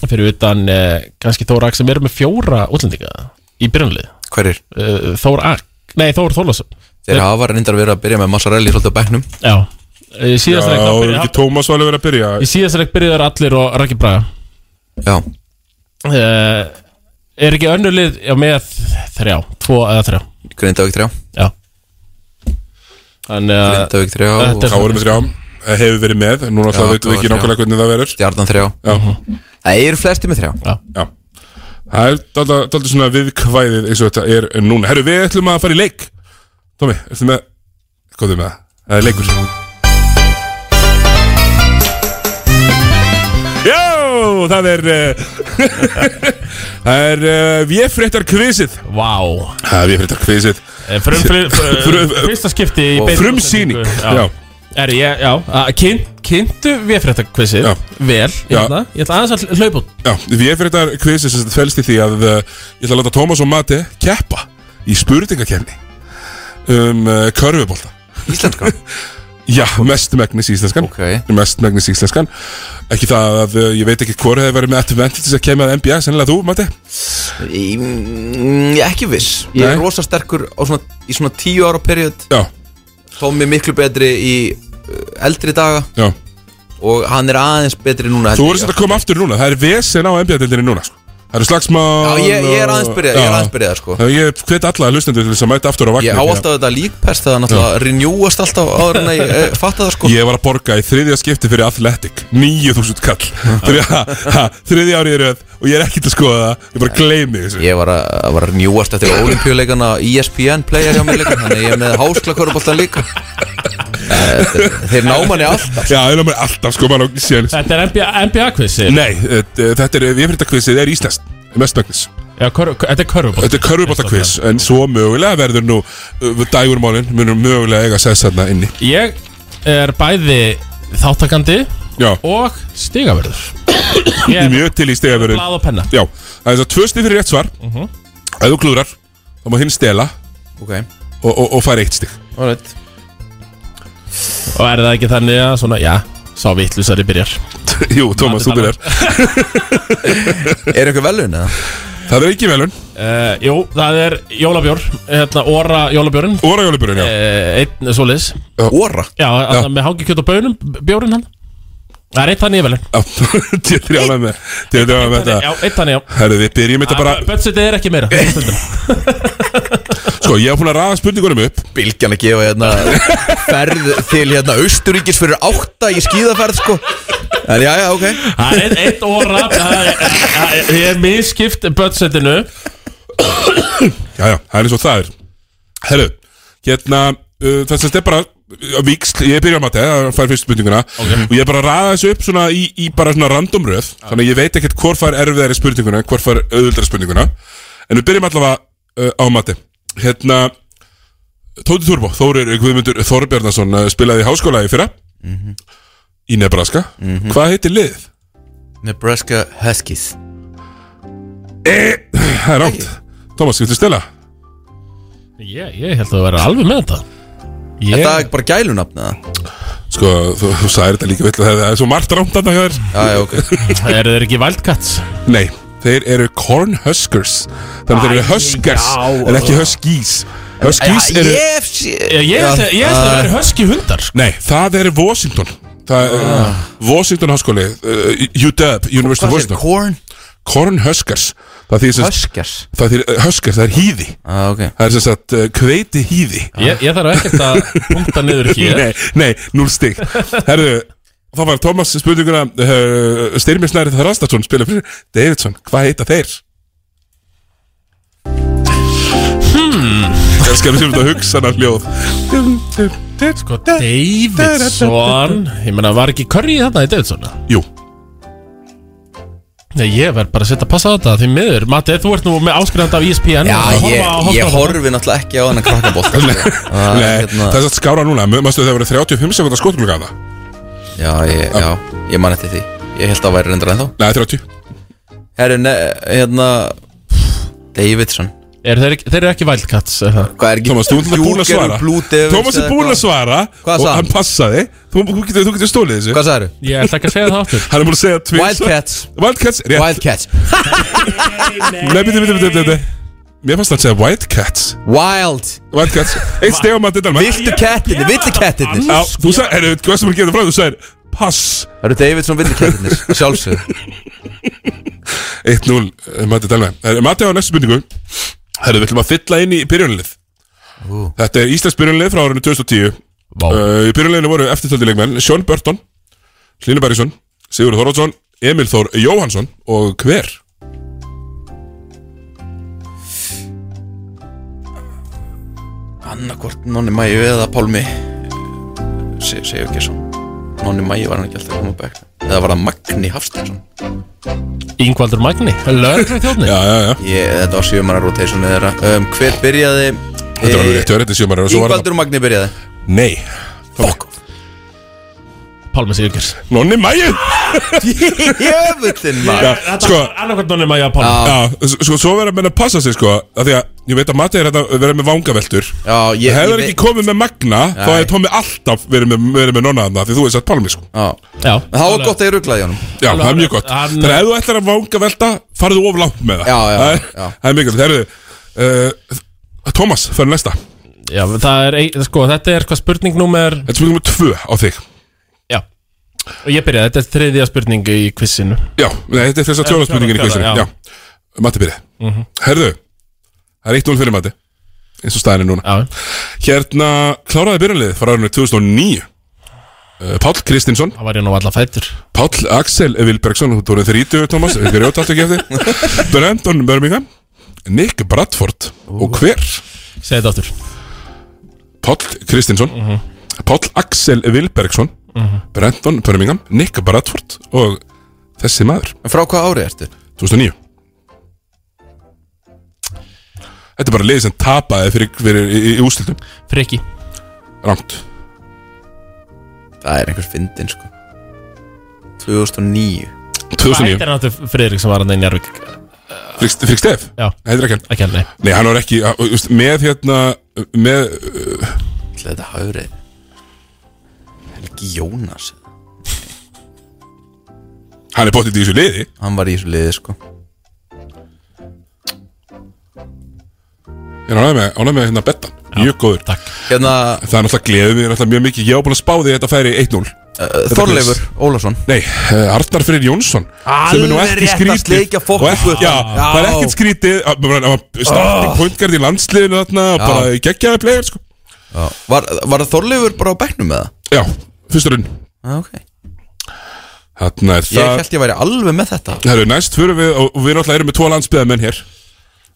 Speaker 2: Fyrir utan eh, kannski Þór Ak sem eru með fjóra útlendinga Í byrjanlið
Speaker 16: hverjir?
Speaker 2: Eh, Þór Ak, nei Þór Þórlasöfn
Speaker 16: Þeir hafa reyndar verið að byrja með Massarelli svolítið á bekknum
Speaker 2: Já, í
Speaker 1: Já,
Speaker 2: síðasta leik þá
Speaker 1: það voru
Speaker 2: byrja-
Speaker 1: ekki Tómas valið verið að byrja
Speaker 2: Í síðasta leik byrjuður allir og Raki Braga
Speaker 16: Já,
Speaker 2: uh, Er ekki önnur lið Já, með þrjá, tvo eða þrjá
Speaker 16: Grindavík 3
Speaker 2: Já Þannig að
Speaker 16: Grindavík 3
Speaker 2: Þetta
Speaker 16: og
Speaker 2: er-
Speaker 1: Þá voru með þrjá eh, Hefur verið með Núna
Speaker 16: Já,
Speaker 1: alltaf veitum við
Speaker 16: það
Speaker 1: ekki
Speaker 16: var
Speaker 1: nákvæmlega hvernig það verður
Speaker 16: Stjarnan 3
Speaker 1: Já,
Speaker 16: Það eru flesti með 3
Speaker 1: já Það er daldið svona viðkvæðið eins og þetta er núna Herru, við ætlum að fara í leik Tómi, ertu með Hvað er með það? Það er leikur Já, það er eh, Það er uh, Véfréttar kvisið
Speaker 2: Vá
Speaker 1: Það er Véfréttar kvisið
Speaker 2: Eh, Frum, frum, frum,
Speaker 1: Frum-
Speaker 2: fyrsta skipti í
Speaker 1: Og
Speaker 2: beinni
Speaker 1: frumsýning,
Speaker 2: útsendingu.
Speaker 1: já.
Speaker 2: Er ég, já að kyn- Kynntu við fyrir þetta quizið
Speaker 1: Já.
Speaker 2: Vel,
Speaker 1: Já.
Speaker 2: hérna Ég ætla aðeins að hlaupa út
Speaker 1: Já, Véfréttar kvisið sem þetta felst í því að uh, Ég ætla að láta Tómas og Mati keppa Í spurningakefni Um uh, körfubólta
Speaker 16: Íslenska
Speaker 1: Já, mestmægnis íslenskan
Speaker 16: Ok.
Speaker 1: Mestmægnis íslenskan eh, Ekki það að uh, ég veit ekki hvort hefði verið með advantages að kemja að NBA Sennilega þú, Matti
Speaker 16: Ég, mm, ég er ekki viss Ég er
Speaker 1: Nei.
Speaker 16: rosa sterkur á svona, í svona tíu ára period
Speaker 1: Já
Speaker 16: Tommy er miklu betri í uh, eldri daga
Speaker 1: Já.
Speaker 16: Og hann er aðeins betri núna held
Speaker 1: Þú
Speaker 16: ég,
Speaker 1: voru
Speaker 16: já.
Speaker 1: svolítið að koma aftur núna, það er vesen á NBA-dildinni núna sko. Það eru slagsmál
Speaker 16: Já, ég- ég er aðeins byrjaður, ég er
Speaker 1: Já.
Speaker 16: aðeins byrjaður, sko.
Speaker 1: Já, Ég hvet alla að hlustandi til þess að mæta aftur á vagnir
Speaker 16: Ég á alltaf þetta líkpest Það er náttúrulega renewast alltaf áður en að ég eh, fatta það sko
Speaker 1: Ég var að borga í þriðja skipti fyrir Athletic 9000 kall Fyrir að- ha, Þriðja árið í röð Og ég er ekkert að skoða það Ég bara gleymi þessu
Speaker 16: Ég var að, að var að renewast eftir E olimpíuleikana ESPN player hjá mér líka Þannig að ég er með háskla líka Eh, Þeir ná manni alltaf
Speaker 1: Já, þeir ná manni alltaf sko mann á séns
Speaker 2: Þetta er NBA, NBA quizið
Speaker 1: Nei, eh, þetta er Viðfyrirtakvissið er íslenskt Mestnakviss
Speaker 2: Já, kör, þetta er körfubólt
Speaker 1: Þetta er körfuboltakviss En svo mögulega verður nú uh, Dægurmálin munur mögulega eiga sæðs þarna inni
Speaker 2: Ég er bæði þáttakandi
Speaker 1: Já.
Speaker 2: og stigaverður
Speaker 1: Ég er mjög til í stegafjörðin
Speaker 2: Blað og penna
Speaker 1: Já, það er svo tvö stig fyrir rétt svar uh
Speaker 2: Mhm.
Speaker 1: Ef þú klúrar, þá má hinn stela
Speaker 16: okay.
Speaker 1: og, og, og fær eitt stig
Speaker 16: Alright.
Speaker 2: Og er það ekki þannig að svona, já, sá vittlusari byrjar
Speaker 1: Jú, Tómas, þú byrjar
Speaker 16: Er eitthvað velun eða?
Speaker 1: Það er ekki velun
Speaker 2: uh, Jú, það er jólabjór hérna, Óra jólabjórn
Speaker 1: Óra jólabjórn, já
Speaker 2: uh, Einn svoleiðis
Speaker 16: Óra?
Speaker 2: Já, alltaf með hangi kjöt og bönum, bjórinn hann Það er eitt þannig yfirlega
Speaker 1: Til þrjána með Til þrjána með þetta
Speaker 2: Já, eitt þannig, já Ah,
Speaker 1: Herðu, við byrjum þetta bara
Speaker 2: Budgetið er ekki meira
Speaker 1: Sko, ég hef búin að ræða spurningunum upp
Speaker 16: Bylgjan að gefa hérna ferð til hérna Austuríkis fyrir átta í skíðaferð sko En já, já, ok
Speaker 2: Það er eitt- eitt óra það er- það er- Ég er miskipt budgetinu
Speaker 1: Já, já, það er eins og það er Herru, hérna uh, Það sem þetta er bara uh, Víksl, ég byrja að mati, það fær fyrst spurninguna Og ég er bara að ræða þessu upp svona í, í bara svona random röð Þannig að ég veit ekkert hvort fær erfiðari spurninguna Hvort fær auðvöldari spurninguna En við byrjum allavega uh, á mati Hérna Tóti Turbo, Þórir Guðmundur Þorbjarnason uh, Spilaði í háskóla í fyrra Í Nebraska Hvað heitir liðið?
Speaker 16: Nebraska Huskies
Speaker 1: Eh, Það er rámt Thomas, getur stela?
Speaker 2: Ég, ég held að það vera alveg með þetta
Speaker 16: ég... En það er bara gælunafn eða?
Speaker 1: Sko, þú, þú sagðir þetta líka vill Það er svo margt rámt þarna hjá þér
Speaker 16: Já, já, ok
Speaker 2: Eru þeir ekki Wildcats?
Speaker 1: Nei, þeir eru Cornhuskers Þannig að þeir eru
Speaker 2: Æ,
Speaker 1: Huskers
Speaker 2: já.
Speaker 1: En ekki Huskies Huskies eru
Speaker 2: Ég, Eh, ég held að- ég held að það vera höski hundar
Speaker 1: Nei, það eru Washington Það er
Speaker 2: Ah.
Speaker 1: uh, Washington háskóli uh, UW, University of
Speaker 16: Hvað
Speaker 1: Washington
Speaker 16: segir Corn?
Speaker 1: Cornhuskers Það þýðir sem
Speaker 16: Huskers
Speaker 1: Það þýðir uh, Huskers, það er hýði
Speaker 16: ah, okay.
Speaker 1: Það er sem sagt uh, kveiti hýði
Speaker 2: Ég, ég þarf ekkert að punkta niður
Speaker 16: eh?
Speaker 2: hér
Speaker 1: Nei, nei, núl stig Herðu, þá var Thomas spurninguna uh, Styrmir Snæri Þrastarsson spila fyrir Davidson, hvað heita þeir? Hmm Elskar við sem þetta hugsanar hljóð
Speaker 2: Sko, Davidson Ég meina, var ekki Curry þarna í Davidson?
Speaker 1: Jú
Speaker 2: Nei, ég verð bara að setja að passa á þetta Því miður, Matti, þú ert nú með áskrifand af E ESPN
Speaker 16: Já,
Speaker 2: Horfa-
Speaker 16: ég,
Speaker 2: horfa á
Speaker 16: ég
Speaker 2: það.
Speaker 16: horfi náttúrulega ekki á sko. hann að krakkabótt Nei,
Speaker 1: Nei,
Speaker 16: hérna-
Speaker 1: það er satt skára núna Mástu það verið 35 sekundar skotglugga það
Speaker 16: Já, ég, já, ég man eftir því Ég held að það væri reyndar ennþá
Speaker 1: Nei, 30
Speaker 16: Herru, ne, hérna Davidson
Speaker 2: Er þeir, ekki- þeir eru ekki Wildcats er það?
Speaker 16: Hvað er ekki
Speaker 1: Thomas, þú ert alltaf búin að
Speaker 16: Bjúker,
Speaker 1: svara
Speaker 16: Blue Devils
Speaker 1: Thomas er
Speaker 16: eða
Speaker 1: búin að
Speaker 16: eitthvað.
Speaker 1: svara
Speaker 16: Hvað
Speaker 1: Og
Speaker 16: sagði hann?
Speaker 1: hann passaði Þú, þú, getur, þú getur stólið þessu
Speaker 16: Hvað sagðirðu?
Speaker 2: Ég ætla ekki að segja það aftur
Speaker 1: Hann er búin að segja tvins
Speaker 16: Wildcats.
Speaker 1: Wildcats, rétt
Speaker 16: Wildcats
Speaker 1: Nei, byrju, byrju, byrju, byrju Mér fannst það að segja Wildcats
Speaker 16: Wild
Speaker 1: Wildcats Eitt steg á maður þetta
Speaker 16: Viltu kettirnir, viltu kettirnir
Speaker 1: Já, þú sagði, er það hvað sem er gefið frá Þú sagði, pass
Speaker 16: Það eru Davidson viltu kettirnir, sjálfsögðu
Speaker 1: 1-0, eh, Matti Dalme Eh, Matti á næstu spurningu Herru, við ætlum að fylla inn í byrjunlið
Speaker 16: Ú.
Speaker 1: Þetta er Íslands byrjunlið frá árinu 2010 uh, Í byrjunliðinu voru eftirtöldi leikmenn Sjón Börton, Hlynur Bergsson Sigurður Þorvaldsson, Emil Þór Jóhansson Og hver?
Speaker 16: Annarkvort Nonni Mæju eða Pálmi Se- Segjum ekki svo Nonni Mæju var hann ekki alltaf að koma á bekk Eða var það Magni Hafstæðsson
Speaker 2: Ingvaldur Magni, lögreglu þjóðni
Speaker 1: Já, já, já
Speaker 16: Ég, þetta var sjömanar rotation eða þeirra um, Hver byrjaði
Speaker 1: Þetta var alveg rétt hjá þér, þetta er sjö manna, og svo var
Speaker 16: Ígvaldur og Magni byrjaði
Speaker 1: Nei Fuck
Speaker 2: Pálmi Sigurkjars
Speaker 1: Nonni Mæju
Speaker 16: Jöfullin
Speaker 1: Já, sko-
Speaker 2: Annarkvært Nonni Mæju að Pálmi
Speaker 1: Já, sko, svo verður menn að passa sig sko af Því að ég veit að Matti er að vera með vangaveltur Já,
Speaker 16: ég-
Speaker 1: Hefur
Speaker 16: ég
Speaker 1: ekki
Speaker 16: veit-
Speaker 1: komið með Magna Þá
Speaker 16: Nei.
Speaker 1: hefði Tommi alltaf verið með, verið með nonna þarna Því þú hefði sett Palmi sko
Speaker 16: Já,
Speaker 2: Já.
Speaker 16: Það var gott að ég rugglaði honum
Speaker 1: Já, það er mjög gott
Speaker 16: Hann-
Speaker 1: Þannig að ef þú ætlar að vanga velta farðu of langt með það
Speaker 16: Já, já,
Speaker 1: Það er,
Speaker 16: já.
Speaker 1: Það er mjög gott Herðu, uh, Thomas, fyrir næsta
Speaker 2: Já, það er, ein- sko, þetta er hvað spurning númer
Speaker 1: Þetta er spurning númer tvö á þig
Speaker 2: Já Og ég byrja, þetta er þriðja spurning í kvissinu
Speaker 1: Já, nei, þetta er þess að tjóra spurningin í kvistinu Já, Matti byrja
Speaker 2: Mhm.
Speaker 1: Herðu, það er 1-0 fyrir Matti Eins og staðin er núna
Speaker 2: já.
Speaker 1: Hérna, kláraði byrjanlið frá árunni 2009 Uh, Páll Kristinsson
Speaker 2: Það var ég nú alla fættur
Speaker 1: Páll Axel Vilbergsson, þú tóður 30 Thomas, við grjóta allt ekki eftir Brandon Birmingham Nick Bradford og hver?
Speaker 2: Segði þetta áttur
Speaker 1: Páll Kristinsson Páll Axel Vilbergsson Brandon Birmingham, Nick Bradford og þessi maður
Speaker 16: Frá hvað ári ertu?
Speaker 1: 2009 Þetta er bara liðið sem tapaði fyrir, fyrir í, í ústildum
Speaker 2: Freki
Speaker 1: Rangt
Speaker 16: Það er einhver fyndin sko 2009
Speaker 1: um
Speaker 2: Þetta er náttúrulega Friðrik sem var hann í Njárvík
Speaker 1: Fyrir Stef?
Speaker 2: Já.
Speaker 1: Heitir ekki hann?
Speaker 2: Ekki hann, nei.
Speaker 1: Nei, hann var ekki, að- just, með hérna, með uh,
Speaker 16: Þetta hafrið Helgi Jónas
Speaker 1: Hann er bóttið í þessu liði
Speaker 16: Hann var í þessu liði sko
Speaker 1: Ég er ánægð með, ánægð með hérna bettan, mjög góður
Speaker 2: Takk.
Speaker 16: hérna,
Speaker 1: Það er náttúrulega gleðið mér náttúrulega mjög mikið Ég var búin að spá því að þetta færi 1-0
Speaker 16: Eh.
Speaker 1: Þetta
Speaker 16: Þorleifur
Speaker 1: quiz.
Speaker 16: Ólafsson
Speaker 1: Nei, uh, Arnar Freyr Jónsson sem er nú
Speaker 16: Alveg
Speaker 1: ekki
Speaker 16: rétt að
Speaker 1: skrítið
Speaker 16: sleikja fokk
Speaker 1: og ekki,
Speaker 16: upp.
Speaker 1: já,
Speaker 16: Já.
Speaker 1: það er ekkert skrítið að- bara- að- að starting
Speaker 16: Ah.
Speaker 1: pointgard í landsliðinu þarna og
Speaker 16: Já.
Speaker 1: bara geggjaði player sko.
Speaker 16: Var, var Þorleifur bara á bæknum með það?
Speaker 1: Já, fyrstur inn
Speaker 16: Ah, okay.
Speaker 1: Þarna er
Speaker 16: Ég
Speaker 1: það
Speaker 16: held ég væri alveg með þetta
Speaker 1: Herru, næst fyrir við og og við náttúrulega erum með tvo landsbyðamenn hér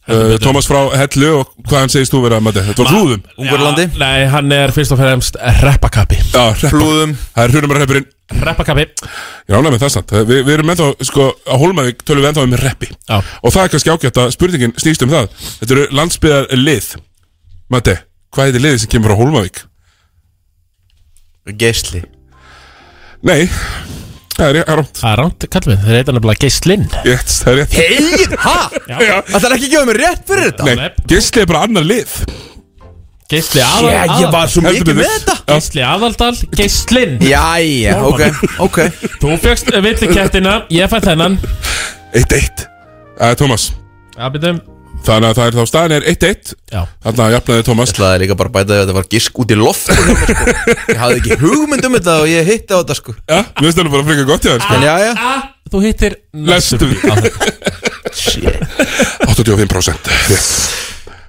Speaker 1: uh, Thomas frá Hellu og hvaðan segist þú vera Matti? Þetta var flúðum
Speaker 16: Ungverjalandi
Speaker 2: Já, Nei, hann er fyrst og fremst reppakappi
Speaker 1: Já, hreppa.
Speaker 16: Flúðum
Speaker 1: Það er hrunumar hreppurinn
Speaker 2: Reppakappi
Speaker 1: Ég ránaði með það samt Vi, Við erum ennþá, sko, á Hólmavík tölum við ennþá um reppi
Speaker 2: Já.
Speaker 1: Og það er kannski ágætt að spurningin snýst um það Þetta eru landsbyðar lið Matti, hvað heitir liðið sem kemur frá Hólmavík?
Speaker 16: Geisli
Speaker 1: Nei, það er, það er rámt
Speaker 2: Það er ránt, kallum við, þeir heita nefnilega Geislinn
Speaker 1: Rétt, það er rétt
Speaker 16: Hey, ha? Það er ekki að gefa mér rétt fyrir þetta
Speaker 1: Nei, Geisli er bara annar lið
Speaker 2: Geisli
Speaker 16: aðal- Ég- ég var svo mikið
Speaker 1: Heldur
Speaker 16: með
Speaker 1: betur.
Speaker 16: þetta.
Speaker 2: Geisli aðaldal, Geislinn
Speaker 16: Jæja, ok, ok
Speaker 2: Þú fjöxt villikettina, ég fætt þennan
Speaker 1: 1-1 uh, Thomas,
Speaker 2: Já, byrjum
Speaker 1: þannig að það er þá staðan er 1-1
Speaker 2: Já.
Speaker 1: Þannig að jafnaði Thomas
Speaker 16: Það er líka bara að bæta því að þetta var gisk út í loft sko. Ég hafði ekki hugmynd um þetta og ég hitti á þetta sko
Speaker 1: Já, við veistum bara frekar gott í það sko.
Speaker 16: En jæja
Speaker 2: Þú hittir
Speaker 1: Lestum við
Speaker 2: Ah.
Speaker 1: 85% Rétt.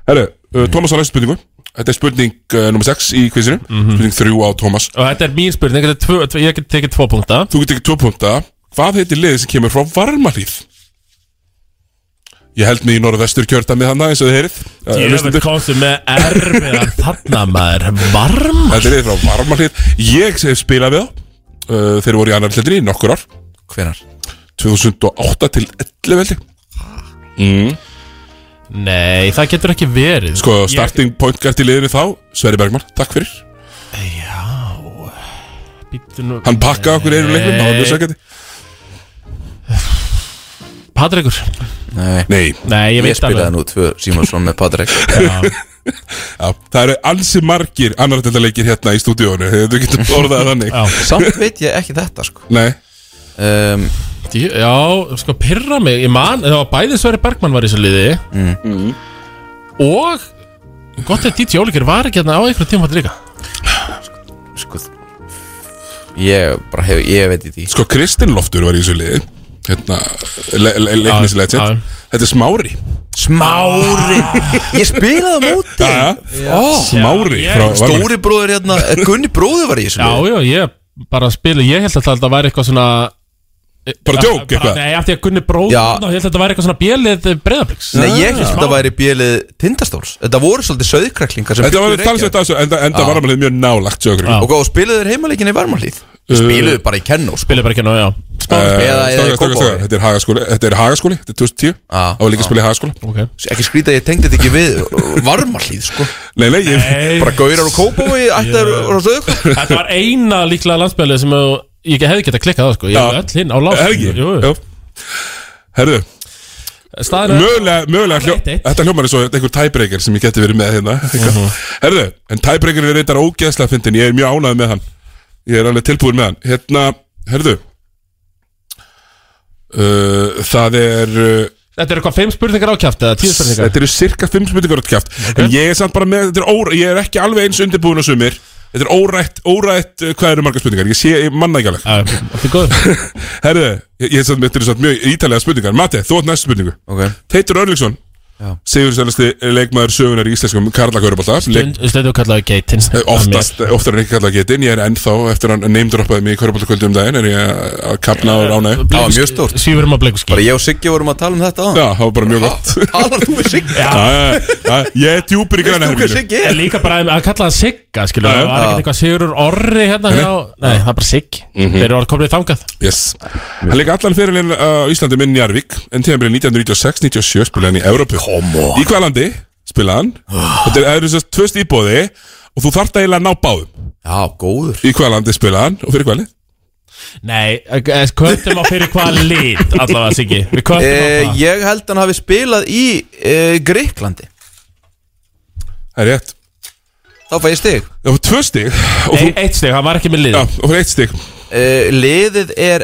Speaker 1: Herru, uh, Thomas á næstu spurningu Þetta er spurning uh, nummer 6 í kvizinu Spurning 3 á Thomas
Speaker 2: Og þetta er mín spurning, þetta er tvö, tvö, ég get tekið tvo punkta
Speaker 1: Þú getur ekki 2 punta Hvað heitir liðið sem kemur frá varmaríð? Ég held mig í norðvestur kjördæmi þannig eins og þið heyrið Eh,
Speaker 2: Ég
Speaker 1: hlustendur.
Speaker 2: veit komstu með erfiðan þarna maður Varm
Speaker 1: Þetta er liðið frá varmaríð Ég hef spilað við þá uh, Þeir voru í annar hlutinni í nokkur ár
Speaker 16: Hvenar?
Speaker 1: 2008 til 11 veldi mm.
Speaker 2: Nei, það getur ekki verið
Speaker 1: Sko, starting point gert í liðinu þá Sverri Bergman, takk fyrir
Speaker 2: Bíddu nú-
Speaker 1: Hann pakkaði okkur einu leiknum, það var mjög sækjandi
Speaker 2: Patrekur
Speaker 16: Nei,
Speaker 1: Nei,
Speaker 2: Nei, ég
Speaker 16: ég
Speaker 2: veit
Speaker 16: spilaði nú tvö Simonsson með Patrik
Speaker 1: já, það eru ansi margir annar þetta leikir hérna í stúdíónu Þú getur orðað það þannig
Speaker 2: Já.
Speaker 16: Samt veit ég ekki þetta sko
Speaker 1: Nei,
Speaker 16: um,
Speaker 2: Djú- Já, sko, pyrra mig Ég man, það var bæði Sverri Bergmann var í þessu liði
Speaker 16: Mm.
Speaker 2: Mm. Og Gott að Díti Jólíkir var ekki hérna á einhverjum tímafætt líka
Speaker 16: Sko Ég bara hef, ég veit í því
Speaker 1: sko, Kristinn Loftur var í þessu liði Hérna, le le
Speaker 2: Já, já.
Speaker 1: leiknislegend Þetta er Smári
Speaker 16: Smári Ég spilaði á móti
Speaker 1: Já, Oh,
Speaker 16: Ó,
Speaker 1: Smári
Speaker 2: Já,
Speaker 1: frá Varmar
Speaker 16: Stóri bróður hérna Gunni bróður var í þessu
Speaker 2: Já,
Speaker 16: liði.
Speaker 2: já, ég bara spila Ég held að þetta væri eitthvað svona
Speaker 16: Eh,
Speaker 1: Bara djók, eitthvað?
Speaker 2: Nei, af því að Gunni bróð
Speaker 16: Já.
Speaker 2: Ég held að þetta væri eitthvað svona eh, bjelið breyðabliks
Speaker 16: Nei, ég held að þetta væri bjelið tindastóls Þetta voru svolítið söðkraklingar sem
Speaker 1: Þetta
Speaker 16: bjuggu
Speaker 1: var
Speaker 16: í
Speaker 1: talsett
Speaker 2: um
Speaker 16: Reykjavík.
Speaker 1: af þessu, enda, enda varmalið mjög nálagt sjögur
Speaker 2: Já.
Speaker 16: Og hvað, og spiluðu þeir heimaleikin í varmarlíð?
Speaker 2: Uh,
Speaker 16: Spiluðu bara í kennó sko.
Speaker 2: Spilið bara ekki ná, já
Speaker 16: Eða- eða í
Speaker 1: Stóka, stóka,
Speaker 16: Kópavogi.
Speaker 1: stóka, þetta er hagaskóli Þetta er hagaskóli, þetta er 2010
Speaker 16: Já,
Speaker 1: Það var líka að spila í hagaskóla
Speaker 2: Ok
Speaker 16: Ekki skrýta að ég tengdi þetta ekki við varmarlíð sko.
Speaker 1: Nei, nei, ég
Speaker 2: Nei,
Speaker 16: Bara gaurar og kópói Ættar og söðkraklingar
Speaker 2: Þetta var eina líklega landsbjölið sem þú ég hefði gett að klikka það sko Ég
Speaker 1: Já.
Speaker 2: hefði öll hinn á lás
Speaker 1: Hefði ekki? Herðu
Speaker 2: Staðan er-
Speaker 1: Mögulega, mögulega hljó, Þetta hljómar er svo einhver tæbreykar sem ég geti verið með hérna
Speaker 2: Mhm.
Speaker 1: Herðu, en tæbreykarinn er reyndar ógeðslega fyndin Ég er mjög ánægð með hann Ég er alveg tilbúin með hann Hérna, herðu uh, Það er uh,
Speaker 2: Þetta eru hvað, fimm spurningar á kjaft eða tíu spurningar?
Speaker 1: Þetta eru cirka fimm spurningar á kjaft En ég er samt bara með, þetta er óra Ég er ekki alveg eins undirbúin á sumir Þetta er órætt, órætt, uh, hvað eru margar spurningar Ég sé, ég manna ekki alveg
Speaker 2: Þetta er góð
Speaker 1: Herðu, ég, ég er samt með þetta eru samt mjög ítalega spurningar Mati, þú átt næstu spurningu
Speaker 16: Ok.
Speaker 1: Teitur Örlingsson Sigurstælasti leikmaður sögunar í íslenskum karlakörbólta
Speaker 2: Stund- Stundu kallaðu geitins
Speaker 1: Oftast, eh, oftar en ekki kallað getinn, ég er ennþá eftir hann neymdroppaði mig í körbóltakvöldu um daginn er ég að kapna og rána
Speaker 2: Það var mjög stórt. Svífurum um á bleikuski
Speaker 1: Bara ég og Siggi vorum að tala um þetta á Já, það var bara mjög gott
Speaker 16: Talar þú við Siggi?
Speaker 1: Já, já, já, Ég er djúpur í græna
Speaker 2: En líka bara að kalla það sigga skilur
Speaker 1: Já, já.
Speaker 2: Það var ekkert
Speaker 1: Já.
Speaker 2: eitthvað Sigurur Orri hérna
Speaker 1: Nei.
Speaker 2: hjá Nei, það er bara sigg
Speaker 1: Mhm.
Speaker 2: Þeir eru orð komnið þangað
Speaker 1: Yes Hann leik allan fyrirlin á Íslandi minn Jarvík En tíðanbyrðin 1996-97 spilaði hann í Evrópu Komo Í hvað landi spilaði hann Þetta er- það eru þess að tvöst íbóði Og þú þarft eiginlega að ná báðum Já, góður Í hvað landi spilaði hann og fyrir hvað lið
Speaker 2: Nei, kvöldum á fyrir hvað lít Allavega siggi Við kvöldum á
Speaker 16: Eh,
Speaker 2: það
Speaker 16: Ég held hann hafi spilað í eh, Greiklandi
Speaker 1: Það er rétt
Speaker 16: Þá fæ ég stig
Speaker 1: Já, tvö stig
Speaker 2: Nei, eitt stig, hann var ekki með lið
Speaker 1: Já, og fyrir eitt stig
Speaker 16: Eh, Liðið er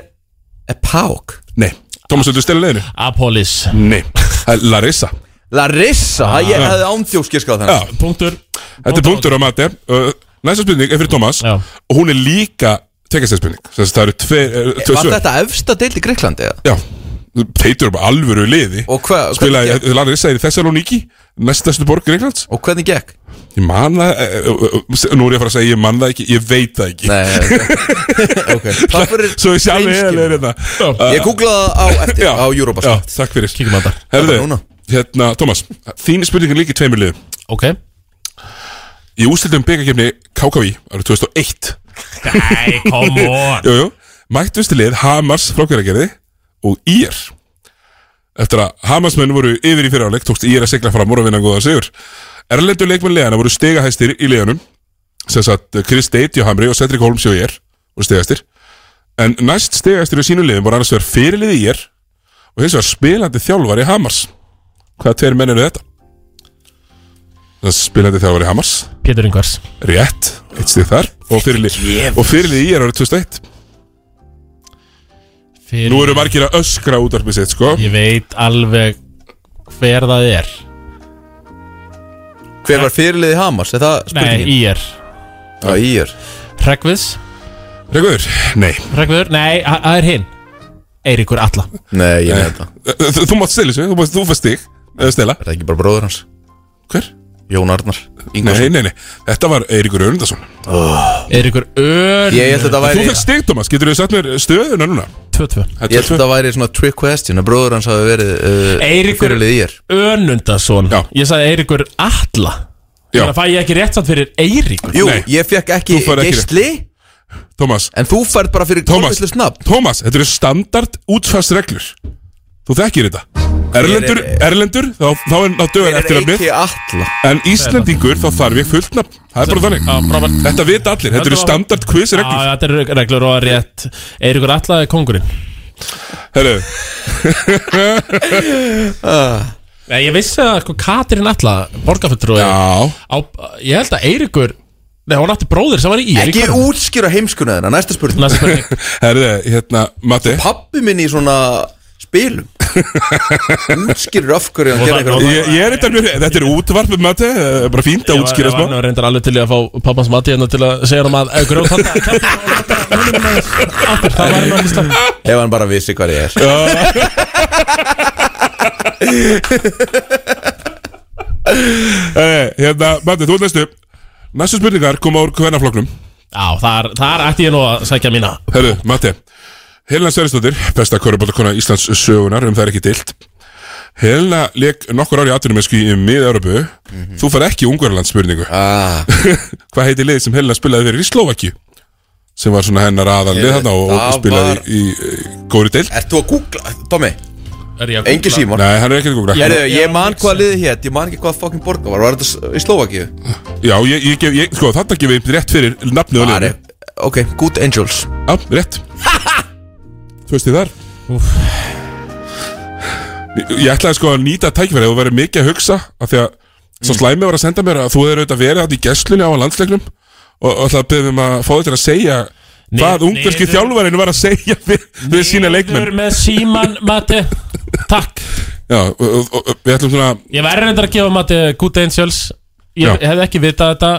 Speaker 16: Epauk
Speaker 1: Nei, Thomas, viltu stela leiðinu?
Speaker 2: Apolis
Speaker 1: Nei, það er Larissa
Speaker 16: Larissa, ha, ég hefði ándjóskískað þannig
Speaker 1: Ah. Já,
Speaker 2: punktur
Speaker 1: Þetta er punktur á mati Uh, Næsta spurning er fyrir Thomas Og hún er líka tekastæðspurning Það eru tve, uh, tvö
Speaker 16: Var
Speaker 1: svör.
Speaker 16: þetta efsta deild í Greiklandi? eða?
Speaker 1: Já Teitur er bara alvöru í liði
Speaker 16: Og hvað
Speaker 1: Spilaði, Larri sagði Thessaloniki Næstastu borg Greiklands
Speaker 16: Og hvernig gekk?
Speaker 1: Ég man það eh, eh, eh, Nú er ég að fara að segja Ég man það ekki Ég veit það ekki Nei
Speaker 16: Takk fyrir
Speaker 1: Svo ég sé alveg eða
Speaker 16: hreinskilni.
Speaker 1: leir þetta
Speaker 16: Ég googlaði það á eftir
Speaker 1: hérna. Já.
Speaker 16: á Europass
Speaker 1: Já, takk fyrir
Speaker 2: Kíkjum að það
Speaker 1: Herðu, hérna, Thomas Þín spurningin líka í tveimur liðum
Speaker 2: Ok
Speaker 1: Í ústildum byggakefni KKV árið 2001
Speaker 2: Nei, come on.
Speaker 1: Jú, jú Mættust í lið Hamars frá hveragerði og Ír Eftir að Hamarsmenn voru yfir í fyriráleik tókst Ír að sigla fram úr að vinna góðan sigur Erlendur leikmenn liðana voru stegahæstir í liðanum sem satt Chris Date hjá Hamri og Cedric Holmes hjá Ír voru stegahæstir En næst stegahæstir í sínum liðum voru annars verið fyrirlið Ír og hins vegar spilandi þjálfari Hamars Hvaða tveir menn eru þetta? Það er spilandi þjálfari Hamars
Speaker 2: Pétur Ingvars
Speaker 1: Rétt, eitt stig þar Og fyrirlið og fyrirlið í er árið 2001
Speaker 2: Fyrir-
Speaker 1: Nú eru margir að öskra útarpið sitt sko
Speaker 2: Ég veit alveg hver það er
Speaker 16: Hver var fyrirliði Hamas? Er það
Speaker 2: Nei,
Speaker 16: spurningin?
Speaker 2: ír
Speaker 16: Já, ír
Speaker 2: Hregviðs
Speaker 1: Hregviður, nei
Speaker 2: Hregviður, nei, það það er hinn Eiríkur Alla
Speaker 16: Nei, ég nefnda
Speaker 1: Þú þú mátt stela þessu, þú mátt- þú Eh, fæst þig eða stela
Speaker 16: Er það ekki bara bróður hans?
Speaker 1: Hver?
Speaker 16: Jón Arnar
Speaker 1: Nei, nei, nei, þetta var Eiríkur Örnundarsson oh.
Speaker 2: Eiríkur Örn
Speaker 16: Ég held að þetta væri-
Speaker 1: Þú fæst stig, Thomas, getur þú sagt mér stöðuna núna?
Speaker 2: 2-2
Speaker 1: Þetta
Speaker 16: Ég held að það væri svona trick question að bróður hans hafi verið uh,
Speaker 2: Eiríkur
Speaker 16: fyrirliði ír
Speaker 2: Önundason Já. Ég sagði Eiríkur Alla
Speaker 1: Já.
Speaker 2: Þannig að fæ ég ekki rétt samt fyrir Eiríkur
Speaker 16: Jú, ég fekk ekki
Speaker 1: Þú færð ekki
Speaker 16: geisli
Speaker 1: Thomas
Speaker 16: En þú færð bara fyrir
Speaker 1: Thomas,
Speaker 16: kolvislu snabb
Speaker 1: Thomas, þetta eru standard útfarsreglur Þú þekkir þetta Erlendur,
Speaker 16: Hver
Speaker 1: Erlendur, þá, þá er þá
Speaker 16: Hver
Speaker 1: dögur
Speaker 16: er
Speaker 1: eftir
Speaker 16: ekki alla?
Speaker 1: En Íslendingur, þá þarf ég fullt nafn Það er bara þannig Þetta vita allir, þetta eru standard quiz
Speaker 2: Mm. Já,
Speaker 1: reglur
Speaker 2: þetta eru reglur og rétt Eiríkur Alla er kongurinn
Speaker 1: Herru
Speaker 2: Nei, ég vissi að sko, Katrin Alla, borgarfulltrúi á, Ég held að Eiríkur Nei, hún átti bróðir sem var í
Speaker 16: Ekki útskýra heimskunaðina, næsta spurning
Speaker 2: Næsta spurning
Speaker 1: Herðu, hérna, Matti
Speaker 16: Pappi minn í svona spilum Útskýrir af hverju hann gerði eitthvað
Speaker 1: Ég, ég er eitthvað mjög, þetta er útvarp með Matti eh, Bara fínt að útskýra
Speaker 2: Ég var
Speaker 1: smá
Speaker 2: nú reyndar alveg til í að fá pappans mati hérna til að segja hann að aukur og þetta
Speaker 16: Ef hann bara vissi hvað ég er
Speaker 1: Eh, Hérna, Matti, þú ert næstu Næstu spurningar koma úr hvernafloknum
Speaker 2: Já, þar, þar ætti ég nú að sækja mína
Speaker 1: Herru, Matti Helena Sverrisdóttir, besta körubaldakona Íslands sögunar um það er ekki deilt Helena leik nokkur ári atvinnumennsku í mið-Európu
Speaker 2: Mhm.
Speaker 1: Þú far ekki Ungverland spurningu ah. Hvað heitir liðið sem Helena spilaði fyrir í Slovakju? Sem var svona hennar aðal lið þarna og, og
Speaker 16: Það
Speaker 1: spilaði
Speaker 16: var-
Speaker 1: í, í, í góri deilt
Speaker 16: Ert þú að googla, Tommy?
Speaker 2: Er ég að
Speaker 16: Engi
Speaker 2: googla?
Speaker 16: símar
Speaker 1: Nei, hann er ekki að googla
Speaker 16: Ég, ég man hvað liðið hétt, ég man ekki hvað fokkin borga var Var þetta s- í Slovakíu?
Speaker 1: Já, ég, ég, gef- ég, sko, þarna gefið rétt fyrir nafnið á liðinu
Speaker 16: Ah, ok, Good Angels
Speaker 1: Já, rétt Þú veist því þar
Speaker 2: Úf.
Speaker 1: Ég ég ætlaði sko að nýta tækifæri og verið mikið að hugsa af því að svo
Speaker 16: Mm.
Speaker 1: slæmi var að senda mér að þú er auðvitað verið átt í gesslunni á landsleiknum og, og ætlaði að byrja um að fá þetta að segja hvað ungarski
Speaker 2: niður-
Speaker 1: þjálfarinn var að segja við, við sína leikmenn
Speaker 2: Leikmenn með síman Mati Takk
Speaker 1: Já, og, og, og, og við ætlum svona
Speaker 2: Ég væri reyndar að gefa Mati Good Angels Ég
Speaker 1: Já.
Speaker 2: hefði ekki vitað þetta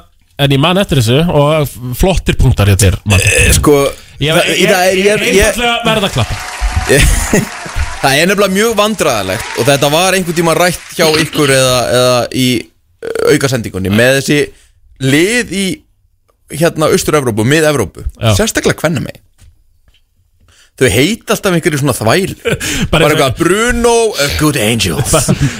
Speaker 2: En ég man eftir þessu Og flottir punktar hjá þér Matti
Speaker 16: Sko
Speaker 2: Ég
Speaker 16: það-
Speaker 2: ég-
Speaker 16: það er-
Speaker 2: ég-
Speaker 16: ég-
Speaker 2: ég-
Speaker 16: ég-
Speaker 2: einfaldlega verð að klappa
Speaker 16: Það er nefnilega mjög vandræðalegt og þetta var einhvern tíma rætt hjá ykkur eða, eða í uh, aukasendingunni með þessi lið í hérna Austur-Evrópu, mið-Evrópu
Speaker 2: Já.
Speaker 16: sérstaklega hvenna megin þau heita alltaf einhverju svona þvæl bara eitthvað Bruno uh, Good Angels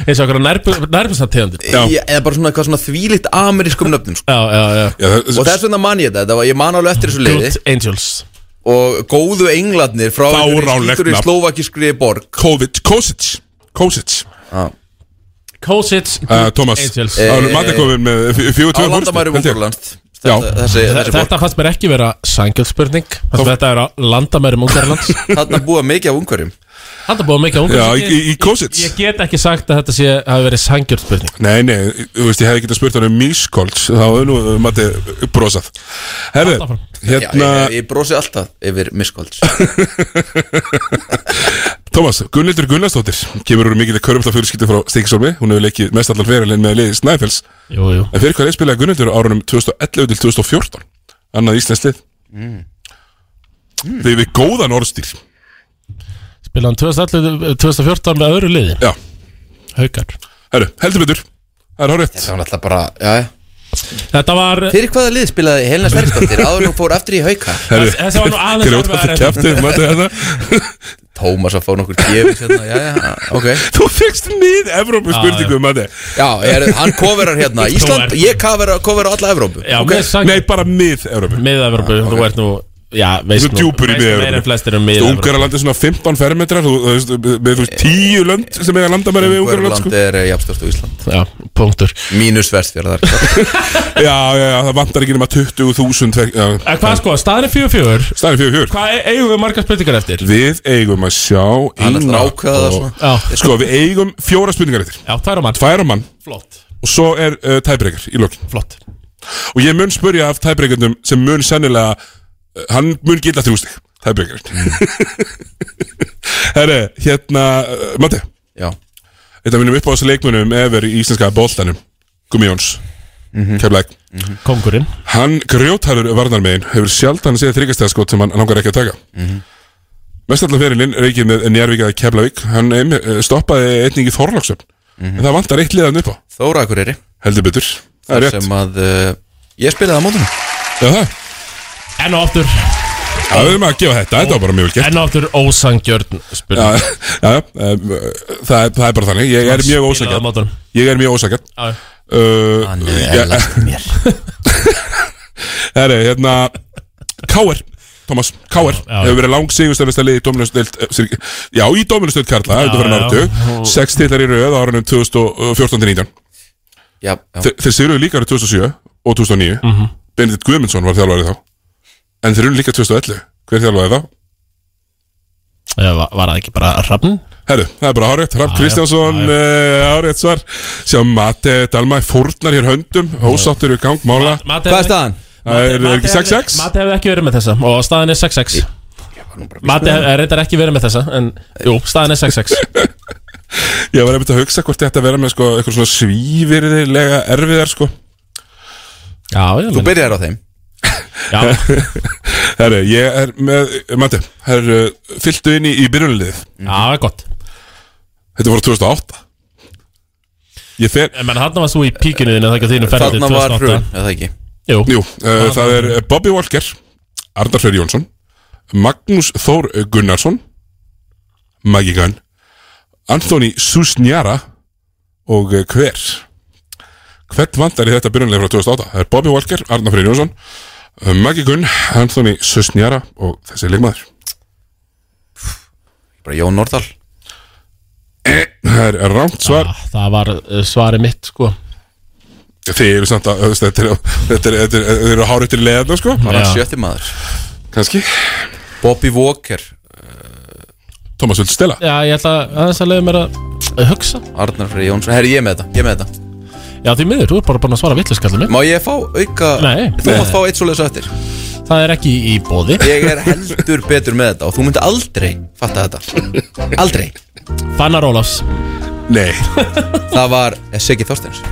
Speaker 2: eins og okkur nærbustategundir
Speaker 16: Ég- eða bara svona eitthvað svona þvílitt amerískum nöfnum sko.
Speaker 2: já, já, já.
Speaker 16: og þess vegna man ég þetta, þetta var, ég man alveg eftir þessu liði
Speaker 2: Good Angels
Speaker 16: og góðu englarnir frá
Speaker 1: Fáránlegt
Speaker 16: skítur í
Speaker 1: nafn.
Speaker 16: slóvakískri borg
Speaker 1: COVID, Kosic Kosic
Speaker 2: Kosic
Speaker 1: Uh, Thomas,
Speaker 2: Mm, Angels.
Speaker 1: það var Matti komin með fjö- fjögur tvö
Speaker 16: Eh, Á landamæri Ungurland þessi, þessi borg
Speaker 2: Þetta fannst mér ekki vera sængjöldspurning Þetta er á landamærum Ungarlands
Speaker 16: Þarna búa mikið af ungverjum
Speaker 2: Þetta búið mikið á Ungarlands
Speaker 1: Já, í- í- í Kosic.
Speaker 2: Ég get ekki sagt að þetta sé hafi verið sængjöldspurning
Speaker 1: Nei, nei, þú veist, ég hefði getað spurt hann um mískóls þá hefði nú uh, Matti brosað Herðu, hérna
Speaker 16: Já, ég, ég brosi alltaf yfir miskólds
Speaker 1: Tómas, Gunnildur Gunnarsdóttir kemur úr mikilvæg körfla fjölskyldu frá Stíkisólmi hún hefur leikið mest allan ferilinn með liði Snæfells
Speaker 2: Jú, jú
Speaker 1: en fyrir hvað leið spilaði Gunnildur árunum 2011 til 2014 annað íslenslið mm. þegar við góðan orðstýr
Speaker 2: Spilaði hann 2011 2014 með öðru liði
Speaker 1: Já
Speaker 2: Haukar
Speaker 1: Herru, heldur betur, það er horrið Þetta
Speaker 16: var alltaf bara, já
Speaker 2: Þetta var
Speaker 16: Fyrir hvaða lið spilaði Helena Sverrisdóttir áður hún fór aftur í hauka
Speaker 1: Herru, grjóthaldur kjaftur, Matti, hérna.
Speaker 16: Tómas að fá nokkur gefis hérna, já, já, ok
Speaker 1: Þú fegst mið Evrópu
Speaker 16: Já, já.
Speaker 1: spurningu, Matti
Speaker 16: Já, er, hann coverar hérna Ísland, ég cover, cover á alla Evrópu
Speaker 2: Já,
Speaker 16: Ok.
Speaker 2: okay.
Speaker 1: Nei, bara mið-Evrópu
Speaker 2: Mið-Evrópu, þú ert nú Já, veist
Speaker 1: Þú ert djúpur í
Speaker 2: Veist meira en flestir um
Speaker 1: miðjörn
Speaker 2: mið-Evrópu
Speaker 1: Ungarland er svona 15 fermetrar Þú þú veist, með þú veist, 10 lönd sem eiga landamæri við Ungarland sko.
Speaker 16: Ungarland er eh, jafnstort á Ísland
Speaker 2: Já, punktur
Speaker 16: Mínus vestfjörðar
Speaker 1: Já, já, já, það vantar ekki nema 20.000 tver- já.
Speaker 2: En hvað sko, staðan er 4-4
Speaker 1: Staðan er 4-4
Speaker 2: Hvað e- eigum við margar spurningar eftir?
Speaker 1: Við eigum að sjá
Speaker 2: Hann ætlar
Speaker 1: eina
Speaker 2: að ákveða það
Speaker 1: og-
Speaker 2: svona. Já.
Speaker 1: Sko, við eigum fjóra spurningar eftir
Speaker 2: Já, tvær á mann
Speaker 1: Tvær á mann
Speaker 2: Flott
Speaker 1: Og svo er uh, tæbreykar í lokin
Speaker 2: Flott
Speaker 1: Og ég mun spurja af tæbreykarnum sem mun sennilega uh, Hann mun geta þrjústig Tæbreykar Herre, hérna, uh, Matti
Speaker 16: Já
Speaker 1: Þetta minnum upp á þessu leikmunum Efer í íslenska bóltanum Gumi Jóns mm -hmm. Keflæk
Speaker 2: Kongurinn
Speaker 1: Hann grjótarur varnarmegin Hefur sjaldan séð þryggastæðaskot sem hann langar ekki að taka Mestallan fyrirlinn reykið með Njárvík að Keflavík Hann em, eh, stoppaði einning í Þorlóksöfn En það vantar eitt liðan upp á
Speaker 16: Þóra Akureyri
Speaker 1: Heldur betur, það er
Speaker 16: Þar
Speaker 1: rétt
Speaker 16: sem að uh, ég spilaði á mótunum
Speaker 1: Já, það
Speaker 2: Enn og aftur
Speaker 1: Það verðum að gefa þetta, þetta var bara mjög vel gert
Speaker 2: Enn og aftur ósangjörn
Speaker 1: Já,
Speaker 2: spurning
Speaker 1: já, já, um, það, er, það er bara þannig Ég er mjög
Speaker 2: Spilaði á
Speaker 1: ósakjart
Speaker 2: mótunum.
Speaker 1: Ég er mjög ósakjart
Speaker 2: Já.
Speaker 1: uh,
Speaker 2: Hann
Speaker 16: er
Speaker 1: ja-
Speaker 16: læst mér.
Speaker 1: Herri, hérna K.R. Thomas, K.R.
Speaker 2: Já.
Speaker 1: hefur verið lang sigurstæðasta lið í Dominustöld Já, í Dominustöld Karla,
Speaker 2: Já,
Speaker 1: þetta fyrir
Speaker 2: já. Og-
Speaker 1: náttúr Sex titlar í röð á árunum 2014-19
Speaker 16: Já, já.
Speaker 1: Þe- Þeir sigurðu líka árið 2007 og 2009
Speaker 2: Mhm.
Speaker 1: Benedikt Guðmundsson var þjálfari þá En þeir eru líka 2011 Hver þjálfaði þá?
Speaker 2: Eða var- Var það ekki bara rafn?
Speaker 1: Herru, það er bara hárétt, Rapp Kristjánsson hárétt svar Sjá Mate Dalmæ fórnar hér höndum Hósáttur í gang, mála
Speaker 2: Mati hefði-
Speaker 1: Það er eh,
Speaker 2: Mati
Speaker 1: er ekki
Speaker 2: hefði-
Speaker 1: 6-6
Speaker 2: Mati hefði ekki verið með þessa Og staðan er 6-6 Mati hefði reyndar ekki verið með þessa En jú, staðan er 6-6
Speaker 1: Ég var einmitt að hugsa hvort þetta vera með sko, eitthvað svona svívirðilega erfiðar sko.
Speaker 2: Já, ég
Speaker 16: Þú byrjar á þeim
Speaker 2: Já
Speaker 1: Herru, ég er með Mate, herru, fylltu inn í, í byrjunlið
Speaker 2: Já, gott
Speaker 1: Þetta voru 2008 Ég fer
Speaker 2: En menn hann varst þú í píkinu þínu Þegar þínu ferði
Speaker 16: Þarna var hrun, eða ekki
Speaker 2: Jú,
Speaker 1: Jú, uh, það er Bobby Walker Arndar Freyr Jónsson Magnús Þór Gunnarsson Maggie Gunn Anthony Susnjara og eh, hver hvert vantar í þetta byrjunlega frá 2008 það er Bobby Walker, Arndar Freyr Jónsson eh, Maggie Gunn, Anthony Susnjara og þessi leikmaður
Speaker 16: Bara Jón Nordahl
Speaker 1: það er rámt svar
Speaker 2: eh, Það var uh, svarið mitt sko
Speaker 1: Þið eru samt að þú veist, Þetta eru- þetta eru- þetta eru- þetta eru háréttir leðna sko
Speaker 16: Hann er sjötti maður
Speaker 1: Kanski
Speaker 16: Bobby Walker
Speaker 1: Thomas Vild Stella
Speaker 2: Já, ég ætla að aðeins að leiða mér að að hugsa
Speaker 16: Arnar Freyr Jónsson, herri ég er með þetta, ég er með þetta
Speaker 2: Já, því miður, þú er bara búin að svara vitlega skallum
Speaker 16: Má ég fá auka
Speaker 2: Nei.
Speaker 16: Þú mátt fá eitt svoleiðis á eftir
Speaker 2: Það er ekki í bóði
Speaker 16: Ég er heldur betur með þetta og þú myndi aldrei fatta þetta Aldrei
Speaker 2: Fannar Ólafs
Speaker 1: Nei
Speaker 16: Það var eh, Siggi Þorsteins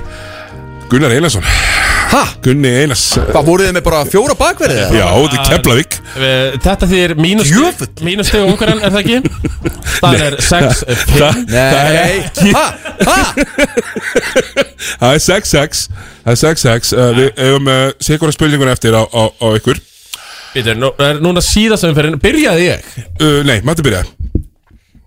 Speaker 1: Gunnar Einarsson
Speaker 16: Ha?
Speaker 1: Gunni Einars
Speaker 16: Hvað voruð þið með bara fjóra bakverði?
Speaker 1: Já, þetta er Keflavík
Speaker 2: Eh, Þetta þýr mínusteg Mínusteg og ungarann, er það ekki? Það er 6
Speaker 1: Nei
Speaker 16: Ha? Ha?
Speaker 1: Það er 6-6 Það er 6-6 uh, Við hefum uh, sikura spurningun eftir á, á, á ykkur
Speaker 2: Býtur, nú, er núna síðast umferðin Byrjaði ég?
Speaker 1: Uh, nei, maður byrjaði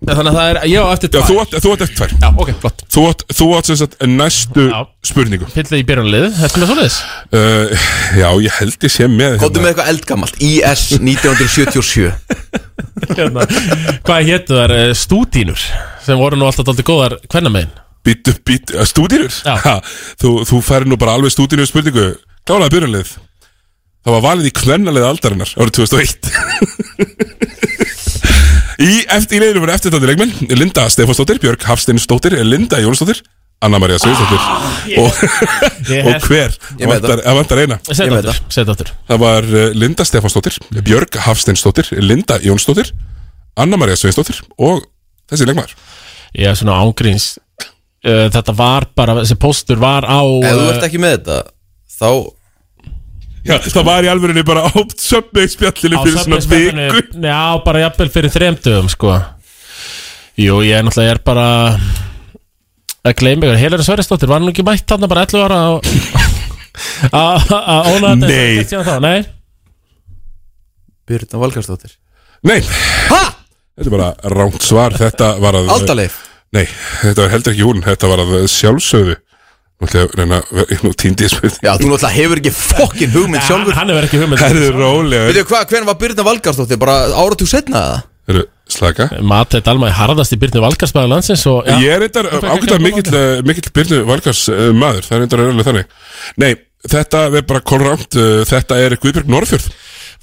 Speaker 2: Þannig að það er, ég á eftir
Speaker 1: Já, þú átt, þú átt eftir tvær
Speaker 2: Já, ok, flott
Speaker 1: Þú átt, þú átt sem sagt næstu spurningu
Speaker 2: Pillið í byrjanlið, ertu með svoleiðis?
Speaker 1: Uh, já, ég held ég sé með hérna.
Speaker 16: Kóttu með eitthvað eldgamalt IS 1977
Speaker 2: hérna, hvað héttu þar eh, stúdínur sem voru nú alltaf daldi góðar hvernig megin
Speaker 1: Býtu, býtu, uh, stúdínur ha, Þú, þú færi nú bara alveg stúdínur spurningu Klálaði byrjunlið Það var valið í kvennalið aldarinnar árið 2001 Í eftir í leiðinu voru eftirtaldi leikmenn Linda Stefánsdóttir, Björg Hafsteinsdóttir Linda Jónsdóttir, Anna Maria Sveisdóttir og,
Speaker 2: Ég
Speaker 1: og
Speaker 2: hef-
Speaker 1: hver
Speaker 2: Ég með
Speaker 1: vantar,
Speaker 2: það.
Speaker 1: það vantar eina
Speaker 2: Ég Settu með aftur, það. settu aftur.
Speaker 1: Það var uh, Linda Stefánsdóttir, Björg Hafsteinsdóttir Linda Jónsdóttir, Anna Maria Sveisdóttir og þessi leikmaður
Speaker 2: ég er svona ángríns uh, þetta var bara, þessi póstur var á eh,
Speaker 16: Ef þú ert ekki með þetta Þá
Speaker 1: Já, það var í alvörinu bara á sömmi spjallinu fyrir svona viku
Speaker 2: já, bara jafnvel fyrir þremdöfum sko jú, ég er náttúrulega ég er bara að gleyma ykkur, Helena Sverrisdóttir var nú ekki mætt þarna bara 11 ára á- að að óna þetta
Speaker 1: Nei.
Speaker 2: Ekkert síðan þá, nei
Speaker 16: Byrna Valgarsdóttir
Speaker 1: Nei Þetta er bara rámt svar Þetta var að
Speaker 16: Aldaleif
Speaker 1: Nei, þetta var heldur ekki hún Þetta var að sjálfsögðu Nú ætla ég að reyna að vera- Nú týndi ég spurning
Speaker 16: Já, þú náttúrulega hefur ekki fokkin hugmynd sjálfur
Speaker 2: Hann hefur ekki hugmynd
Speaker 1: Herðu, rólega.
Speaker 16: Veitu hvað, hvernig var Byrna Valgarsdóttir? Bara áratug setna eða?
Speaker 1: Herru, slaka
Speaker 2: Matið Dalma í harðast í byrnu valkarsmaður landsins og, já,
Speaker 1: Ég er reyndar
Speaker 2: Hún fekk
Speaker 1: ákveðar
Speaker 2: ekki
Speaker 1: mikill, eh, mikill byrnu valkars uh, maður Það er reyndar reyndar þannig Nei, þetta er bara kolrámt uh, Þetta er Guðbjörg Norrfjörð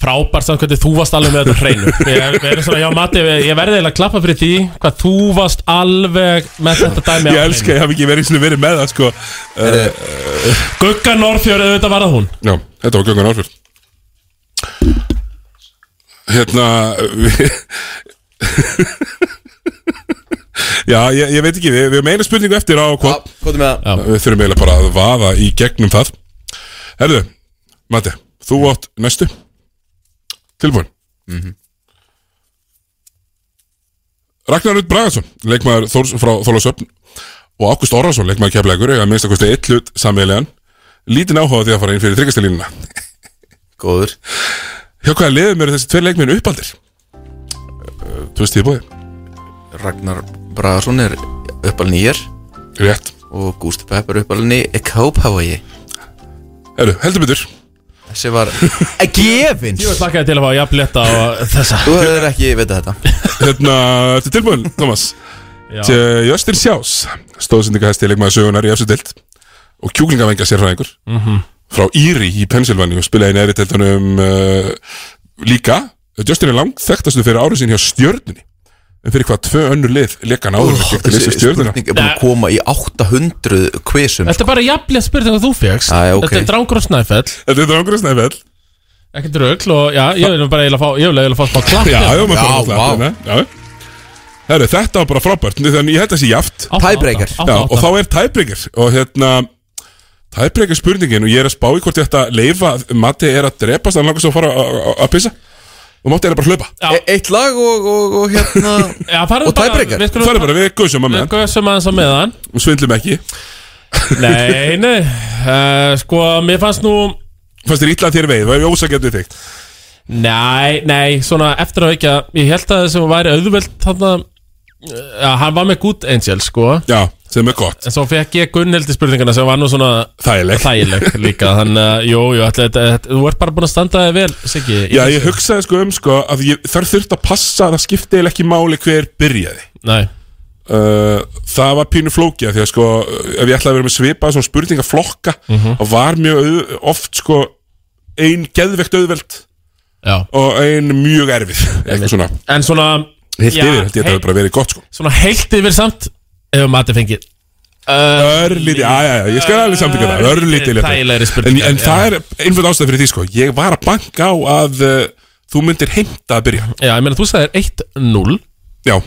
Speaker 2: frábært samt hvernig þú varst alveg með þetta á hreinu Ég- við erum svona, já Matti, við- ég verði eiginlega að klappa fyrir því hvað þú varst alveg með þetta dæmi á
Speaker 1: Ég
Speaker 2: hreinu.
Speaker 1: elska, ég haf ekki verið, svona verið með það sko uh,
Speaker 2: Gugga Norrfjörð, auðvitað var það hún
Speaker 1: Já, þetta var Gugga Norrfjörð Hérna við- Já, ég, ég veit ekki, við, við erum eina spurningu eftir á
Speaker 16: Sko.
Speaker 1: hvað
Speaker 16: Hvað er með
Speaker 1: það? Við þurfum eiginlega bara að vaða í gegnum það Herðu, Matti, þú átt næstu Tilbúin Ragnar Rutt Bragason, leikmaður Þórs frá Þólasöfn og Ágúst Orrason, leikmaður keflegur eða minnst að kosti eitt hlut samveglegan lítinn áhuga á því að fara inn fyrir þryggastilínuna
Speaker 16: Góður
Speaker 1: Hjá hvaða liðum eru þessi tveir leikmenn uppaldir? Uh, Þú veist því búið
Speaker 16: Ragnar Bragarsson er uppalinn í er
Speaker 1: Rétt
Speaker 16: Og Gústi Pepp er uppalinn í Kópavogi
Speaker 1: Herru, heldur betur
Speaker 16: Þessi var Gefins
Speaker 2: Ég var slakkaði til að fá jafnletta á þessa
Speaker 16: Þú hefur ekki vitað þetta
Speaker 1: Hérna, ertu tilbúin, Thomas?
Speaker 2: Já.
Speaker 1: Tjö, Justin Sjás stóðsendingahæsti leikmaður sögunar í efsutild og kjúklingavengja sérfræðingur
Speaker 2: Mhm.
Speaker 1: frá Íri í Pennsylvania og spilaði í neðri teltunum uh, líka Justin er langt þekktastu fyrir árið sín hjá stjörnunni en fyrir hvað tvö önnur lið leka hann áður
Speaker 16: Úff,
Speaker 1: oh, gegn lið
Speaker 16: þessi
Speaker 1: stjörnuna
Speaker 16: spurning er búin að koma í 800 kvisum
Speaker 2: Þetta er bara jafnlega spurning að þú fegst
Speaker 16: Æ, ok.
Speaker 2: Þetta er drangur og snæfell
Speaker 1: Þetta er drangur og snæfell
Speaker 2: Ekkert rögl og já, ég vil bara eiginlega fá Ég vil eiginlega fá smá klapp
Speaker 1: Já, já, maður bara alltaf hérna, já. Herru, þetta var bara frábært Þannig ég held að sé jaft
Speaker 16: Tiebreaker. átta,
Speaker 1: Já,
Speaker 16: átta.
Speaker 1: og þá er tiebreaker Og hérna Tiebreaker spurningin Og ég er að spá í hvort ég ætti að leifa Matti er að drepast Hann langar svo að fara að- að- að pissa Og Matti er að bara hlaupa
Speaker 16: E- Eitt lag og, og, og hérna
Speaker 2: Já, farðu
Speaker 16: Og tiebreaker.
Speaker 2: við skulum-
Speaker 1: Farðu bara, við gusum að meðan.
Speaker 2: Við gauðsum aðeins á meðan
Speaker 1: Og svindlum ekki
Speaker 2: Nei, nei uh, Sko, mér fannst nú
Speaker 1: Fannst þér illa að þér veið Það er ósakefnið þig
Speaker 2: Nei, nei, svona eftir að vekja Ég held að það sem væri auðvöld þarna Eh, Já, hann var með Good Angel, sko
Speaker 1: Já, sem er gott
Speaker 2: En svo fekk ég Gunnhildi spurningana sem var nú svona
Speaker 1: Þægileg
Speaker 2: Þægileg líka, þannig að, jú, jú, ætla, þetta, þetta, þú ert bara búin að standa þig vel, Siggi í
Speaker 1: Já, ég
Speaker 2: þessu.
Speaker 1: hugsaði sko um sko Að ég, þar þurft að passa að Það skipti eiginlega ekki máli hver byrjaði
Speaker 2: Nei
Speaker 1: Uh, það var pínu flókið af því að sko, ef ég ætlaði að vera með svipað svona spurningaflokka
Speaker 2: Mhm.
Speaker 1: þá var mjög auð, oft sko ein geðvegt auðveld
Speaker 2: Já.
Speaker 1: og ein mjög erfið eitthvað svona
Speaker 2: En svona
Speaker 1: Heilt
Speaker 2: já,
Speaker 1: yfir, held ég að það
Speaker 2: heilt-
Speaker 1: hefur bara verið gott sko
Speaker 2: Svona heilt yfir samt Ef maður fengið
Speaker 1: Örlítið, já, já, já, ég skal alveg samtíka það Örlítið léttara.
Speaker 2: Þægilegri
Speaker 1: En,
Speaker 2: spurningar,
Speaker 1: en
Speaker 2: já.
Speaker 1: það er einföld ástæð fyrir því sko Ég var að banka á að uh, þú myndir heimta að byrja
Speaker 2: Já, ég meina þú sagðir 1-0
Speaker 1: Já,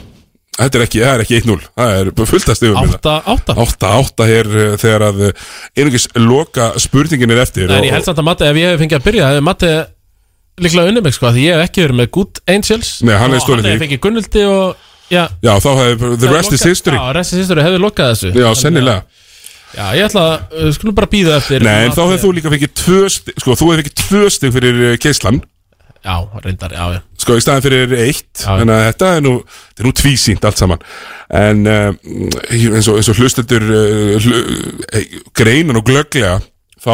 Speaker 1: þetta er ekki, það er ekki 1-0 Það er fullt að stegum
Speaker 2: 8-8
Speaker 1: 8-8 hér uh, þegar að uh, einungis loka spurningin er eftir
Speaker 2: En ég held samt að Matti, ef ég hef fengið að byrja Hefði Matti líklega unnið mig sko Því ég hef ekki verið með Good Angels
Speaker 1: Nei, hann hefði
Speaker 2: Og
Speaker 1: stolið
Speaker 2: Hann
Speaker 1: því.
Speaker 2: hefði fengið Gunnildi og Já,
Speaker 1: Já, þá hefði, the
Speaker 2: hefði
Speaker 1: rest is
Speaker 2: lokað-
Speaker 1: history
Speaker 2: Já, rest is history hefði lokað þessu
Speaker 1: Já,
Speaker 2: Þannig að-
Speaker 1: sennilega.
Speaker 2: Já, ég ætla að, uh, skulum bara býða eftir
Speaker 1: Nei, en þá hefði þú líka fengið tvö stig Sko, þú hefði fengið tvö stig fyrir uh, keislan
Speaker 2: Já, reyndar, já, já
Speaker 1: Sko, í staðin fyrir eitt Þannig að þetta er nú, þetta er nú tvísýnt allt saman En uh, eins og, eins og hlustendur uh, hlu, eh, Greinan og glögglega Þá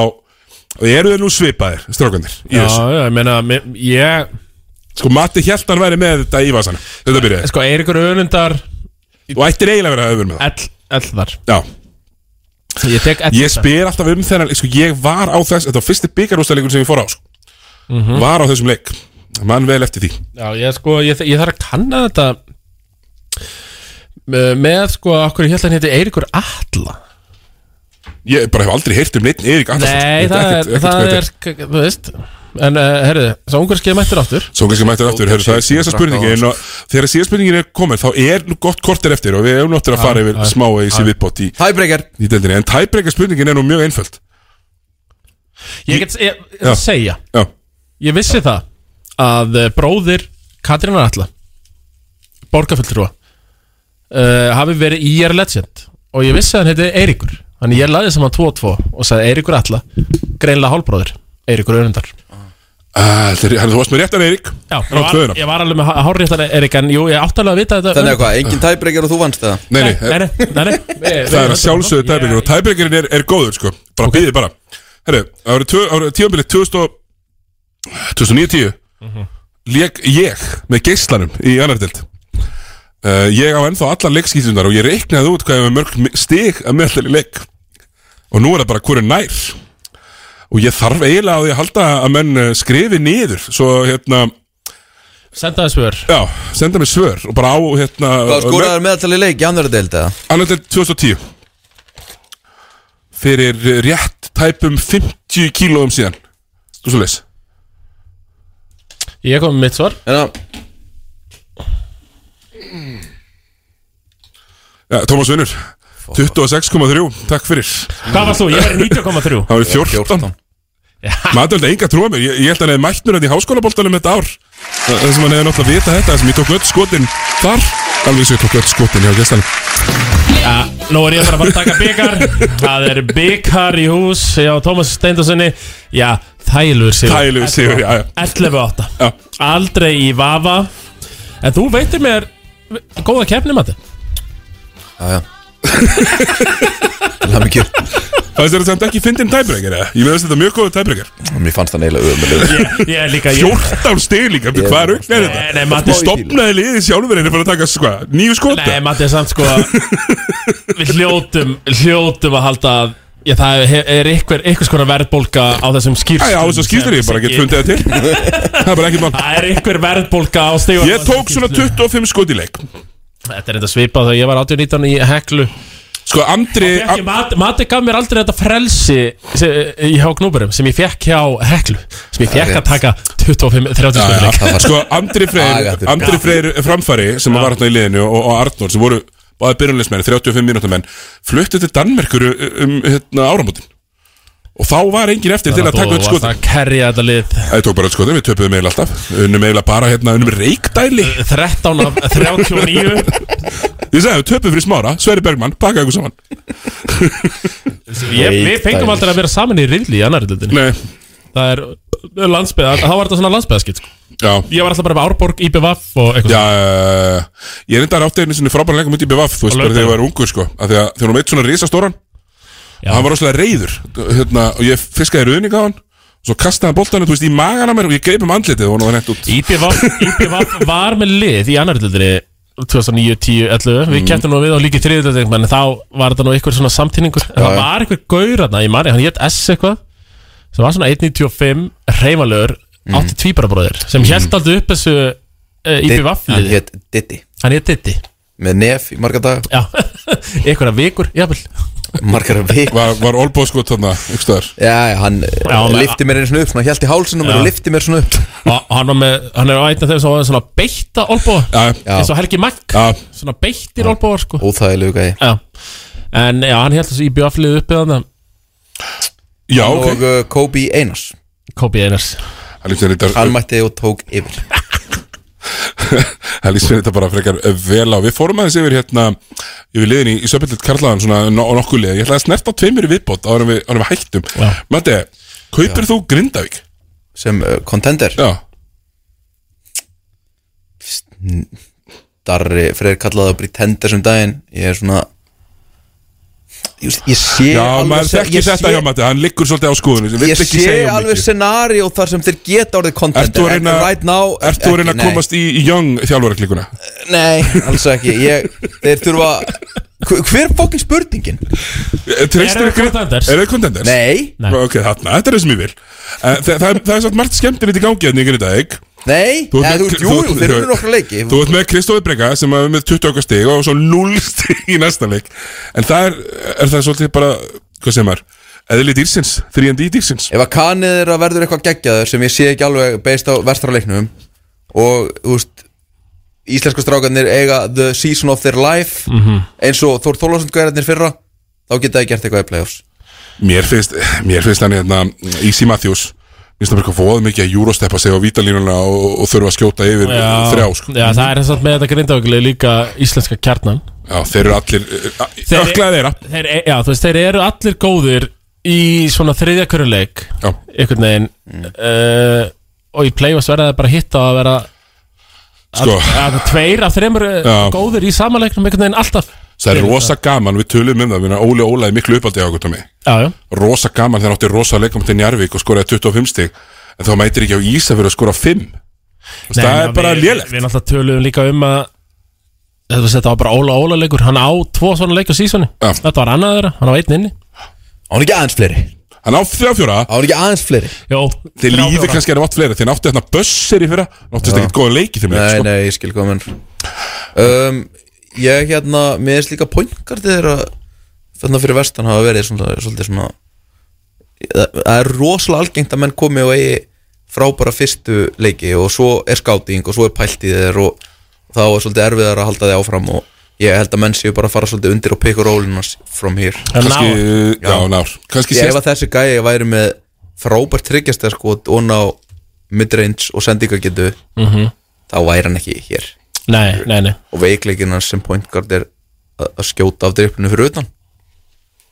Speaker 1: eru þeir nú svipaðir Strákandir í
Speaker 2: Já,
Speaker 1: þessu.
Speaker 2: já, ég meina, me- ég
Speaker 1: Sko, Matti Hjaltan væri með þetta í vasan Þetta byrjaði
Speaker 2: Sko, Eirikur Önundar
Speaker 1: Þú ættir eiginlega að vera öfur með
Speaker 2: það Elvar
Speaker 1: Já
Speaker 2: Ég tek
Speaker 1: Ég spyr alltaf um þennan Sko, ég var á þess Þetta var fyrsti byggarústæðleikur sem ég fór á sko.
Speaker 2: Mhm.
Speaker 1: Var á þessum leik Mann vel eftir því
Speaker 2: Já, ég sko, ég, ég þarf að kanna þetta Me- með sko, okkur ég held að hann heiti Eirikur Atla
Speaker 1: Ég bara hef aldrei heyrt um neitt Eirík Atlason
Speaker 2: Nei, það er, það er, sk- þú veist En, uh, herriði, svo ungarskið mættir aftur
Speaker 1: Sónglisku mættur aftur, herru, það er síðasta spurningin og þegar síðasta spurningin er komin þá er nú gott kortir eftir og við erum náttur að
Speaker 2: Já,
Speaker 1: fara yfir
Speaker 2: já,
Speaker 1: smá eis í
Speaker 2: já.
Speaker 1: viðbót í
Speaker 16: Tæbreykar
Speaker 1: í deildinni, en tæbreykar spurningin er nú mjög einföld
Speaker 2: Ég get ég, ég,
Speaker 1: Já.
Speaker 2: að segja
Speaker 1: Já.
Speaker 2: Ég vissi það að eh, bróðir Katrínar Atla Borgarfulltrúa uh, hafi verið IR Legend og ég vissi að hann heiti Eiríkur Þannig ég laði saman 2 og 2 og sagði Eiríkur Atla greinlega hálbróðir, Eiríkur Önundar
Speaker 1: Ah, þetta er- herru, Þú varst með réttan Eirík
Speaker 2: Já, ég
Speaker 1: Ná, tvöðuna.
Speaker 2: var, ég var alveg með hárréttan Erik en jú, ég átti alveg að vita þetta
Speaker 16: Þannig að hvað, engin tæbreykar og þú vannst það?
Speaker 1: Nei, eh, nei,
Speaker 2: Nei, nei, nei, nei. Við-
Speaker 1: það er
Speaker 2: við-
Speaker 1: að sjálfsögðu tæbreykar og tæbreykarinn er, er góður sko, bara okay. býðið bara Herru, árið tíðanbilið 2009-10 lék ég með geislanum í annar dild uh, ég á ennþá allar leikskýtundar og ég reiknaði út hvað ég var með mörg stig að meðallegi leik og nú er það bara hverju nær og ég þarf eiginlega á því að halda að menn eh, skrifi niður svo hérna
Speaker 2: Senda það svör
Speaker 1: Já, senda mig svör og bara á hérna
Speaker 16: Hvað skoraðar meðaltali leik í annar deild eða?
Speaker 1: Annar deild 2010 Fyrir eh, rétt tæpum 50 kílóum síðan Þú svo leys
Speaker 2: Ég kom með mitt svar
Speaker 16: Já,
Speaker 1: ja, Tómas Vinnur 26,3, takk fyrir
Speaker 2: Hvað varst þú? Ég var í 90,3.
Speaker 1: Það var í 14 Maður held að enga trúa mér, ég, ég held að hann hefði mætt mér hérna í háskólaboltanum þetta ár Þa- Það sem hann hefði náttúrulega vita þetta, það sem ég tók öll skotin þar Alveg sem ég tók öll skotin hjá gestanum
Speaker 2: ja, Nú er ég bara að fara að taka byggar Það er byggar í hús Já, Tómas Steindarssoni Já, þægilegur sigur
Speaker 1: Þægilegur sigur, já, já.
Speaker 2: 11-8
Speaker 1: já.
Speaker 2: Aldrei í vafa En þú veitir mér Góða keppni, Matti
Speaker 16: já, já Það mikið
Speaker 1: Það er samt ekki fyndin tæbreykar eða? Ég veist þetta er mjög góðu tæbreykar
Speaker 16: Mér fannst það neila ömulegur
Speaker 2: Ég er líka ég-
Speaker 1: 14 stig líka,
Speaker 16: Ég-
Speaker 1: hvað er aukn er þetta?
Speaker 2: Nei, nei, Matti-
Speaker 1: Þú stopnaði liðið sjálfur henni fyrir að taka sko, nýju skota
Speaker 2: Nei, Matti er samt sko Við hljótum, hljótum að halda að Já, það er- er einhver, einhvers konar verðbólka á þessum skýrslum
Speaker 1: Æ, á þessum skýrslum, ég bara get fundið það til. Það er bara ekki mál
Speaker 2: Það er einhver verðbólka á stíðan
Speaker 1: Ég tók svona 25 skot í leik
Speaker 2: Þetta er enda svipað þegar ég var 18-19 í heklu
Speaker 1: Sko Andri
Speaker 2: Mati, Mati gaf mér aldrei þetta frelsi sem, í hjá knúburum sem ég fekk hjá heklu sem ég
Speaker 1: Það er
Speaker 2: fekk að
Speaker 1: rétt.
Speaker 2: taka 25-30
Speaker 1: Já, já,
Speaker 2: skoðleik
Speaker 1: Sko Andri Freyr, Andri Freyr framfæri sem var hérna í liðinu og, og Arnór sem voru báði byrjunleismenn, 35 mínútur menn fluttu til Danmerkur um hérna, áramótin og þá var engin eftir til að taka öll skotin
Speaker 2: Það kerja þetta lið
Speaker 1: Það tók bara öll skotin, við töpuðum eiginlega alltaf unnum eiginlega bara hérna, unnum reikdæli
Speaker 2: 13 af 39
Speaker 1: Ég sagði, við töpuðum fyrir smára, Sverri Bergmann, pakkaði ykkur saman
Speaker 2: ég, Við fengum aldrei að vera saman í riðli í annari dildinni
Speaker 1: Nei
Speaker 2: Það er landsbyða, þá var þetta svona landsbyðaskitt sko.
Speaker 1: Já
Speaker 2: Ég var alltaf bara með Árborg, IBVF og eitthvað
Speaker 1: Já, ég er enda rátti einu sinni frábæra leikum út í BVF, þú veist
Speaker 2: Á
Speaker 1: bara þegar ég var
Speaker 2: laugardaginn.
Speaker 1: ungur sko, af því að þegar hún meitt svona risastóran og hann var rosalega reyður hérna, og ég fiskaði rauðning á hann og svo kastaði hann boltanum, þú veist, í magan á mér og ég greip um andlitið og hann var hendt út
Speaker 2: IPVAF var með lið í annar dildinni 2009, 10, 11 Við
Speaker 3: Mm.
Speaker 2: kæftum nú við á líki þriðutölding En þá var þetta nú einhver svona samtíningur En
Speaker 3: Já,
Speaker 2: það
Speaker 3: já.
Speaker 2: var einhver gaur þarna, ég mani, hann hétt S eitthvað Sem var svona 1.95 Reimalögur, átti tvíbarabróðir Sem
Speaker 16: Mm.
Speaker 2: mm. held alltaf upp þessu uh, IPVAF
Speaker 16: Hann hét Diddy
Speaker 2: Hann hét Diddy
Speaker 16: Með nef í marga dag
Speaker 2: Já, einhverja vikur, jafnvel
Speaker 16: Margar vikur
Speaker 1: Var, var olbóðskot þarna, ykstaðar
Speaker 16: Já, já, hann
Speaker 2: Já,
Speaker 16: já,
Speaker 2: með-
Speaker 16: lifti mér einu svona upp Svona hjælt í hálsinn á mér
Speaker 2: Já.
Speaker 16: og lifti mér svona upp
Speaker 2: Og hann, var með, hann er á einn af þeim sem var svona beitta olbóða eins og Helgi Mack svona beittir olbóðar sko
Speaker 16: Óþægilegu gæði
Speaker 2: já. En já, hann held þessu IBF liðið uppið hann
Speaker 1: Já,
Speaker 16: og uh, Kobe Einars
Speaker 2: Kobe Einars
Speaker 1: Hann, reyndar-
Speaker 16: hann mætti og tók yfir
Speaker 1: Það lýst fyrir þetta bara frekar vel á Við fórum aðeins yfir hérna Yfir liðin í, í söpillit karlaðan svona no, nokkuð lið Ég ætlaði að snerta á tveimur í viðbót áður en við, áður en við hættum
Speaker 2: Já.
Speaker 1: Matti, kaupir þú Grindavík?
Speaker 16: Sem uh, contender?
Speaker 1: Já
Speaker 16: Darri Freyr kallaði það pretender sem daginn ég er svona Just, ég sé
Speaker 1: Já,
Speaker 16: alveg-
Speaker 1: maður
Speaker 16: ég
Speaker 1: þekkir
Speaker 16: sé-
Speaker 1: þetta hjá Matti Hann liggur svolítið á skoðunni sem vill
Speaker 16: ég
Speaker 1: ekki
Speaker 16: sé
Speaker 1: segja of
Speaker 16: alveg
Speaker 1: mikið.
Speaker 16: scenario þar sem þeir geta orðið
Speaker 1: Ert þú
Speaker 16: contender
Speaker 1: að reyna,
Speaker 16: en right now
Speaker 1: ert þú að, reyna að
Speaker 16: ekki, nei.
Speaker 1: komast í, í Young þjálfaraklíkuna?
Speaker 16: Nei, alls ekki ég, Þeir þurfa Hver- Hver er fokkin spurningin?
Speaker 1: Eh, Treystir ykkur Er það contenders?
Speaker 16: Nei,
Speaker 1: Ok, þarna, þetta er það sem ég vil Eh, þa það, það er svolítið margt skemmtilegt í gangi hérna í Grindavík
Speaker 16: Nei, ja, þú- jú, jú, þeir eru nokkra leiki.
Speaker 1: Þú ert með Kristofi Brega sem er með 20 okkar stig og svo 0 stig í næsta leik En það er, er það svolítið bara, hvað sem er, eðli dýrsins, 3D dýrsins
Speaker 16: Ef að kanið er að verður eitthvað geggjaður sem ég sé ekki alveg beist á vestraleiknum og, þú veist Íslensku strákarnir eiga the season of their life
Speaker 1: Mhm.
Speaker 16: eins og Þór Þólasund gæðarnir fyrra þá geta það gert eitthvað í playoffs
Speaker 1: Mér finnst, mér finnst hann hérna Easy Matthews Mér finnst það bara eitthvað voða mikið að júrosteppa sig á vítalínuna og, og þurfa að skjóta yfir þrjá sko.
Speaker 2: Já, það er þess að með þetta grindavíkulega líka íslenska kjarnan
Speaker 1: Já, þeir eru allir
Speaker 2: Þeir-
Speaker 1: Öklaði þeirra
Speaker 2: þeir, e- Já, þú veist, þeir eru allir góðir í svona þriðja köruleik einhvern veginn
Speaker 1: Mm.
Speaker 2: uh, og í play-offs verða það bara hitt á að vera
Speaker 1: Sko.
Speaker 2: að, að tveir af þreymur
Speaker 1: Já.
Speaker 2: góðir í samanleiknum einhvern veginn alltaf
Speaker 1: Það er rosa gaman, við tölum um það, við erum Óli Ólaði miklu uppaldi á okkur tómi
Speaker 2: Já, já.
Speaker 1: Rosa gaman þegar hann átti rosa leikum til Njarvík og skoraði 25 stig En þá mætir ekki á Ísa fyrir að skora 5 Nei,
Speaker 2: Nei,
Speaker 1: Það
Speaker 2: ná,
Speaker 1: er bara
Speaker 2: við-
Speaker 1: lélegt
Speaker 2: Við náttúrulega töluðum líka um að Þetta var, þetta var bara Óla Óla leikur Hann á tvo svona leik á sísoni ja. Þetta var annað þeirra, hann á einn inni
Speaker 16: Án ekki aðeins fleiri
Speaker 1: Hann á þrjá fjóra
Speaker 16: Án ekki aðeins fleiri
Speaker 2: Jó
Speaker 1: Þeir lífi kannski að það vatn fleiri Þeir náttu hérna Bössir í fyrra Náttu þetta ekki góða leiki þeim
Speaker 16: Nei, nei, ég skil komin um, Ég hérna, mér finnst líka pointgardi þeirra Þannig fyrir vestan hafa verið svona, svolítið svona Það það er rosalega algengt að menn komi og eigi frábæra fyrstu leiki og svo er skáting og svo er pælt í þeir og þá er svolítið erfiðar að halda þið áfram og ég held að menn séu bara að fara svolítið undir og peka rólinu from here
Speaker 1: En Kannski, ná. já, nár. Kannski
Speaker 16: Ég
Speaker 1: sést-
Speaker 16: hef að þessi gæi væri með frábært tryggjasta skot og ná midrange og sendingagetu
Speaker 2: Mhm.
Speaker 16: þá væri hann ekki hér
Speaker 2: Nei, nei, nei
Speaker 16: og veikleikin hans sem point guard er að að skjóta af drippinu fyrir utan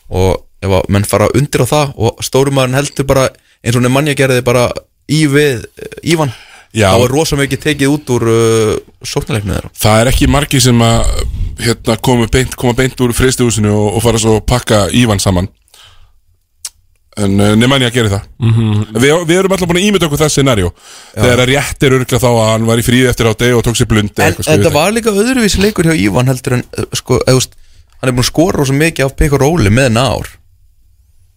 Speaker 16: og ef að menn fara undir á það og stórumæðurinn heldur bara eins og nefnja gerði bara í við eh, Ívan
Speaker 1: Já.
Speaker 16: þá er rosa mikið tekið út úr uh, sóknarleiknið þeirra
Speaker 1: Það er ekki margi sem að hérna, koma, beint, koma beint úr fristihúsinu og, og fara svo að pakka Ívan saman En uh, nema en ég að gera það
Speaker 2: Mhm.
Speaker 1: við, við erum alltaf búin að ímynda okkur það scenarió Þegar að rétt er örgla þá að hann var í fríði eftir á deg og tók sér blund
Speaker 16: en þetta var líka öðruvísi leikur hjá Ívan heldur en eh, sko, eða, þú veist, hann er búin að skora rosa mikið af pekka róli með nár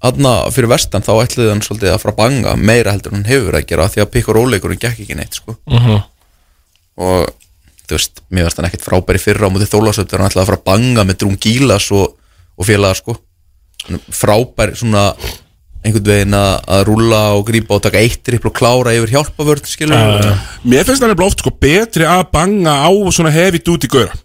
Speaker 16: Þarna fyrir vestan þá ætliði hann svolítið að fara að banga meira heldur en hann hefur verið að gera af því að pikk og róleikurinn gekk ekki neitt sko.
Speaker 2: Mhm.
Speaker 16: og þú veist, mér varst hann ekkert frábæri fyrra á mútið þólasöfn þegar hann ætlaði að fara að banga með Drún Gílas og, og félaga sko Hann er frábæri svona einhvern veginn að, að rúlla og grípa og taka eitt ripp og klára yfir hjálpavörð skilur
Speaker 1: Já, já. Mér finnst það nefnilega oft sko betri að banga á svona heavy duty gauðra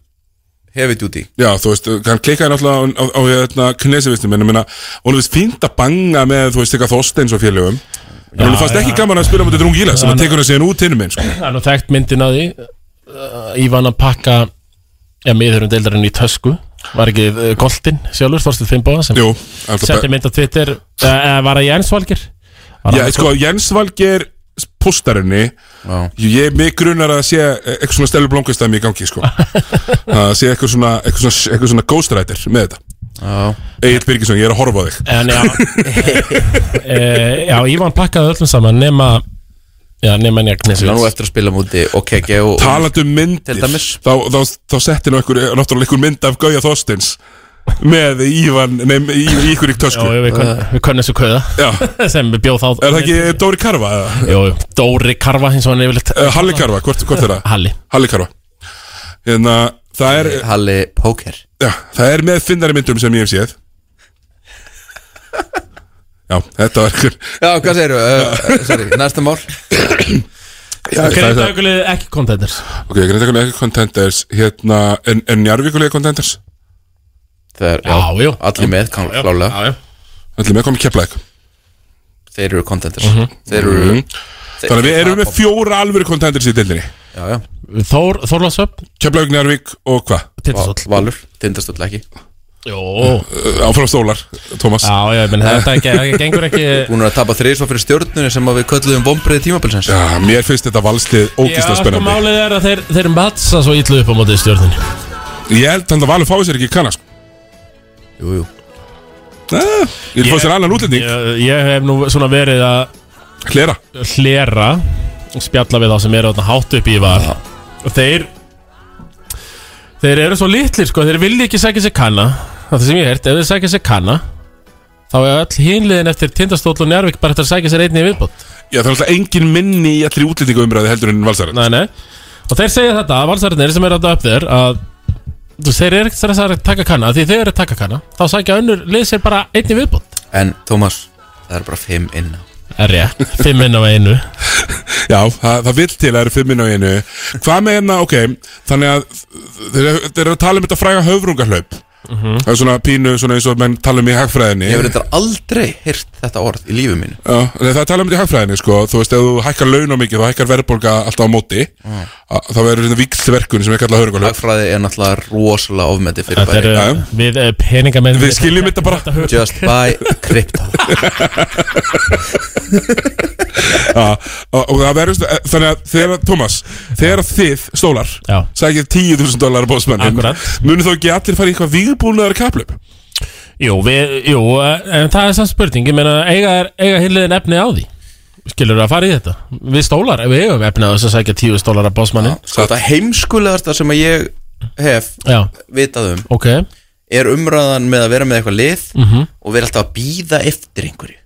Speaker 16: Heavy duty
Speaker 1: Já, þú veist, hann klikkaði náttúrulega á, á, á hérna, knesevistum en ég meina, hún finnst fínt að banga með, þú veist, eitthvað Þorsteins og félögum en
Speaker 2: Já,
Speaker 1: hún fannst ekki
Speaker 2: já.
Speaker 1: gaman að spila mútið Drún Gíla sem
Speaker 2: Já,
Speaker 1: að
Speaker 2: ná-
Speaker 1: tekur hann síðan út hinnum einn sko.
Speaker 2: Það er nú þekkt myndin að því uh, Ívan að pakka Já, miðurum deildarinn í tösku Var ekki uh, Goltin sjálfur, Þorstuð Fimboða sem
Speaker 1: Jú, alltaf-
Speaker 2: Setti mynd á Twitter uh, uh, Var það Jens Valgir? Var
Speaker 1: Já,
Speaker 2: hann-
Speaker 1: sko, Jens Valger postarinni ég er mig grunar að sé eitthvað svona stelur blómkvistæmi í gangi sko. að sé eitthvað svona, eitthvað svona, eitthvað svona ghostwriter með þetta Egil Birgisson, ég er að horfa á þig
Speaker 2: Uh, En já, e, já Ívan pakkaði öllum saman nema Já, nema Njaknes
Speaker 16: Hann á nú eftir að spila múti og kegja og
Speaker 1: Talandi um myndir Þá, þá, þá setti nú ykkur, náttúrulega ykkur mynd af Gauja Þorstins Með Ívan, nei, með í, í ykkur í tösku
Speaker 2: Já, við kunn- við könnum þessu kauða Sem við bjóð þá
Speaker 1: Er það ekki Dóri Karfa?
Speaker 2: Jó, jú, Dóri Karfa eins og hann er yfirleitt
Speaker 1: Eh, Halli Karfa, hvort, hvort er það?
Speaker 2: Halli
Speaker 1: Halli Karfa hérna, það er,
Speaker 16: Halli Póker
Speaker 1: Já, það er með finnari myndum sem ég hef séð Já, þetta var ykkur
Speaker 16: Já, hvað segirðu? Uh, sorry, næsta mál
Speaker 1: Já, það er
Speaker 2: Hvernig
Speaker 1: það-
Speaker 2: dagulegði ekki contenders?
Speaker 1: Ok, Grindavíkulega ekki contenders hérna, En, en Njarvíkulega contenders?
Speaker 16: Það er,
Speaker 2: já, já,
Speaker 16: allir með, kann-
Speaker 1: Já, já,
Speaker 16: klálega.
Speaker 1: já, já. Allir með komið keplæk
Speaker 16: Þeir eru contenders
Speaker 1: Mhm.
Speaker 16: Þeir eru
Speaker 1: Mhm. Þannig að við erum með fjóra alvöru contenders í dildinni
Speaker 16: Já, já
Speaker 2: Þór, Þorlasöp
Speaker 1: Keflavík, Njarvík og hvað?
Speaker 2: Tindastóll.
Speaker 16: Valur, Tindastóll ekki
Speaker 2: Jó
Speaker 1: Eh, Áfram stólar, Tómas
Speaker 2: Já, já, menn þetta ekki- það gengur ekki
Speaker 16: Búin að tapa þrið svo fyrir stjórnunni sem að við kölluðum vombriði tímabilsins
Speaker 1: Já, mér finnst þetta valstið
Speaker 2: Já, sko málið er að þeir, þeir matsa svo ítlu upp á mótið stjórnin
Speaker 1: Ég held þannig að Valur fái sér ekki kanna sko.
Speaker 16: Jú, jú
Speaker 1: Ég fór sér annan útlending
Speaker 2: ég, ég hef nú svona verið að
Speaker 1: Hlera
Speaker 2: Hlera og Spjalla við þá sem eru þarna hátt upp í var Og þeir Þeir eru svo litlir sko Þeir vilja ekki sækja sér kanna Það er sem ég heirt Ef þeir sækja sér kanna Þá er öll hinliðin eftir Tindastóll og Njárvík bara eftir að sækja sér einni í viðbót
Speaker 1: Já, það er alltaf engin minni í allri útlendingu umræði heldur en valsarinn
Speaker 2: Nei, nei Og þeir segja þetta, valsarnir sem eru alltaf upp þér að þú veist, þeir eru ekkert stressaðir að taka kanna því þeir eru að taka kanna, þá sækja önnur lið sér bara einni viðbót
Speaker 16: En Tómas, það er bara fimm inn á
Speaker 2: Er ég, fimm inn á einu
Speaker 1: Já, það, það vill til að það eru fimm inn á einu Hvað með hérna, ok Þannig að þeir, þeir eru að tala um þetta fræga höfrungahlaup Það er svona pínu svona eins og menn tala um í hagfræðinni
Speaker 16: Ég hef reyndar aldrei heyrt þetta orð í lífi mínu
Speaker 1: Já, nei, það er talað um þetta í hagfræðinni sko Þú veist, ef þú hækkar laun á mikið, þá hækkar verðbólga alltaf á móti
Speaker 16: Mm.
Speaker 1: Að- Þá verður þetta víksverkun sem ég kalla hörgulöf
Speaker 16: Hagfræði er náttúrulega rosalega ofmeti fyrir
Speaker 2: Þetta eru, við eh, peningamenn
Speaker 1: Við skiljum þetta bara
Speaker 16: Just buy crypto
Speaker 1: Já, og, og það verður Þannig að þegar, Thomas, þegar að þið stólar
Speaker 2: Já.
Speaker 1: Sækir 10.000 dólar á bóðsmannin Munu þá ekki allir fara í eitthvað vígbúnaðar kaplöp?
Speaker 2: Jú, við, jú, eh, en það er samt spurning ég meina, eiga, er- eiga hinliðin efni á því skilur að fara í þetta við stólar, ef við eigum efni á þess að sækja tíu stólar að bósmannin
Speaker 16: Sko þetta heimskulegasta sem að ég hef
Speaker 2: Já.
Speaker 16: vitað um
Speaker 2: okay.
Speaker 16: er umræðan með að vera með eitthvað lið
Speaker 2: Mhm.
Speaker 16: og vera alltaf að býða eftir einhverju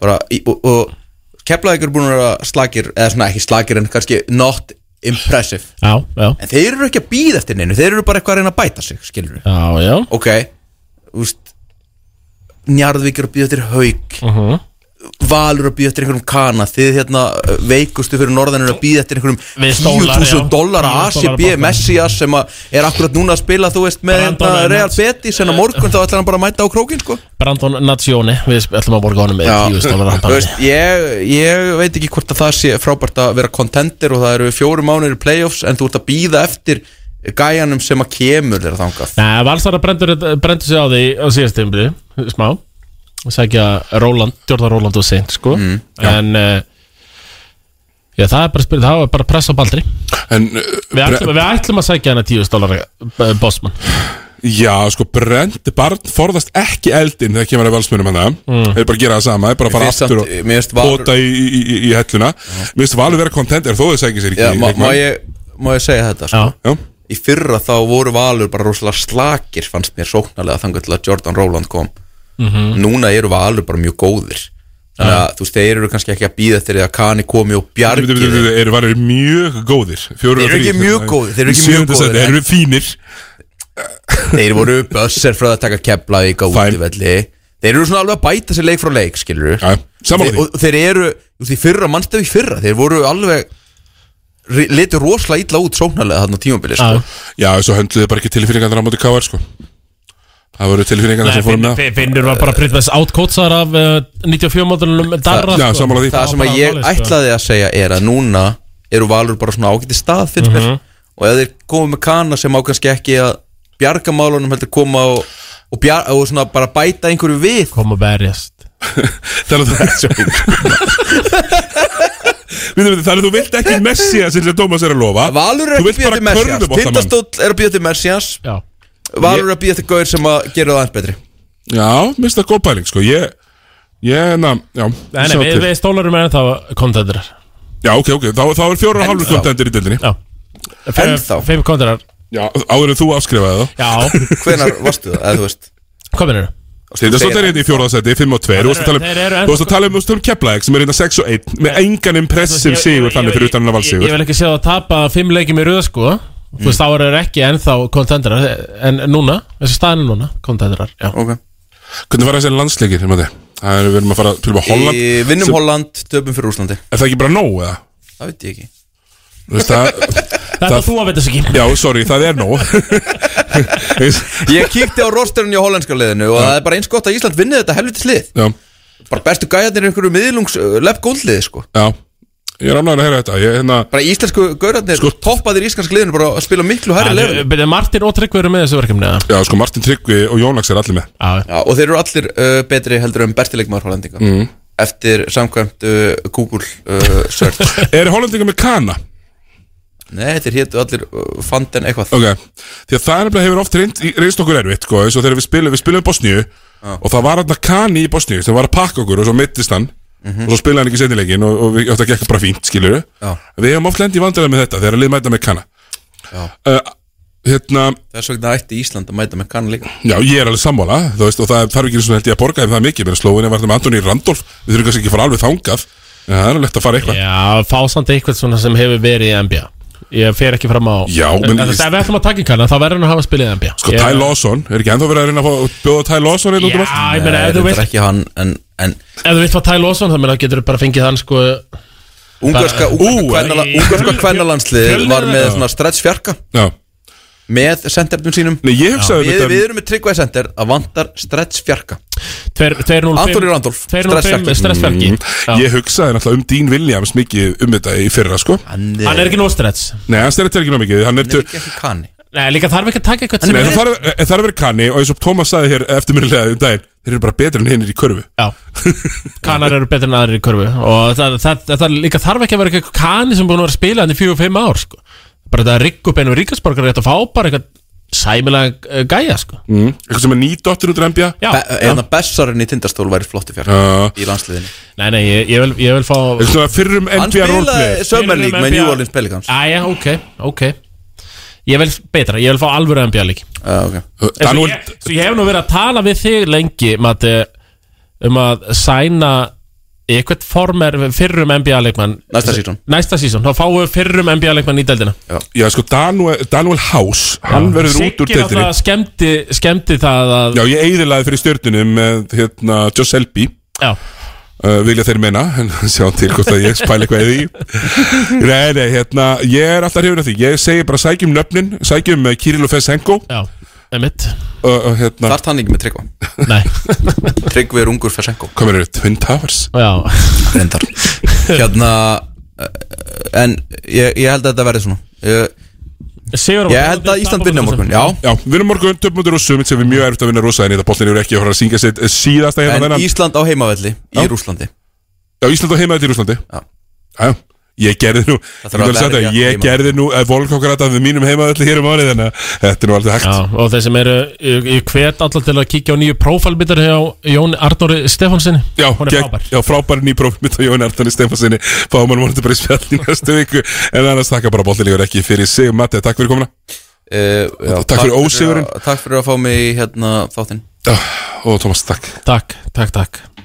Speaker 16: bara, í, og, og keplaði ykkur búin að vera slagir eða svona ekki slagir en kannski not impressive
Speaker 2: Já, já
Speaker 16: en þeir eru ekki að býða eftir neinu, þeir eru bara eitthvað að reyna að bæta sig skilur
Speaker 2: Já, já
Speaker 16: ok, úst Njarðvík eru að býða eftir haug
Speaker 2: Mhm.
Speaker 16: Valur eru að býða eftir einhverjum kana þið hérna uh, veikustu fyrir norðan eru að býða eftir einhverjum
Speaker 2: Við stólar, já.
Speaker 16: 10.000 dollara
Speaker 2: 10.000 dollara
Speaker 16: ACB
Speaker 2: bankann.
Speaker 16: Messias sem að er akkurat núna að spila þú veist með
Speaker 2: Brandon
Speaker 16: hérna Real
Speaker 2: Edwards.
Speaker 16: Betis en á morgun þá ætlar hann bara að mæta á krókin sko
Speaker 2: Brandon Nazione, við sp- ætlum að borga honum með tíu stólar að
Speaker 16: Þú veist, ég, ég veit ekki hvort að það sé frábært að vera contender og það eru fjóru mánuðir í playoffs en þú ert að býða eftir gæjanum sem að kemur þeirra þangað
Speaker 2: Nei, Valsara brendur, brendur sig á því á síðast tímbli, smá sækja Róland, Jórðar Róland og Seint sko, en uh, já, það er bara spyrir, það var bara press á baldri
Speaker 1: en, uh,
Speaker 2: við, ætlum, við ætlum að sækja hana 10 stólar eh, bossmann
Speaker 1: Já, sko, brend barn forðast ekki eldin þegar kemur að valsmönum hann
Speaker 2: Mm.
Speaker 1: Þeir bara gera það sama, þeir bara
Speaker 16: Mér
Speaker 1: fara
Speaker 16: finnst
Speaker 1: aftur
Speaker 16: samt- mér finnst
Speaker 1: og
Speaker 16: Valur-
Speaker 1: bóta í, í, í, í helluna Mér finnst Valur vera contender þó þau sækir sér ekki
Speaker 16: Já,
Speaker 1: í
Speaker 16: má,
Speaker 1: leikmann.
Speaker 16: má, ég, má ég segja þetta sko?
Speaker 1: Já.
Speaker 16: Í fyrra þá voru Valur bara rosalega slakir fannst mér sóknarlega þangar til að Jordan Rowland kom
Speaker 2: Mhm.
Speaker 16: Núna eru Valur bara mjög góðir Þannig að þú veist, þeir eru kannski ekki að býða eftir því að Kani komi og bjargi
Speaker 1: Bíddu, bíddu, bíddu, Eru varir mjög góðir Fjórir
Speaker 16: Þeir eru
Speaker 1: og þrír.
Speaker 16: ekki mjög góðir, þeir eru ekki
Speaker 1: Í sjöunda
Speaker 16: mjög góðir,
Speaker 1: sæti, Þeir
Speaker 16: en-
Speaker 1: eru fínir
Speaker 16: Þeir voru bösser frá að taka Keflavík á útivelli Þeir eru svona alveg að bæta sér leik frá leik, skilur ja,
Speaker 1: sammála því.
Speaker 16: Og þeir eru, þú veist, í fyrra, mannstu í fyrra Þeir voru alveg ri- litu rosalega illa út sóknarlega þarna á tímabili sko.
Speaker 1: Já, svo höndluðu bara ekki tilfinningarnar á móti KR sko Það voru tilfinningarnar sem fórum með það.
Speaker 2: finnur var bara prinsess átkótsar af uh, 94 mótunum darra sko.
Speaker 16: Það sem að
Speaker 2: bara
Speaker 16: ég
Speaker 2: málið, sko.
Speaker 16: ætlaði að segja er að núna eru Valur bara svona ágæti stað finnst mér
Speaker 2: Mhm.
Speaker 16: og ef þeir koma með kana sem á kannski ekki að bjarga málunum heldur koma og, og, bjar, og svona bara bæta einhverju við
Speaker 2: koma og berjast
Speaker 1: Þannig að það er svo Við veitum, þannig að þú vilt ekki Messias eins og Tómas er að lofa
Speaker 16: Valur er
Speaker 1: Þú
Speaker 16: að
Speaker 1: vilt
Speaker 16: býja
Speaker 1: bara
Speaker 16: til Messias
Speaker 1: körfuboltamann.
Speaker 16: Tindastóll er að býja til Messias
Speaker 2: Já.
Speaker 16: Valur er að býja til Gaur sem að gera það aðeins betri
Speaker 1: Já, minnst það góð pæling sko Ég, ég, na, já
Speaker 2: Nei, nei,
Speaker 1: sjá
Speaker 2: við,
Speaker 1: til.
Speaker 2: við stólarum er ennþá kontendur
Speaker 1: Já, ok, ok, þá, þá er fjóra og hálfur kontendur í dildinni Já,
Speaker 2: Ennþá? Fimm kontendur
Speaker 1: Já, áður en þú afskrifaði
Speaker 2: það
Speaker 1: Já
Speaker 16: Hvenær varstu það, eða þú veist
Speaker 2: Hvað mennur
Speaker 1: Steindarsson er hérna í fjórðarsæti, 5 og 2 Þú veist að tala um,
Speaker 2: Þeir eru ennþá-
Speaker 1: þú veist að tala um, þú veist að tala um Keflæk sem er hérna 6 og 1 með engan impressiv sigur þannig fyrir utan hann að
Speaker 2: Ég vil
Speaker 1: valsigur
Speaker 2: ekki sé það að tapa fimm leikjum í röða sko Þú veist, þá eru þeir ekki ennþá kontendurar En núna, þessi staðin er núna, kontendurar Já,
Speaker 16: okay.
Speaker 1: Hvernig var þessi landsleikir, hérna þið? Það er við erum að fara til að Holland
Speaker 16: Í- vinnum
Speaker 1: sem-
Speaker 16: Holland, töpum fyrir Úslandi
Speaker 1: Er það ekki bara nóg, eða?
Speaker 16: Það veit ég ekki
Speaker 1: Þú veist, það,
Speaker 2: Þetta þú að veit þessu ekki
Speaker 1: Já, sorry, það er nóg
Speaker 16: Ég kíkti á rosterunni á hollenska liðinu og það er bara eins gott að Ísland vinni þetta helvitis lið
Speaker 1: Já.
Speaker 16: Bara bestu gæjarnir í einhverju miðlungs lef góldlið sko
Speaker 1: Já, ég er ánægður að heyra þetta ég, hérna,
Speaker 16: Bara íslensku gaurarnir sko, toppaðir í íslensk liðinu bara að spila miklu hærri lefinu
Speaker 2: Byrja, Martin og Tryggvi eru með þessu verkefni eða?
Speaker 1: Já, sko, Martin Tryggvi og Jónaks er allir með
Speaker 2: Já,
Speaker 16: og þeir eru allir uh, betri heldur en bestileikmaður hollendinga
Speaker 1: Mm.
Speaker 16: Eftir samkvæmt uh, Google uh, search
Speaker 1: Er hollendinga með kana?
Speaker 16: Nei, þeir hétu allir uh, fanden eitthvað
Speaker 1: Ok, því að það er nefnilega hefur oft reynd, reynst okkur erfitt, sko, eins og þegar við spilum, við spilum Bosníu og það var alltaf Kani í Bosníu sem var að pakka okkur og svo meittist hann og svo spilaði hann ekki setnilegin og, og við, þetta gekk bara fínt, skilur við
Speaker 16: Mhm. Já.
Speaker 1: Við hefum oft lendið vandræðið með þetta þegar lið mæta með Kana uh, Hérna,
Speaker 16: Þess vegna ætti Ísland að mæta með kann líka
Speaker 1: já, ég er alveg sammála, þú veist, og það þarf ekki eins og held ég að borga ef það er mikið, menn slóinni var það með Antoni Randolf, við þurfum kannski ekki að fara alveg þangað, en það er alveg lett að fara eitthvað
Speaker 2: Já, fá samt eitthvað svona sem hefur verið í NBA Ég fer ekki fram á
Speaker 1: Já,
Speaker 2: En-
Speaker 1: menn-
Speaker 2: en Þegar við ætlum að taka í kannan, þá verður hann að hafa spilið í NBA
Speaker 1: Sko,
Speaker 2: Ég-
Speaker 1: Ty Lawson, er ekki ennþá verið að reyna að fá- bjóða Ty Lawson einn út um
Speaker 2: Já,
Speaker 1: allt?
Speaker 2: ég meina, ef þú vilt
Speaker 16: Ekki hann, en, en
Speaker 2: Ef þú vilt fá Ty Lawson, þá meina getur þú bara fengið hann sko
Speaker 16: Ungarska,
Speaker 2: Ú,
Speaker 16: ungarska,
Speaker 2: í-
Speaker 16: ungarska kvennalandslið
Speaker 2: Fjölnir
Speaker 16: var
Speaker 2: eða
Speaker 16: með
Speaker 2: eitthvað?
Speaker 16: svona stretch fjarka
Speaker 1: Já.
Speaker 16: með sendefnum sínum
Speaker 1: Nei, ég hugsaði um
Speaker 16: við,
Speaker 1: þetta-
Speaker 16: við erum með tryggvæði sender að vantar stretch fjarka
Speaker 2: Tveir- 205
Speaker 16: Antoni Randolph,
Speaker 2: 205 stressverki
Speaker 1: Mm, Ég hugsaði náttúrulega um Dean Williams mikið um þetta í fyrra sko Hann
Speaker 2: Hann er ekki nóg stress
Speaker 1: Nei, hann styrir ekki nóg mikið Hann er, hann
Speaker 16: ekki kanni
Speaker 2: Nei, líka þarf ekki að taka eitthvað
Speaker 1: Nei, það þarf eh, það þarf að vera kanni og eins og Thomas sagði hér eftirminnilega um daginn Þeir eru bara betri en hinnir í körfu
Speaker 2: Já Kanar eru betri en aðrir í körfu Og það, það, það, það líka þarf ekki að vera eitthvað kani sem búin að vera að spila hann í fjögur og fimm ár sko. Bara þetta að rigga upp einu ríkasborgar Rétt að fá bara eitthvað sæmilega eh, gæja sko.
Speaker 1: mm. Eitthvað sem er nýdóttir út rembja
Speaker 2: Já.
Speaker 16: Eða Hérna bessarinn í tindastól væri flotti fjarka
Speaker 1: Já.
Speaker 16: í landsliðinu
Speaker 2: Nei, nei, ég, ég, vil, ég vil fá
Speaker 1: Uh, Eitthvað svona fyrrum
Speaker 16: Hann
Speaker 1: NBA
Speaker 16: spilaði
Speaker 1: roleplay.
Speaker 16: Summer League með New Orleans Pelicans.
Speaker 2: Æja, ok, ok Ég vil betra, ég vil fá alvöru NBA lík
Speaker 16: uh, okay.
Speaker 2: Svo ég, svo ég hef nú verið að tala við þig lengi Mati Um að sæna Eitthvað former fyrrum NBA leikmann
Speaker 16: Næsta season.
Speaker 2: Næsta sísón, þá fáum við fyrrum NBA leikmann í deildina
Speaker 1: Já. Já, sko Daniel, Daniel House Hann verður út úr
Speaker 2: Siggi
Speaker 1: deildinni
Speaker 2: náttúrulega skemmti, skemmti það að
Speaker 1: Já, ég eiðilaði fyrir stjörnunum með hérna, Joss Elby
Speaker 2: Já.
Speaker 1: Uh, vilja þeir menna, en sjá til hvort að ég spæla eitthvað í því. Nei, nei, hérna, ég er alltaf hrifin af því Ég segi bara sækjum nöfnin, sækjum uh, Kirill og Fesenko
Speaker 2: Já, emitt
Speaker 1: uh, uh, hérna,
Speaker 16: Þart hann ekki með Tryggva
Speaker 2: Nei
Speaker 16: Tryggvi er ungur Fesenko
Speaker 1: Hvað verður þetta? Twin Towers?
Speaker 2: Já
Speaker 16: Reyndar Hérna uh, En ég, ég held að þetta verði svona Ég,
Speaker 2: Sigur á
Speaker 16: ég held að Ísland vinna á morgun Já
Speaker 1: Já, við erum morgun, töpmundur og sumit sem við mjög erfitt að vinna rosa en þetta bóttin eru ekki að fara að syngja sitt eh, síðasta hérna
Speaker 16: En
Speaker 1: þennan
Speaker 16: Ísland á heimavelli í Rúslandi
Speaker 1: Já, Ísland og heimaði til Rúslandi Já, já Ég gerði nú, ég,
Speaker 16: þarf
Speaker 1: að
Speaker 16: að
Speaker 1: að
Speaker 16: verja
Speaker 1: ég
Speaker 16: heimavelli.
Speaker 1: gerði nú volkokkarata við mínum heimaðalli hér um árið þannig að þetta er nú aldrei hægt
Speaker 2: Já, og þeir sem eru, ég ég hvet allar til að kíkja á nýju prófælbyttar hjá Jóni Arnóri Stefánsinni
Speaker 1: Já,
Speaker 2: Hún er
Speaker 1: gegn-
Speaker 2: frábær.
Speaker 1: Já, frábæri nýpróf mitt á Jóni Arnani Stefansinni Fáum hann vonandi bara í spjall í næstu viku En annars þakka bara bóttilegur ekki fyrir sig Matti, takk fyrir komuna
Speaker 16: uh,
Speaker 1: já, Takk fyrir ósigurinn
Speaker 16: Takk fyrir að fá mig í hérna, þáttinn
Speaker 1: Og Tómas, takk
Speaker 2: Takk, takk, takk